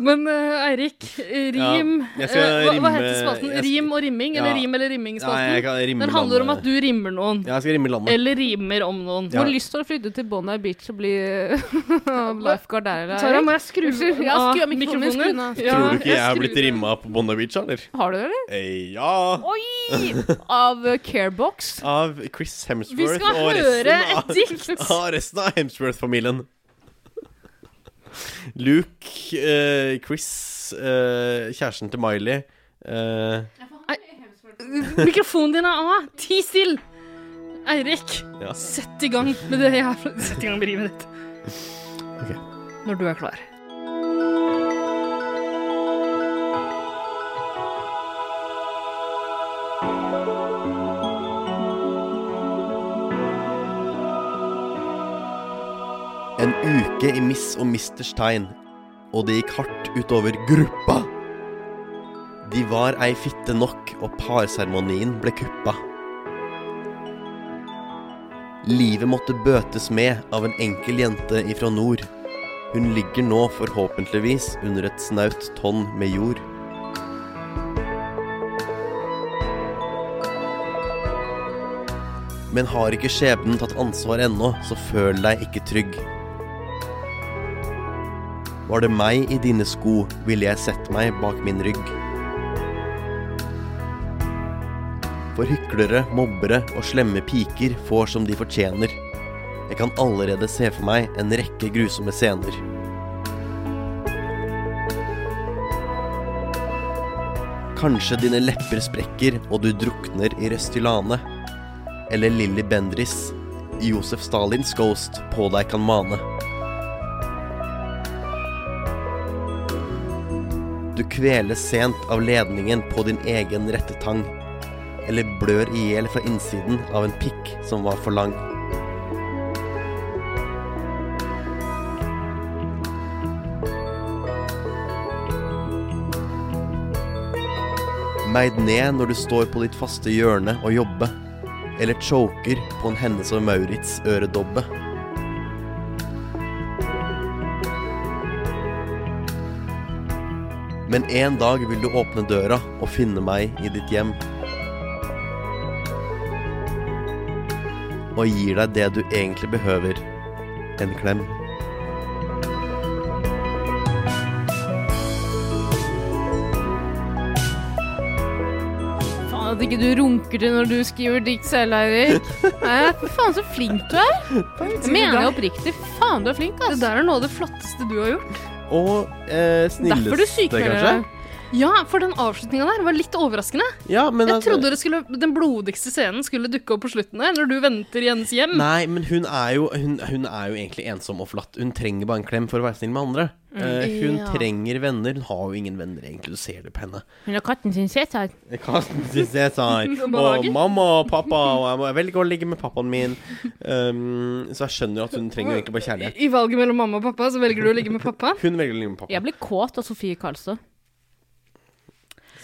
S2: Men eh, Eirik, rim
S1: Ja, jeg skal
S2: eh, hva, hva
S1: rimme-
S2: heter spalten?
S1: jeg skal-
S2: Rim og rimming, eller
S1: Ja.
S2: rim eller
S1: Nei, jeg
S2: rimming-spalten?
S1: kan rimme
S2: Den handler om
S1: landet.
S2: at du rimmer noen,
S1: Ja, jeg skal rimme landet.
S2: eller rimer om noen.
S1: Ja.
S3: Får lyst til å flytte til Bondi Beach og bli lifeguard der. eller?
S2: Tara, må jeg skru
S3: Unnskyld, jeg skrur av mikrofonen min, skru den av.
S2: Ja,
S1: Tror du ikke jeg har
S2: skrur
S1: blitt
S2: den av.
S1: rimma på Bondi Beach, eller?
S3: Har du det, eller?
S1: Eh, ja.
S3: Oi! Av eh, Carebox.
S1: Av Chris
S2: Vi
S1: Hemsworth
S2: skal
S1: og
S2: høre
S1: resten
S2: et
S1: av,
S2: dikt.
S1: av, resten av Hemsworth-familien. Luke, eh, Chris, eh, kjæresten til Miley eh,
S2: Mikrofonen din er av. Ti still! Eirik,
S1: Ja.
S2: sett i gang med det jævla Sett i gang med rimet ditt.
S1: Ok.
S2: Når du er klar.
S1: En uke i Miss og Misters tegn, og det gikk hardt utover gruppa. De var ei fitte nok, og parseremonien ble kuppa. Livet måtte bøtes med av en enkel jente ifra nord. Hun ligger nå forhåpentligvis under et snaut tonn med jord. Men har ikke skjebnen tatt ansvar ennå, så føl deg ikke trygg. Var det meg i dine sko, ville jeg sett meg bak min rygg. For hyklere, mobbere og slemme piker får som de fortjener. Jeg kan allerede se for meg en rekke grusomme scener. Kanskje dine lepper sprekker og du drukner i Røstilane. Eller Lilly Bendris, Josef Stalins ghost, på deg kan mane. Du kveles sent av ledningen på din egen rette tang. Eller blør i hjel fra innsiden av en pikk som var for lang. Meid ned når du står på ditt faste hjørne og jobbe. Eller choker på en Hennes og Maurits øredobbe. Men en dag vil du åpne døra og finne meg i ditt hjem. Og gir deg det du egentlig behøver. En klem.
S3: Faen at ikke du runker til når du skriver dikt selv, Eirik. Nei, Fy faen, så flink du er. Jeg mener jeg oppriktig. Faen, du er flink, ass. Det der er noe av det flotteste du har gjort.
S1: Og eh,
S3: Derfor du
S1: snilleste,
S3: sykemelder
S1: kanskje?
S3: deg.
S2: Ja, for den avslutninga der var litt overraskende.
S1: Ja, men
S2: jeg
S1: altså-
S2: trodde det skulle, den blodigste scenen skulle dukke opp på slutten der, når du venter i hennes hjem.
S1: Nei, men hun er, jo, hun, hun er jo egentlig ensom og forlatt. Hun trenger bare en klem for å være snill med andre.
S3: Mm.
S1: Eh, hun
S3: Ja.
S1: trenger venner. Hun har jo ingen venner, egentlig. Du ser det på henne.
S3: Hun har katten sin sett her.
S1: Katten til Cæsar. Og
S3: Magen.
S1: sånn mamma og pappa, og jeg må velge å ligge med pappaen min. Um, så jeg skjønner at hun trenger egentlig bare kjærlighet.
S2: I valget mellom mamma og pappa, så velger du å ligge med pappa.
S1: Hun velger å ligge med pappa.
S3: Jeg ble kåt av Sofie Karlstad.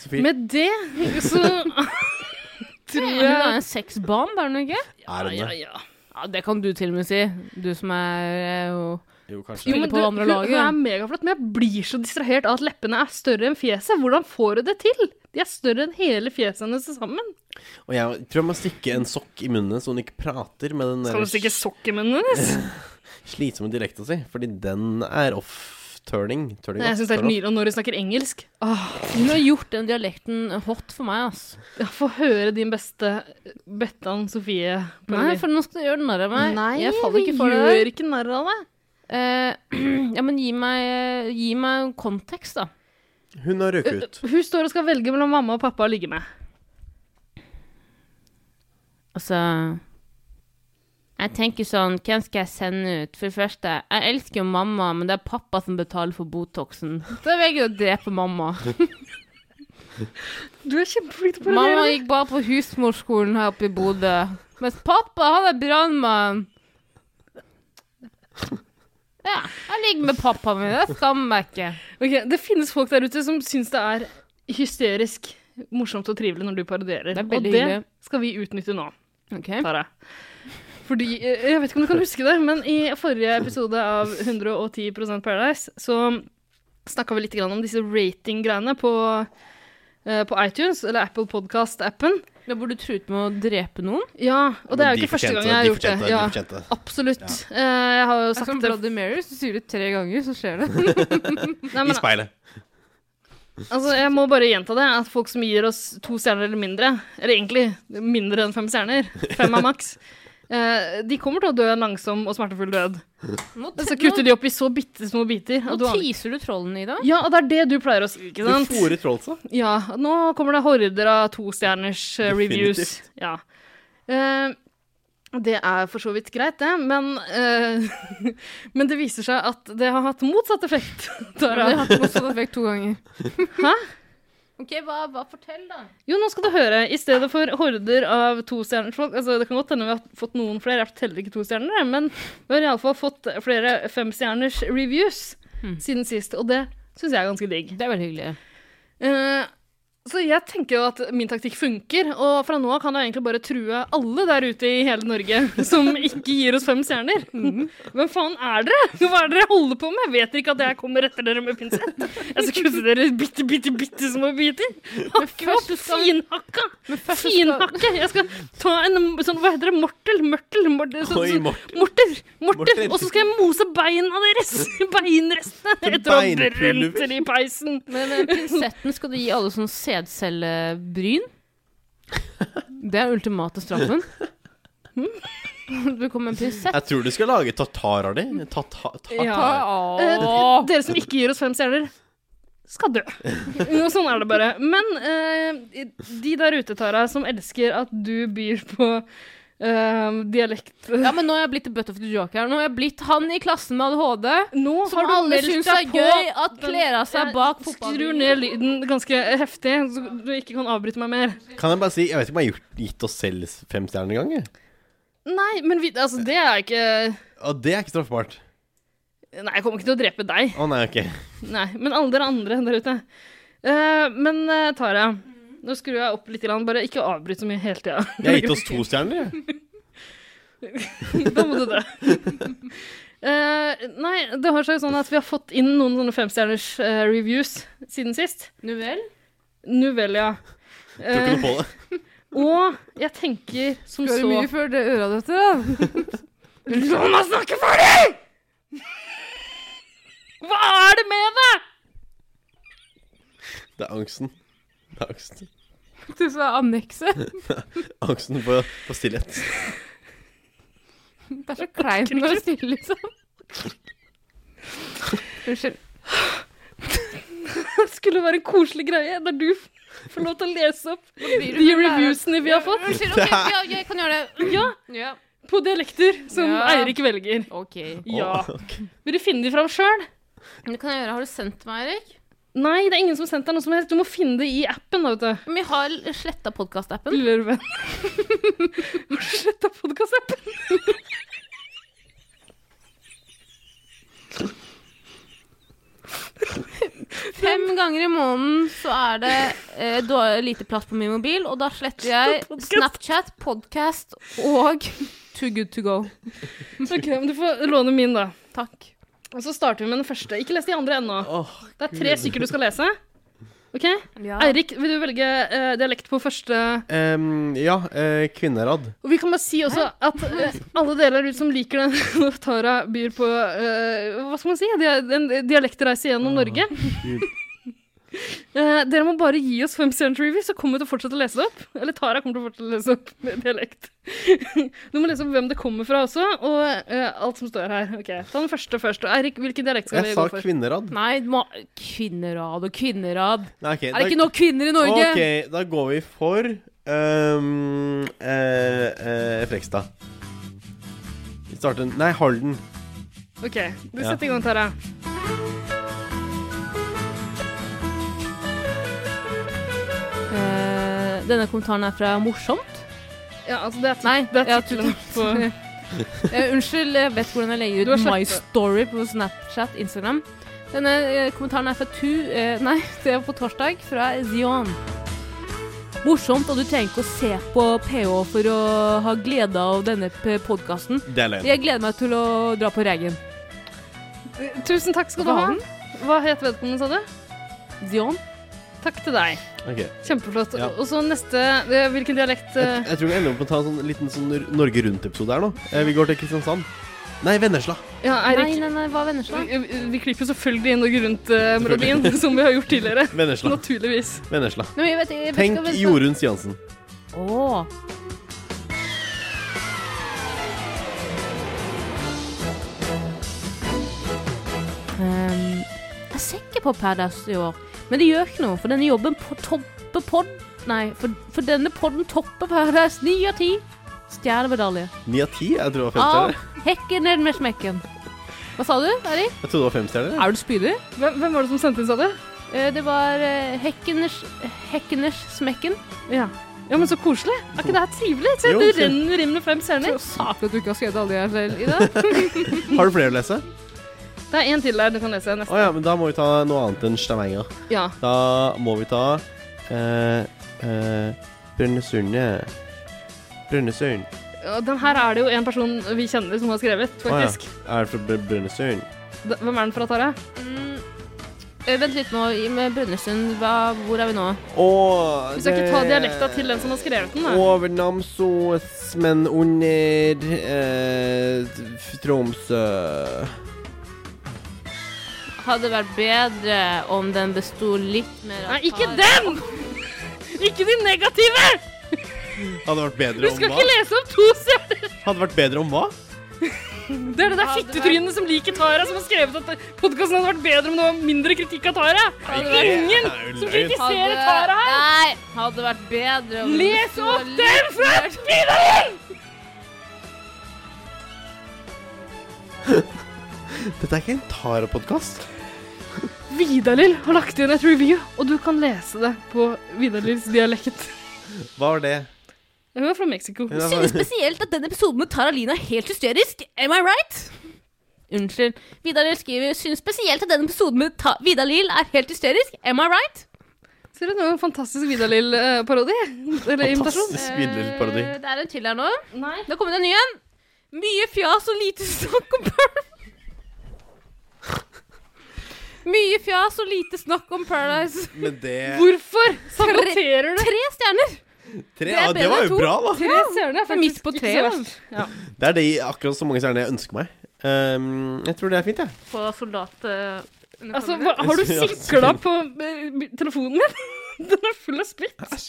S1: Sofie,
S2: Med det så tror
S3: Hun
S2: jeg
S3: er en sexbomb, er hun ikke?
S2: Ah,
S1: er hun det?
S3: Ja, det kan du til og med si. Du som er eh, jo
S1: Jo, kanskje.
S3: Spiller på det andre
S2: hun, hun er
S3: laget.
S2: megaflott, men jeg blir så distrahert av at leppene er større enn fjeset. Hvordan får du det til? De er større enn hele fjeset hennes til sammen.
S1: Og jeg tror jeg må stikke en sokk i munnen så hun ikke prater med den
S2: Skal du stikke sokk i munnen hennes?
S1: slitsomme dialekten sin, fordi den er off-turning.
S2: Nei, Jeg syns det er helt nydelig. Og når hun snakker engelsk Åh,
S3: Hun har gjort den dialekten hot for meg, ass.
S2: ja, Få høre din beste Bettan Sofie.
S3: Nei, for nå skal du gjøre narr av meg.
S2: Nei,
S3: jeg faller ikke for det.
S2: gjør
S3: der.
S2: ikke narr av det.
S3: Eh, ja, men gi meg, eh, gi meg kontekst, da.
S1: Hun har røket ut.
S2: Hun står og skal velge mellom mamma og pappa å ligge med.
S3: Altså Jeg tenker sånn, hvem skal jeg sende ut? For det første, jeg elsker jo mamma, men det er pappa som betaler for Botoxen. Da velger jeg å drepe mamma.
S2: Du er kjempeflink til å
S3: Mamma
S2: parodiere.
S3: gikk bare på husmorskolen her oppe i Bodø. Mens pappa, han er brannmann. Ja, jeg ligger med pappaen min. Det skammer meg ikke.
S2: Ok, det finnes folk der ute som syns det er hysterisk morsomt og trivelig når du parodierer.
S3: Det er
S2: og
S3: veldig
S2: det
S3: hyggelig.
S2: skal vi utnytte nå,
S3: Ok.
S2: Tara. Fordi, eh, Jeg vet ikke om du kan huske det, men i forrige episode av 110 Paradise så snakka vi litt grann om disse rating-greiene på, eh, på iTunes, eller Apple Podcast-appen.
S3: Da burde du truet med å drepe noen.
S2: Ja, og det er jo
S1: de
S2: ikke første
S1: fortjente
S2: gang
S1: det,
S2: jeg har
S1: de
S2: gjort det.
S1: fortjente det, de
S2: Ja,
S1: fortjente det.
S2: absolutt. Eh, Jeg har jo
S3: Det er som
S2: sagt det
S3: Bloody Mary, hvis du sier det tre ganger, så skjer det.
S2: Nei,
S1: I
S2: men
S1: speilet.
S2: Altså, jeg må bare gjenta det, at folk som gir oss to stjerner eller mindre, eller egentlig mindre enn fem stjerner, fem av maks, eh, de kommer til å dø en langsom og smertefull død.
S3: Nå,
S2: Og så kutter
S3: nå,
S2: de opp i så bitte små biter.
S3: nå
S2: at du aner-
S3: teaser du trollene i dag.
S2: Ja, og det er det du pleier å si, ikke
S1: Du
S2: sant?
S1: fôrer trollsa.
S2: Ja, nå kommer det horder av tostjerners eh, reviews.
S1: Definitivt.
S2: Ja. Eh, det er for så vidt greit, det, men eh, Men det viser seg at det har hatt motsatt effekt.
S3: Men det
S2: Tara.
S3: har ikke motsatt effekt to ganger.
S2: Hæ?
S3: Ok, hva, hva fortell, da?
S2: Jo, nå skal du høre. I stedet for horder av tostjerners folk altså Det kan godt hende vi har fått noen flere, jeg teller ikke to stjerner, jeg, men vi har iallfall fått flere femstjerners reviews siden sist, og det syns jeg er ganske digg.
S3: Det er veldig hyggelig.
S2: Eh, så jeg tenker jo at min taktikk funker, og fra nå av kan jeg egentlig bare true alle der ute i hele Norge som ikke gir oss fem stjerner.
S3: Mhm.
S2: Hvem faen er dere? Hva er det dere holder på med? Vet dere ikke at jeg kommer etter dere med pinsett? Jeg skal kutte dere i bitte, bitte, bitte små biter. Hakke opp,
S3: først så skal-
S2: finhakka!
S3: først så skal-
S2: Finhakke! Jeg skal ta en sånn, hva heter det, mortel? Mørtel? Mortel? Sånn,
S1: Oi,
S2: sånn-
S1: Morten.
S2: morter! Morter!
S1: Morter.
S2: Og så skal jeg mose beina deres! Beinrestene! Etter å ha
S1: Beinpulver.
S2: brent det i peisen.
S3: Men eh, pinsetten skal du gi alle sånn sædcellebryn? Det er ultimate straffen. Mm. Du kommer med en pinsett.
S1: Jeg tror du skal lage tatar av dem. Tata, tatar.
S2: Eh, d- dere som ikke gir oss fem stjerner, skal dø. Noe sånn er det bare. Men eh, de der ute, Tara, som elsker at du byr på eh, dialekt
S3: Ja, men nå er jeg blitt the butt of the joke her. Nå er jeg blitt han i klassen med ADHD som
S2: har du
S3: alle
S2: meldt
S3: syns
S2: deg
S3: er
S2: på
S3: gøy at
S2: den-
S3: kler av seg bak
S2: Jeg Skrur ned lyden ganske heftig, så du ikke kan avbryte meg mer.
S1: Kan jeg bare si Jeg vet ikke om jeg har gjort- gitt oss selv fem stjerner en gang. jeg.
S2: Nei, men vi, altså, det er ikke
S1: Og det er ikke straffbart.
S2: Nei, jeg kommer ikke til å drepe deg.
S1: Å nei, ok.
S2: Nei, Men alle dere andre der ute. Eh, men eh, Tara, nå skrur jeg opp litt. Grann. Bare ikke avbryt så mye hele tida.
S1: Jeg har gitt oss to stjerner, jeg.
S2: da må du dø. Eh, nei, det har seg jo sånn at vi har fått inn noen sånne femstjerners eh, reviews siden sist.
S3: Nu vel?
S2: Nu vel, ja.
S1: Tror ikke noe på det.
S2: og jeg tenker som
S3: Skal
S2: så
S3: du mye før det øra dette, da?
S2: La meg snakke ferdig! Hva er det med deg?!
S1: Det er angsten. Det er angsten.
S3: Du sa annekset.
S1: Angsten for, for stillhet.
S3: Det er så kleint når det er stille, liksom. Unnskyld.
S2: Det skulle være en koselig greie der du får lov til å lese opp
S3: blir du
S2: de
S3: for lærer.
S2: reviewsene vi har fått.
S3: Unnskyld, ok, ja, jeg kan gjøre det.
S2: Ja,
S3: Ja.
S2: på dialekter som
S3: Ja.
S2: Eirik velger.
S3: Ok.
S2: Ja.
S1: Å, ok.
S2: Vil du finne de fram sjøl?
S3: Men det kan jeg gjøre. Har du sendt meg, Erik?
S2: Nei, det er ingen som har sendt deg noe som helst. Du må finne det i appen, da, vet du.
S3: Men jeg har sletta podkastappen.
S2: Lille venn. Har du sletta podkastappen?
S3: Fem ganger i måneden så er det eh, da- lite plass på min mobil, og da sletter jeg Snapchat, podcast og Too Good To Go.
S2: Ok, men du får låne min, da.
S3: Takk.
S2: Og så starter vi med den første. Ikke les de andre ennå.
S1: Åh,
S2: Det er tre stykker du skal lese. OK?
S3: Ja.
S2: Eirik, vil du velge eh, dialekt på første
S1: Em, ja, eh, kvinnerad.
S2: Og vi kan bare si også at eh, alle dere der ute som liker den når Tara byr på eh, Hva skal man si? Det er en dialektreise gjennom Norge.
S1: Ah, Gud.
S2: Eh, dere må bare gi oss fem stjerners review, så kommer vi til å fortsette å lese det opp. Eller Tara kommer til å fortsette å lese opp med dialekt. du må lese opp hvem det kommer fra også, og eh, alt som står her. Ok, Ta den første først. Og Eirik, hvilken dialekt skal
S1: Jeg
S2: vi
S1: sa
S2: gå for?
S1: kvinnerad.
S3: Nei, må, kvinnerad og kvinnerad.
S1: Nei, ok,
S3: Er det ikke nok kvinner i Norge?
S1: Ok, da går vi for um, eh, eh, Frekstad. Vi starter Nei, Halden.
S2: OK, du
S1: Ja.
S2: setter i gang, Tara.
S3: Eh, denne kommentaren er fra Morsomt.
S2: Ja, altså, det er,
S3: Nei,
S2: det er
S3: ja,
S2: tittelen på
S3: Eh, unnskyld, jeg vet hvordan jeg legger
S2: Du har
S3: ut My
S2: slettet.
S3: Story på Snapchat, Instagram. Denne eh, kommentaren er fra Tu... Eh, nei, det er på torsdag, fra Zion. Morsomt, og du trenger ikke å se på PH for å ha glede av denne podkasten.
S1: Det er løgn.
S3: Jeg gleder meg til å dra på Reigen.
S2: Tusen takk skal du ha. Hva het vedkommende, sa du?
S3: Zion.
S2: Takk til deg.
S1: Ok.
S2: Kjempeflott.
S1: Ja.
S2: Og så neste eh, Hvilken dialekt
S1: Jeg,
S2: eh,
S1: jeg tror vi ender opp med å ta en sånn liten sånn Nor- Norge Rundt-episode her nå. Eh, vi går til Kristiansand. Nei, Vennesla.
S2: Ja,
S3: Nei,
S2: Eirik.
S3: nei, nei, hva venner seg?
S2: Vi, vi klipper selvfølgelig inn Norge Rundt-melodien, eh, som vi har gjort tidligere.
S1: Vennesla.
S2: Naturligvis.
S1: Vennesla.
S3: Nei, jeg vet, jeg vet
S1: Tenk
S3: ikke hva-
S1: Jorunn Stiansen.
S3: Åh. Ehm, jeg ser ikke på Paradise i år, men det gjør ikke noe, for denne jobben på topper pod... Nei, for, for denne podden topper Paradise 9 av 10. Stjernemedalje.
S1: Ni av ti? Jeg tror det var fem
S3: Av
S1: stjerner.
S3: hekken ned med smekken. Hva sa du, Erik?
S1: Jeg trodde det var fem stjerner.
S3: Er du spydig?
S2: Hvem, hvem var det som sendte inn, sa du?
S3: Eh, det var eh, hekkeners, hekkeners smekken.
S2: Ja. ja, men så koselig. Er ikke det her trivelig? Se,
S1: Jo,
S2: du
S1: kjempe-
S2: renner inn med fem
S3: Så
S2: stjerner.
S3: saklig at du ikke har skrevet alle de her selv i dag.
S1: Har du flere å lese?
S2: Det er én til der du kan lese.
S1: Å
S2: Neste.
S1: ja, men da må vi ta noe annet enn Stavanger.
S2: Ja.
S1: Da må vi ta eh, eh, Brønnøysund. ja. Brønnøysund.
S2: Ja, Den her er det jo en person vi kjenner som har skrevet,
S1: Å ja.
S2: faktisk.
S1: Er det fra Br- Brønnøysund?
S2: Da- Hvem er den fra, Tara?
S3: Mm. Eh, Vent litt nå, i- med Brønnøysund, hva, hvor er vi nå?
S1: Og
S2: Vi skal ikke ta dialekta til den som har skrevet den, da.
S1: Over Namsos, men under eh, f- Tromsø.
S3: Hadde vært bedre om den besto litt mer av
S2: Nei, ikke
S3: par-
S2: den! Ikke de negative!
S1: Hadde vært
S2: Du
S1: bedre om
S2: skal
S1: hva?
S2: ikke lese opp to stjerner!
S1: Hadde vært bedre om hva?
S2: Det er det der fittetrynene som liker Tara, som har skrevet at podkasten hadde vært bedre om det var mindre kritikk av Tara. Det er ingen som kritiserer Tara her!
S3: Nei, hadde vært bedre om
S2: Les
S3: det
S2: opp
S3: sto
S2: den
S3: litt
S2: fra
S3: mer-
S2: Vidar!
S1: Dette er ikke en Tara-podkast.
S2: Vidar-Lill har lagt igjen et review, og du kan lese det på Vidar-Lills dialekt.
S1: Hva var det?
S2: Hun er fra Mexico.
S1: Hun er fra- Synes
S3: spesielt at den episoden med Tara Lina er helt hysterisk. Am I right? Unnskyld. Vidar Lill skriver Synes spesielt at den episoden med ta Vidar Lill er helt hysterisk. Am I right?
S2: Ser du, det var en fantastisk Vidar-Lill-parodi. Eller imitasjon.
S1: Fantastisk Vidar-Lill-parodi.
S3: Eh, Det er en til her nå.
S2: Nei.
S3: Det har kommet en ny en. Mye fjas og lite snakk om Paradise. Mye fjas og lite snakk om Paradise.
S1: Men det
S2: Hvorfor saboterer du?
S3: Tre stjerner!
S1: Tre? Ja, det var jo bra, da.
S2: Tre stjerner er
S3: Det er midt
S2: faktisk
S3: på
S2: ikke
S3: treet,
S2: så
S3: da.
S2: verst. Ja.
S1: Det er de akkurat så mange stjerner jeg ønsker meg. Ehm, jeg tror det er fint, jeg.
S3: På eh, soldatuniformen.
S2: Altså, hva, har du
S1: Ja,
S2: sikla på eh, telefonen min? Den er full av splitt.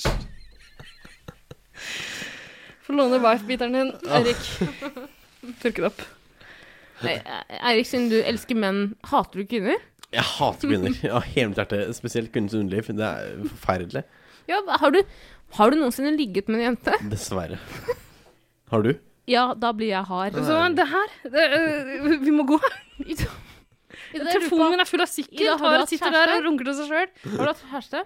S2: Få låne wife-biteren din, Erik. Tørke det opp.
S3: eh, Eirik, siden du elsker menn, hater du kvinner?
S1: Jeg hater kvinner. Ja, hele mitt hjerte. Spesielt kvinnens underliv. Det er forferdelig.
S3: Ja, hva- har du, har du noensinne ligget med en jente?
S1: Dessverre. Har du?
S3: Ja, da blir jeg hard.
S2: Så det her det, eh, Vi må gå. Telefonen min er full av
S3: Ida,
S2: sikker.
S3: har du
S2: Tara
S3: hatt
S2: sitter der
S3: kjæreste?
S2: og runker til seg sjøl.
S3: Har du hatt kjæreste?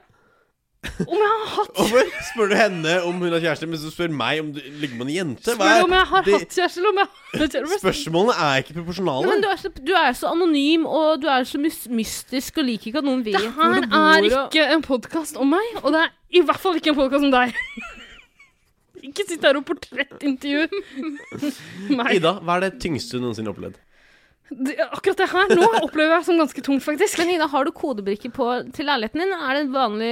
S2: Om jeg har hatt
S1: Hvorfor spør du henne om hun har kjæreste, mens du spør meg om du ligger med en jente? Hva
S2: Spør
S1: er-
S2: om jeg har
S1: det-
S2: hatt kjæreste, eller om jeg har hatt kjæreste.
S1: Spørsmålene er ikke
S3: Ja, men
S1: proporsjonale.
S3: du, er så, du er så anonym, og du er så mys mystisk, og liker ikke at noen vet
S2: Det
S3: hvor
S2: her er
S3: du bor. Og...
S2: ikke en podkast om meg, og det er i hvert fall ikke en podkast om deg. Ikke sitt her og portrettintervju meg.
S1: Ida, hva er det tyngste du noensinne har opplevd?
S2: Det- Akkurat det her nå opplever jeg som ganske tungt, faktisk.
S3: Men Ida, har du kodebrikke på, til leiligheten din? Er det en vanlig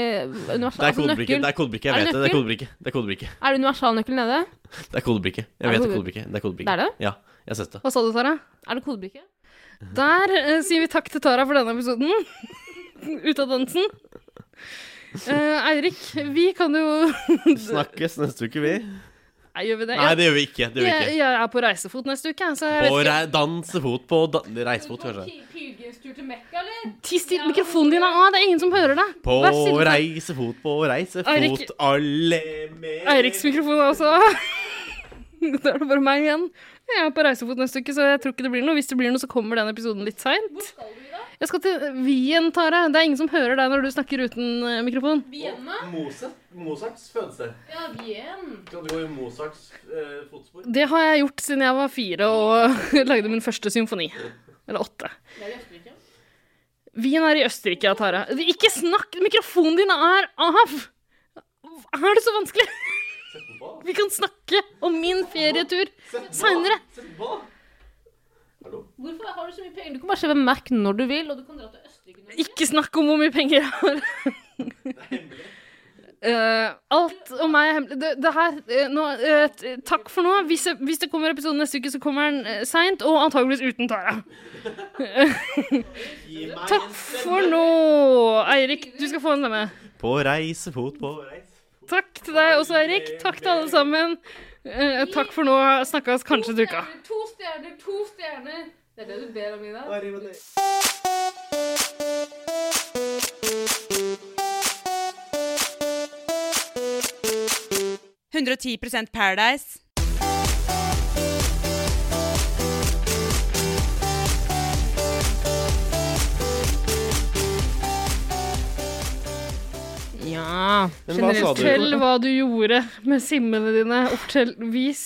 S3: univers-
S1: Det er
S3: altså,
S1: kodebrikke.
S3: nøkkel?
S1: Det er kodebrikke. Jeg
S3: Er
S1: vet
S3: det
S1: det. Det er kodebrikke. Det er kodebrikke.
S3: Er det universalnøkkel nede?
S1: Det er kodebrikke.
S3: Er
S1: Jeg vet
S3: det
S1: det er kodebrikke. Det er kodebrikke.
S3: Det er det?
S1: Ja, jeg har sett det.
S2: Hva sa du, Tara?
S3: Er det kodebrikke?
S2: Der eh, sier vi takk til Tara for denne episoden. Ut av dansen. Eh, Eirik, vi kan jo
S1: Snakkes neste uke, vi.
S2: Nei, gjør vi det?
S1: Nei, det gjør vi ikke. Det gjør vi
S2: jeg,
S1: ikke.
S2: jeg er på reisefot neste uke, så jeg
S1: På
S2: vet ikke.
S1: rei dansefot på da Reisefot, kanskje.
S3: Pilegrimstur til Mekka, eller?
S2: Tiss til mikrofonen din er av, det er ingen som hører deg.
S1: På
S2: Vær stille, Tara.
S1: reisefot, på reisefot,
S2: Eirik-
S1: alle med
S2: Eiriks mikrofon er også Da er det bare meg igjen. Jeg er på reisefot neste uke, så jeg tror ikke det blir noe. Hvis det blir noe, så kommer den episoden litt seint. Jeg skal til Wien, Tara. Det er ingen som hører deg når du snakker uten eh, mikrofon.
S3: Vienna?
S1: Mozarts fødested.
S3: Ja, Vien.
S1: Kan du gå i Mozarts eh, fotspor?
S2: Det har jeg gjort siden jeg var fire og lagde min første symfoni. Eller åtte.
S3: Det er i Østerrike.
S2: Wien er i Østerrike, ja, Tara. Ikke snakk! Mikrofonen din er av! Er det så vanskelig? Vi kan snakke om min ferietur seinere.
S3: Hvorfor har du så mye penger? Du kan bare kjøpe Mac når du vil, og du kan dra til Østerrike når du vil.
S2: Ikke snakk om hvor mye penger jeg har. Eh, alt om meg er hemmelig. Det, det her eh, nå, eh, t- Takk for nå. Hvis, jeg, hvis det kommer episode neste uke, så kommer den uh, seint, og antageligvis uten Tara. takk for nå. Eirik, du skal få en stemme.
S1: På reisefot, på reis...
S2: Takk til deg også, Eirik. Takk til alle sammen. Eh, takk for nå. Snakkes kanskje til uka.
S3: To stjerner, to stjerner. Det er det du ber om, Ida.
S4: Paradise.
S3: Ja.
S1: Men hva sa du?
S2: Fortell hva du gjorde med simmene dine. Og Fortell, vis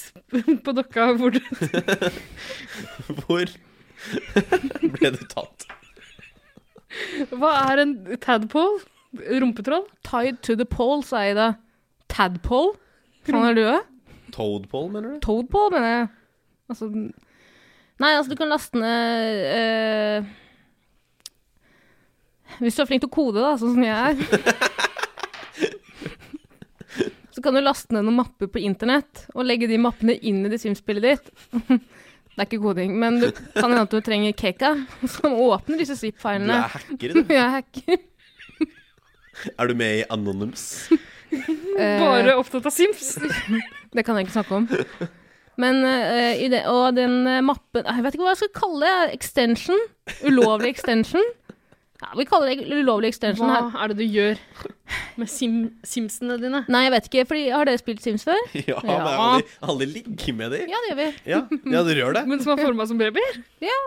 S2: på dokka hvor du
S1: Hvor ble du tatt?
S2: Hva er en tadpole? Rumpetroll?
S3: Tied to the pole, sa Ida. Tadpole? Faen er du òg?
S1: Toadpole, mener du?
S3: Toadpole, mener jeg. Altså Nei, altså, du kan laste ned eh, Hvis du er flink til å kode, da, sånn som jeg er Så kan du laste ned noen mapper på internett og legge de mappene inn i det Sims-spillet ditt. Det er ikke koding, men du kan hende at du trenger Keka, som åpner disse
S1: Du
S3: zip-filene.
S1: er hacker, du.
S3: Jeg hacker.
S1: Er du med i Anonyms?
S3: Eh,
S2: Bare opptatt av Sims.
S3: det kan jeg ikke snakke om. Men, eh, i det, og den eh, mappen Jeg vet ikke hva jeg skal kalle det. Extension. Ulovlig extension. Ja, vi kaller det ulovlig extension her.
S2: Hva er det du gjør med sim Simsene dine?
S3: Nei, jeg vet ikke. Fordi, har dere spilt Sims før?
S1: Ja, men alle, alle ligger med dem.
S3: Ja, det gjør vi.
S1: Ja, ja, du gjør det.
S2: Men som har forma som babyer?
S3: Ja.